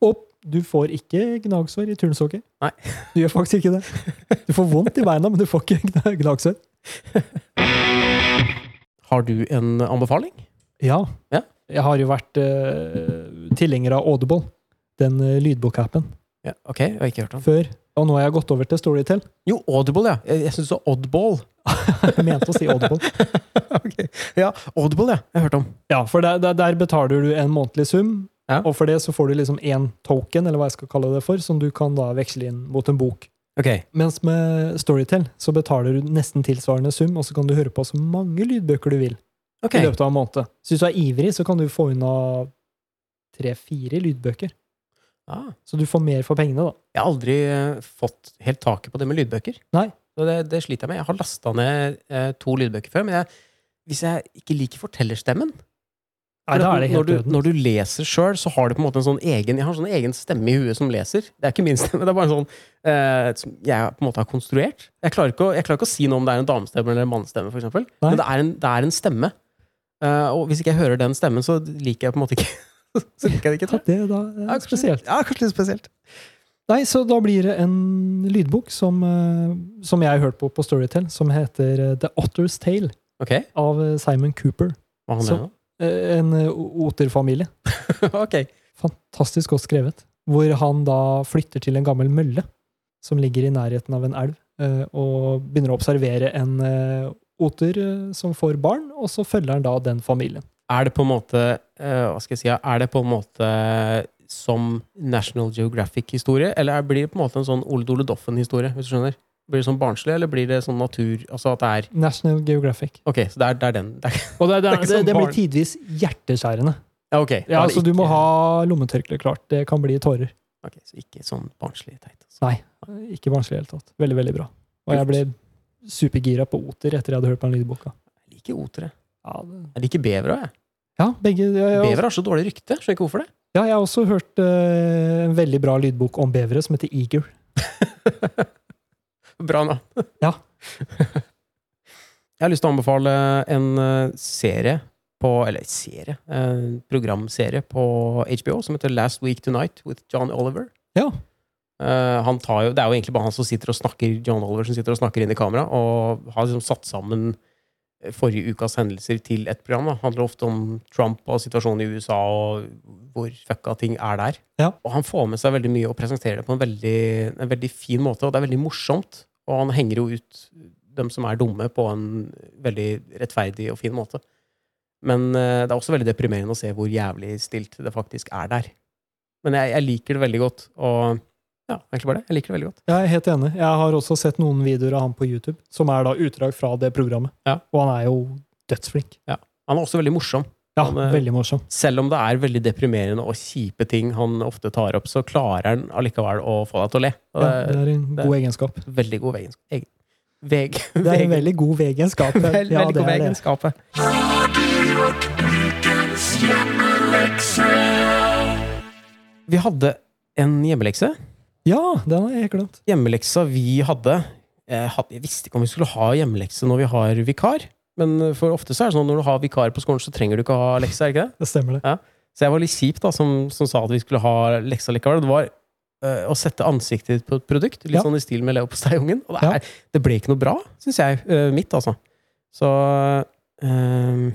S2: Og du får ikke gnagsår i turnsokker.
S1: Nei.
S2: Du gjør faktisk ikke det. Du får vondt i beina, men du får ikke gna- gnagsår.
S1: Har du en anbefaling?
S2: Ja.
S1: Ja.
S2: Jeg har jo vært eh, tilhenger av Audible, den eh, lydbokappen,
S1: Ja, ok, jeg har ikke hørt om.
S2: før. Og nå har jeg gått over til Storytel.
S1: Jo, Audible, ja. Jeg, jeg syns det var Oddball.
S2: Jeg mente å si Audible.
S1: Ok. Ja, Audible, ja. Jeg har hørt om.
S2: Ja, for der, der, der betaler du en månedlig sum,
S1: Ja.
S2: og for det så får du liksom én token, eller hva jeg skal kalle det for, som du kan da veksle inn mot en bok.
S1: Ok.
S2: Mens med Storytel så betaler du nesten tilsvarende sum, og så kan du høre på så mange lydbøker du vil
S1: ok.
S2: i løpet av en måned. Så hvis du er ivrig, så kan du få unna tre-fire lydbøker.
S1: Ah.
S2: Så du får mer for pengene, da.
S1: Jeg har aldri eh, fått helt taket på det med lydbøker.
S2: Nei.
S1: Så det, det sliter jeg med. Jeg har lasta ned eh, to lydbøker før, men jeg, hvis jeg ikke liker fortellerstemmen
S2: Nei, da er det helt
S1: når, du,
S2: døden.
S1: når du leser sjøl, så har du på en måte en sånn egen Jeg har en sånn egen stemme i huet som leser. Det er ikke min stemme, det er bare en sånn eh, som jeg på en måte har konstruert. Jeg klarer, ikke å, jeg klarer ikke å si noe om det er en damestemme eller en mannsstemme, for eksempel.
S2: Nei.
S1: Men det er en, det er en stemme. Eh, og hvis ikke jeg hører den stemmen, så liker jeg på en måte ikke Så liker jeg det ikke. tror jeg.
S2: Det da er spesielt.
S1: Ja, kanskje litt spesielt.
S2: Nei, så da blir det en lydbok som, eh, som jeg har hørt på på Storytel, som heter eh, The Otter's Tale
S1: Ok,
S2: av eh, Simon Cooper.
S1: hva handler det om?
S2: Eh, En eh, o- oterfamilie.
S1: Ok.
S2: fantastisk godt skrevet, hvor han da flytter til en gammel mølle som ligger i nærheten av en elv, eh, og begynner å observere en eh, oter eh, som får barn, og så følger han da den familien.
S1: Er det på en måte eh, Hva skal jeg si? ja, Er det på en måte som National Geographic-historie? Eller er- blir det på en måte en sånn Ole Dole Doffen-historie? hvis du skjønner? Blir det sånn barnslig, eller blir det sånn natur Altså at det er
S2: National Geographic.
S1: Ok, så det er, det er den. Det er,
S2: Og det,
S1: er ikke sånn
S2: blir
S1: barn-
S2: tidvis hjerteskjærende.
S1: ja, ok. Da
S2: Ja,
S1: er det
S2: altså Du må
S1: ikke-
S2: ha lommetørkle klart. Det kan bli tårer.
S1: Ok, Så ikke sånn barnslig teit. Altså.
S2: Nei, ikke barnslig i det hele tatt. Veldig, veldig bra. Og jeg ble supergira på oter etter jeg hadde hørt på den lydboka.
S1: Jeg liker otere.
S2: Ja, det-
S1: Jeg liker bevere òg, jeg.
S2: ja begge ja, altså- ja,
S1: Bevere har så dårlig rykte. Skjønner ikke hvorfor det.
S2: Ja, jeg har også hørt eh, en veldig bra lydbok om bevere som heter Eager.
S1: Bra navn.
S2: Ja.
S1: Jeg har lyst til å anbefale en eh, serie på Eller serie. En programserie på HBO som heter Last Week Tonight with John Oliver.
S2: Ja.
S1: Eh, han tar jo, det er jo egentlig bare han som sitter og snakker John Oliver som sitter og snakker inn i kamera, og har liksom satt sammen eh, forrige ukas hendelser til et program. Da. Handler ofte om Trump og situasjonen i USA og hvor fucka ting er der.
S2: Ja.
S1: Og han får med seg veldig mye og presenterer det på en veldig, en veldig fin måte, og det er veldig morsomt. Og han henger jo ut dem som er dumme, på en veldig rettferdig og fin måte. Men eh, det er også veldig deprimerende å se hvor jævlig stilt det faktisk er der. Men jeg, jeg liker det veldig godt, og ja, egentlig bare det. Jeg liker det veldig godt.
S2: Jeg er helt enig. Jeg har også sett noen videoer av han på YouTube, som er da utdrag fra det programmet.
S1: Ja.
S2: Og han er jo dødsflink.
S1: Han er også veldig morsom.
S2: Ja,
S1: Han er-
S2: veldig morsom.
S1: Selv om det er veldig deprimerende og kjipe ting han ofte tar opp, så klarer han allikevel å få deg til å le. Og
S2: Ja,
S1: det
S2: det er en
S1: det-
S2: god egenskap.
S1: er veldig god vegenskap. Egen. Veg,
S2: Det er en veldig god vegenskap.
S1: Vel,
S2: Ja,
S1: veldig
S2: det
S1: god
S2: er det.
S1: vegenskap. Vi hadde en hjemmelekse.
S2: Ja, den har jeg helt glemt.
S1: Hjemmeleksa vi hadde jeg, hadde jeg visste ikke om vi skulle ha hjemmelekse når vi har vikar. Men eh, for ofte så er det sånn når du har vikar på skolen, så trenger du ikke ha lekse. er det ikke det?
S2: Det stemmer det.
S1: Så jeg var litt kjip da, som, som sa at vi skulle ha leksa likevel. Det var øh, å sette ansiktet ditt på et produkt, litt
S2: Ja.
S1: sånn i stil med leverposteiungen. Og det,
S2: Ja.
S1: er, det ble ikke noe bra, syns jeg. øh, mitt, altså. Så øhm,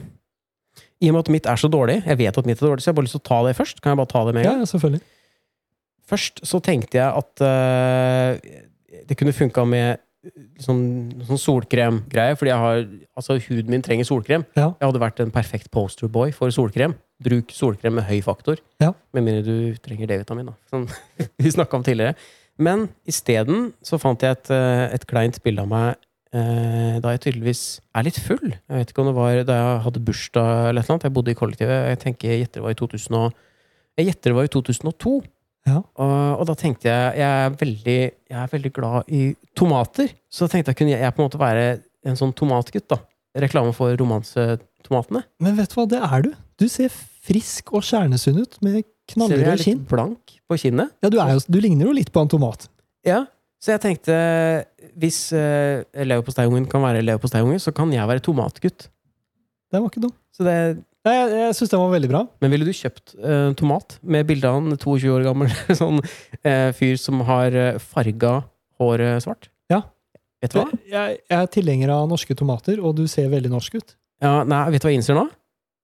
S1: I og med at mitt er så dårlig, jeg vet at mitt er dårlig, så jeg har bare lyst til å ta det først. Kan jeg bare ta det med en
S2: Ja,
S1: gang?
S2: ja, selvfølgelig.
S1: Først så tenkte jeg at øh, det kunne funka med sånn, sånn solkremgreie, fordi jeg har, altså, huden min trenger solkrem.
S2: Ja.
S1: Jeg hadde vært en perfekt posterboy for solkrem. Bruk solkrem med høy faktor.
S2: Ja.
S1: Med mindre du trenger D-vitamin, da. Som vi snakka om tidligere. Men isteden så fant jeg et, eh, et kleint bilde av meg eh, da jeg tydeligvis er litt full. Jeg vet ikke om det var da jeg hadde bursdag eller et eller annet. Jeg bodde i kollektivet. Jeg tenker jeg gjetter det var i 2000 og, jeg gjetter det var i 2002.
S2: Ja.
S1: Og, og da tenkte jeg jeg er, veldig, jeg er veldig glad i tomater. Så da tenkte jeg kunne jeg- jeg på en måte være en sånn tomatgutt, da. Reklame for romansetomatene.
S2: Men vet du hva, det er du. Du ser frisk og kjernesunn ut med
S1: Ser du jeg er
S2: knallrød kinn.
S1: litt blank på kinnet?
S2: Ja, du, er jo, du ligner jo litt på en tomat.
S1: Ja, så jeg tenkte hvis uh, leverposteiungen kan være leverposteiunge, så kan jeg være tomatgutt.
S2: Den var ikke dum.
S1: Så det,
S2: Nei, Jeg, jeg syns den var veldig bra.
S1: men ville du kjøpt eh, tomat med bilde av en 22 år gammel sånn eh, fyr som har eh, farga håret svart?
S2: Ja.
S1: Vet du hva?
S2: Jeg, jeg er tilhenger av norske tomater, og du ser veldig norsk ut.
S1: Ja, nei, vet du hva jeg innser nå?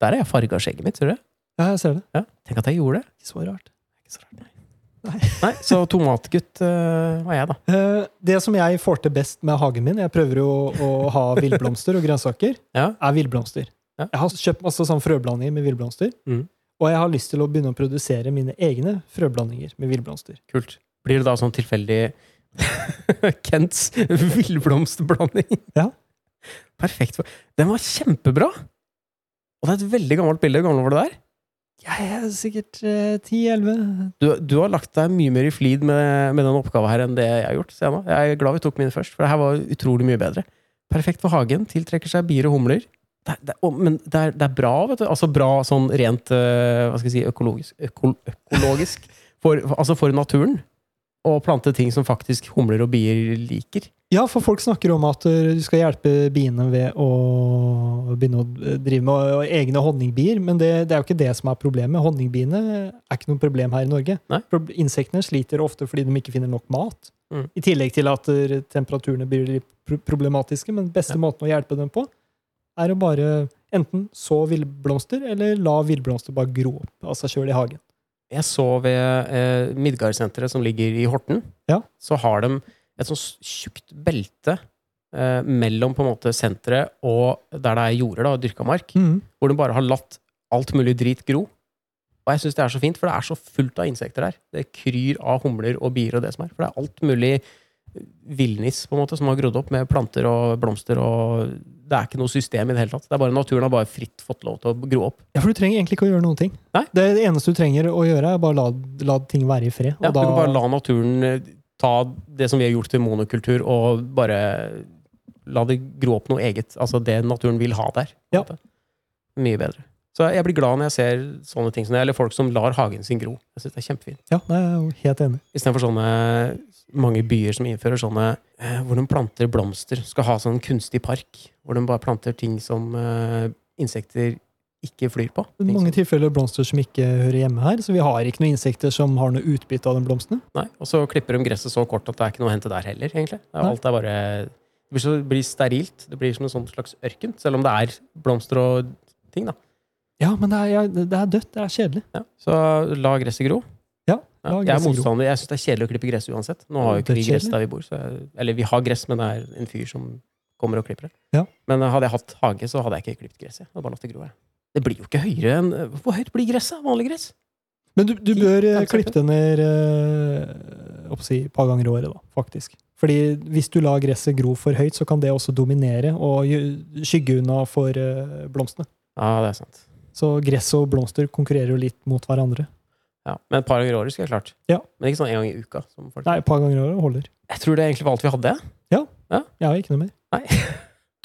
S1: Der er jeg farga skjegget mitt, ser du det?
S2: Ja, jeg ser det.
S1: Ja. Tenk at jeg gjorde det.
S2: Ikke så rart.
S1: Ikke så rart, nei.
S2: Nei.
S1: Nei, så tomatgutt eh, var jeg, da.
S2: Eh, Det som jeg får til best med hagen min Jeg prøver jo å, å ha villblomster og grønnsaker.
S1: Ja.
S2: Er villblomster.
S1: Ja.
S2: Jeg har kjøpt masse sånn frøblandinger med villblomster.
S1: Mhm.
S2: Og jeg har lyst til å begynne å produsere mine egne frøblandinger med villblomster.
S1: Kult. Blir det da sånn tilfeldig Kents villblomsterblanding?
S2: Ja.
S1: Perfekt. Den var kjempebra! Og det er et veldig gammelt bilde. Hvor gammel var du der?
S2: Jeg er sikkert eh, 10-11.
S1: Du, du har lagt deg mye mer i flid med, med den oppgaven her enn det jeg har gjort. ser Jeg, nå. jeg er glad vi tok mine først, for det her var utrolig mye bedre. Perfekt for hagen. Tiltrekker seg bier og humler. Det, er- det, er- å, men det er, det er bra, vet du. Altså bra sånn rent eh, hva skal jeg si, økologisk, øko, økologisk for, Altså for naturen. Å plante ting som faktisk humler og bier liker.
S2: Ja, for folk snakker om at eh, du skal hjelpe biene ved å begynne å eh, drive med eh, egne honningbier, men det, det er jo ikke det som er problemet. Honningbiene er ikke noe problem her i Norge.
S1: Nei.
S2: Prob- Insektene sliter ofte fordi de ikke finner nok mat.
S1: Mm.
S2: I tillegg til at eh, temperaturene blir litt pro- problematiske, men beste måten å hjelpe dem på, er å bare enten så villblomster, eller la villblomster bare gro opp av seg sjøl i hagen.
S1: Jeg så ved eh, Midgardsenteret som ligger i Horten,
S2: Ja.
S1: så har de et sånt s- tjukt belte eh, mellom på en måte senteret og der det er jorder da, og dyrka mark,
S2: Mm.
S1: hvor de bare har latt alt mulig drit gro. Og jeg syns det er så fint, for det er så fullt av insekter der. Det kryr av humler og bier og det som er. For det er alt mulig eh, villnis på en måte som har grodd opp med planter og blomster og Det er ikke noe system i det hele tatt. Det er bare Naturen har bare fritt fått lov til å gro opp.
S2: Ja, For du trenger egentlig ikke å gjøre noen ting.
S1: Nei.
S2: Det, det eneste du trenger å gjøre, er bare la, la ting være i fred.
S1: Ja,
S2: og da-
S1: Du kan bare la naturen eh, ta det som vi har gjort til monokultur, og bare la det gro opp noe eget. Altså det naturen vil ha der. på en
S2: Ja.
S1: måte. Mye bedre. Så jeg blir glad når jeg ser sånne ting som det, eller folk som lar hagen sin gro. Jeg synes det er kjempefint.
S2: Ja, nei, jeg er jo helt enig.
S1: Istedenfor sånne mange byer som innfører sånne eh, hvor de planter blomster. Skal ha sånn kunstig park hvor de bare planter ting som eh, insekter ikke flyr på.
S2: Det er
S1: Ting
S2: mange
S1: som,
S2: tilfeller blomster som ikke hører hjemme her, så vi har ikke noen insekter som har noe utbytte av de blomstene.
S1: nei. Og så klipper de gresset så kort at det er ikke noe å hente der heller, egentlig. Det er,
S2: Nei.
S1: alt er bare det blir, så, det blir sterilt. Det blir som en sånn slags ørken, selv om det er blomster og ting, da.
S2: Ja, men det er, jeg- det er dødt. Det er kjedelig.
S1: Ja. Så la gresset gro.
S2: Ja,
S1: Ja,
S2: la
S1: jeg er
S2: gresset gro.
S1: motstander. Jeg syns det er kjedelig å klippe gress uansett. Nå har jo ikke
S2: Det er
S1: vi gress
S2: kjedelig.
S1: der vi bor. Så jeg, eller vi har gress, men det er en fyr som kommer og klipper det.
S2: Ja.
S1: Men eh, hadde jeg hatt hage, så hadde jeg ikke klippet gresset. Jeg hadde bare latt det gro. Jeg. Det blir jo ikke høyere enn Hvor høyt blir gresset? Vanlig gress?
S2: Men du, du bør eh,
S1: 10-15
S2: klippe det ned eh, opp å si, et par ganger i året, da, faktisk. Fordi hvis du lar gresset gro for høyt, så kan det også dominere og gjø- skygge unna for eh, blomstene.
S1: Ja, det er sant.
S2: Så gress og blomster konkurrerer jo litt mot hverandre.
S1: Ja. Men et par ganger i året skulle jeg klart.
S2: Ja.
S1: Men ikke sånn en gang i uka. Som folk.
S2: Nei, et par ganger i året holder.
S1: Jeg tror det egentlig var alt vi hadde.
S2: Jeg har ikke noe mer.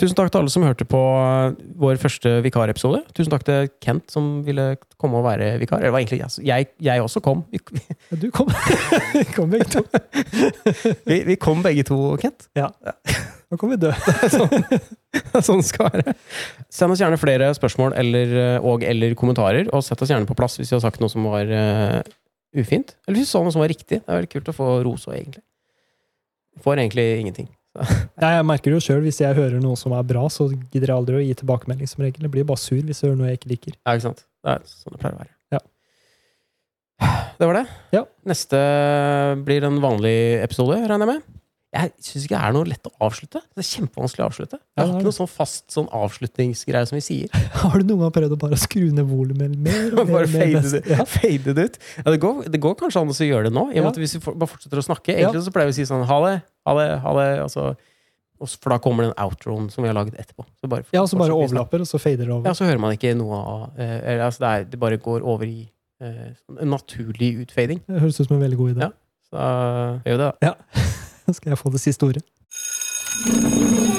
S1: Tusen takk til alle som hørte på eh, vår første vikarepisode. Tusen takk til Kent som ville komme og være vikar. Eller det var egentlig jeg, som- jeg, jeg også kom. Vi,
S2: Ja, Du kom, kom begge to.
S1: vi, vi kom begge to, Kent.
S2: Nå kan vi dø.
S1: sånn skal det være. Send oss gjerne flere spørsmål eller, eh, og eller kommentarer, og sett oss gjerne på plass hvis vi har sagt noe som var eh, ufint. Eller hvis vi sa noe som var riktig. Det er veldig kult å få ros òg, egentlig. Får egentlig ingenting.
S2: Nei, jeg merker det jo sjøl, hvis jeg hører noe som er bra, så gidder jeg aldri å gi tilbakemelding som regel. Jeg blir bare sur hvis jeg hører noe jeg ikke liker.
S1: Ja, ikke sant? Det er sånn det pleier å være.
S2: Ja.
S1: Det var det.
S2: Ja.
S1: Neste blir en vanlig episode, regner jeg med. Jeg syns ikke det er noe lett å avslutte. Det er kjempevanskelig å avslutte.
S2: Ja,
S1: Jeg har
S2: det er
S1: ikke noe sånn fast sånn avslutningsgreie som vi sier.
S2: Har du noen gang prøvd å bare skru ned volumet mer? og mer,
S1: Bare
S2: og mer,
S1: fade
S2: mens-
S1: det,
S2: Ja.
S1: fade det ut. Ja, det, går, det går kanskje an å så gjøre det nå. I og med
S2: Ja.
S1: at Hvis vi for, bare fortsetter å snakke Egentlig så pleier vi å si sånn ha det, ha det, ha det. og så- og så- for da kommer den outroen som vi har laget etterpå. Så bare,
S2: Ja, og så
S1: fortsetter vi
S2: bare
S1: å snakke.
S2: overlapper, og så fader det
S1: Ja,
S2: over.
S1: så hører man ikke noe av eh, eller, altså det, er, det bare går over i eh, en naturlig utfading.
S2: Det høres ut som en veldig god idé.
S1: Så eh, gjør vi det, da.
S2: Skal jeg få det siste ordet?
S4: Snakk.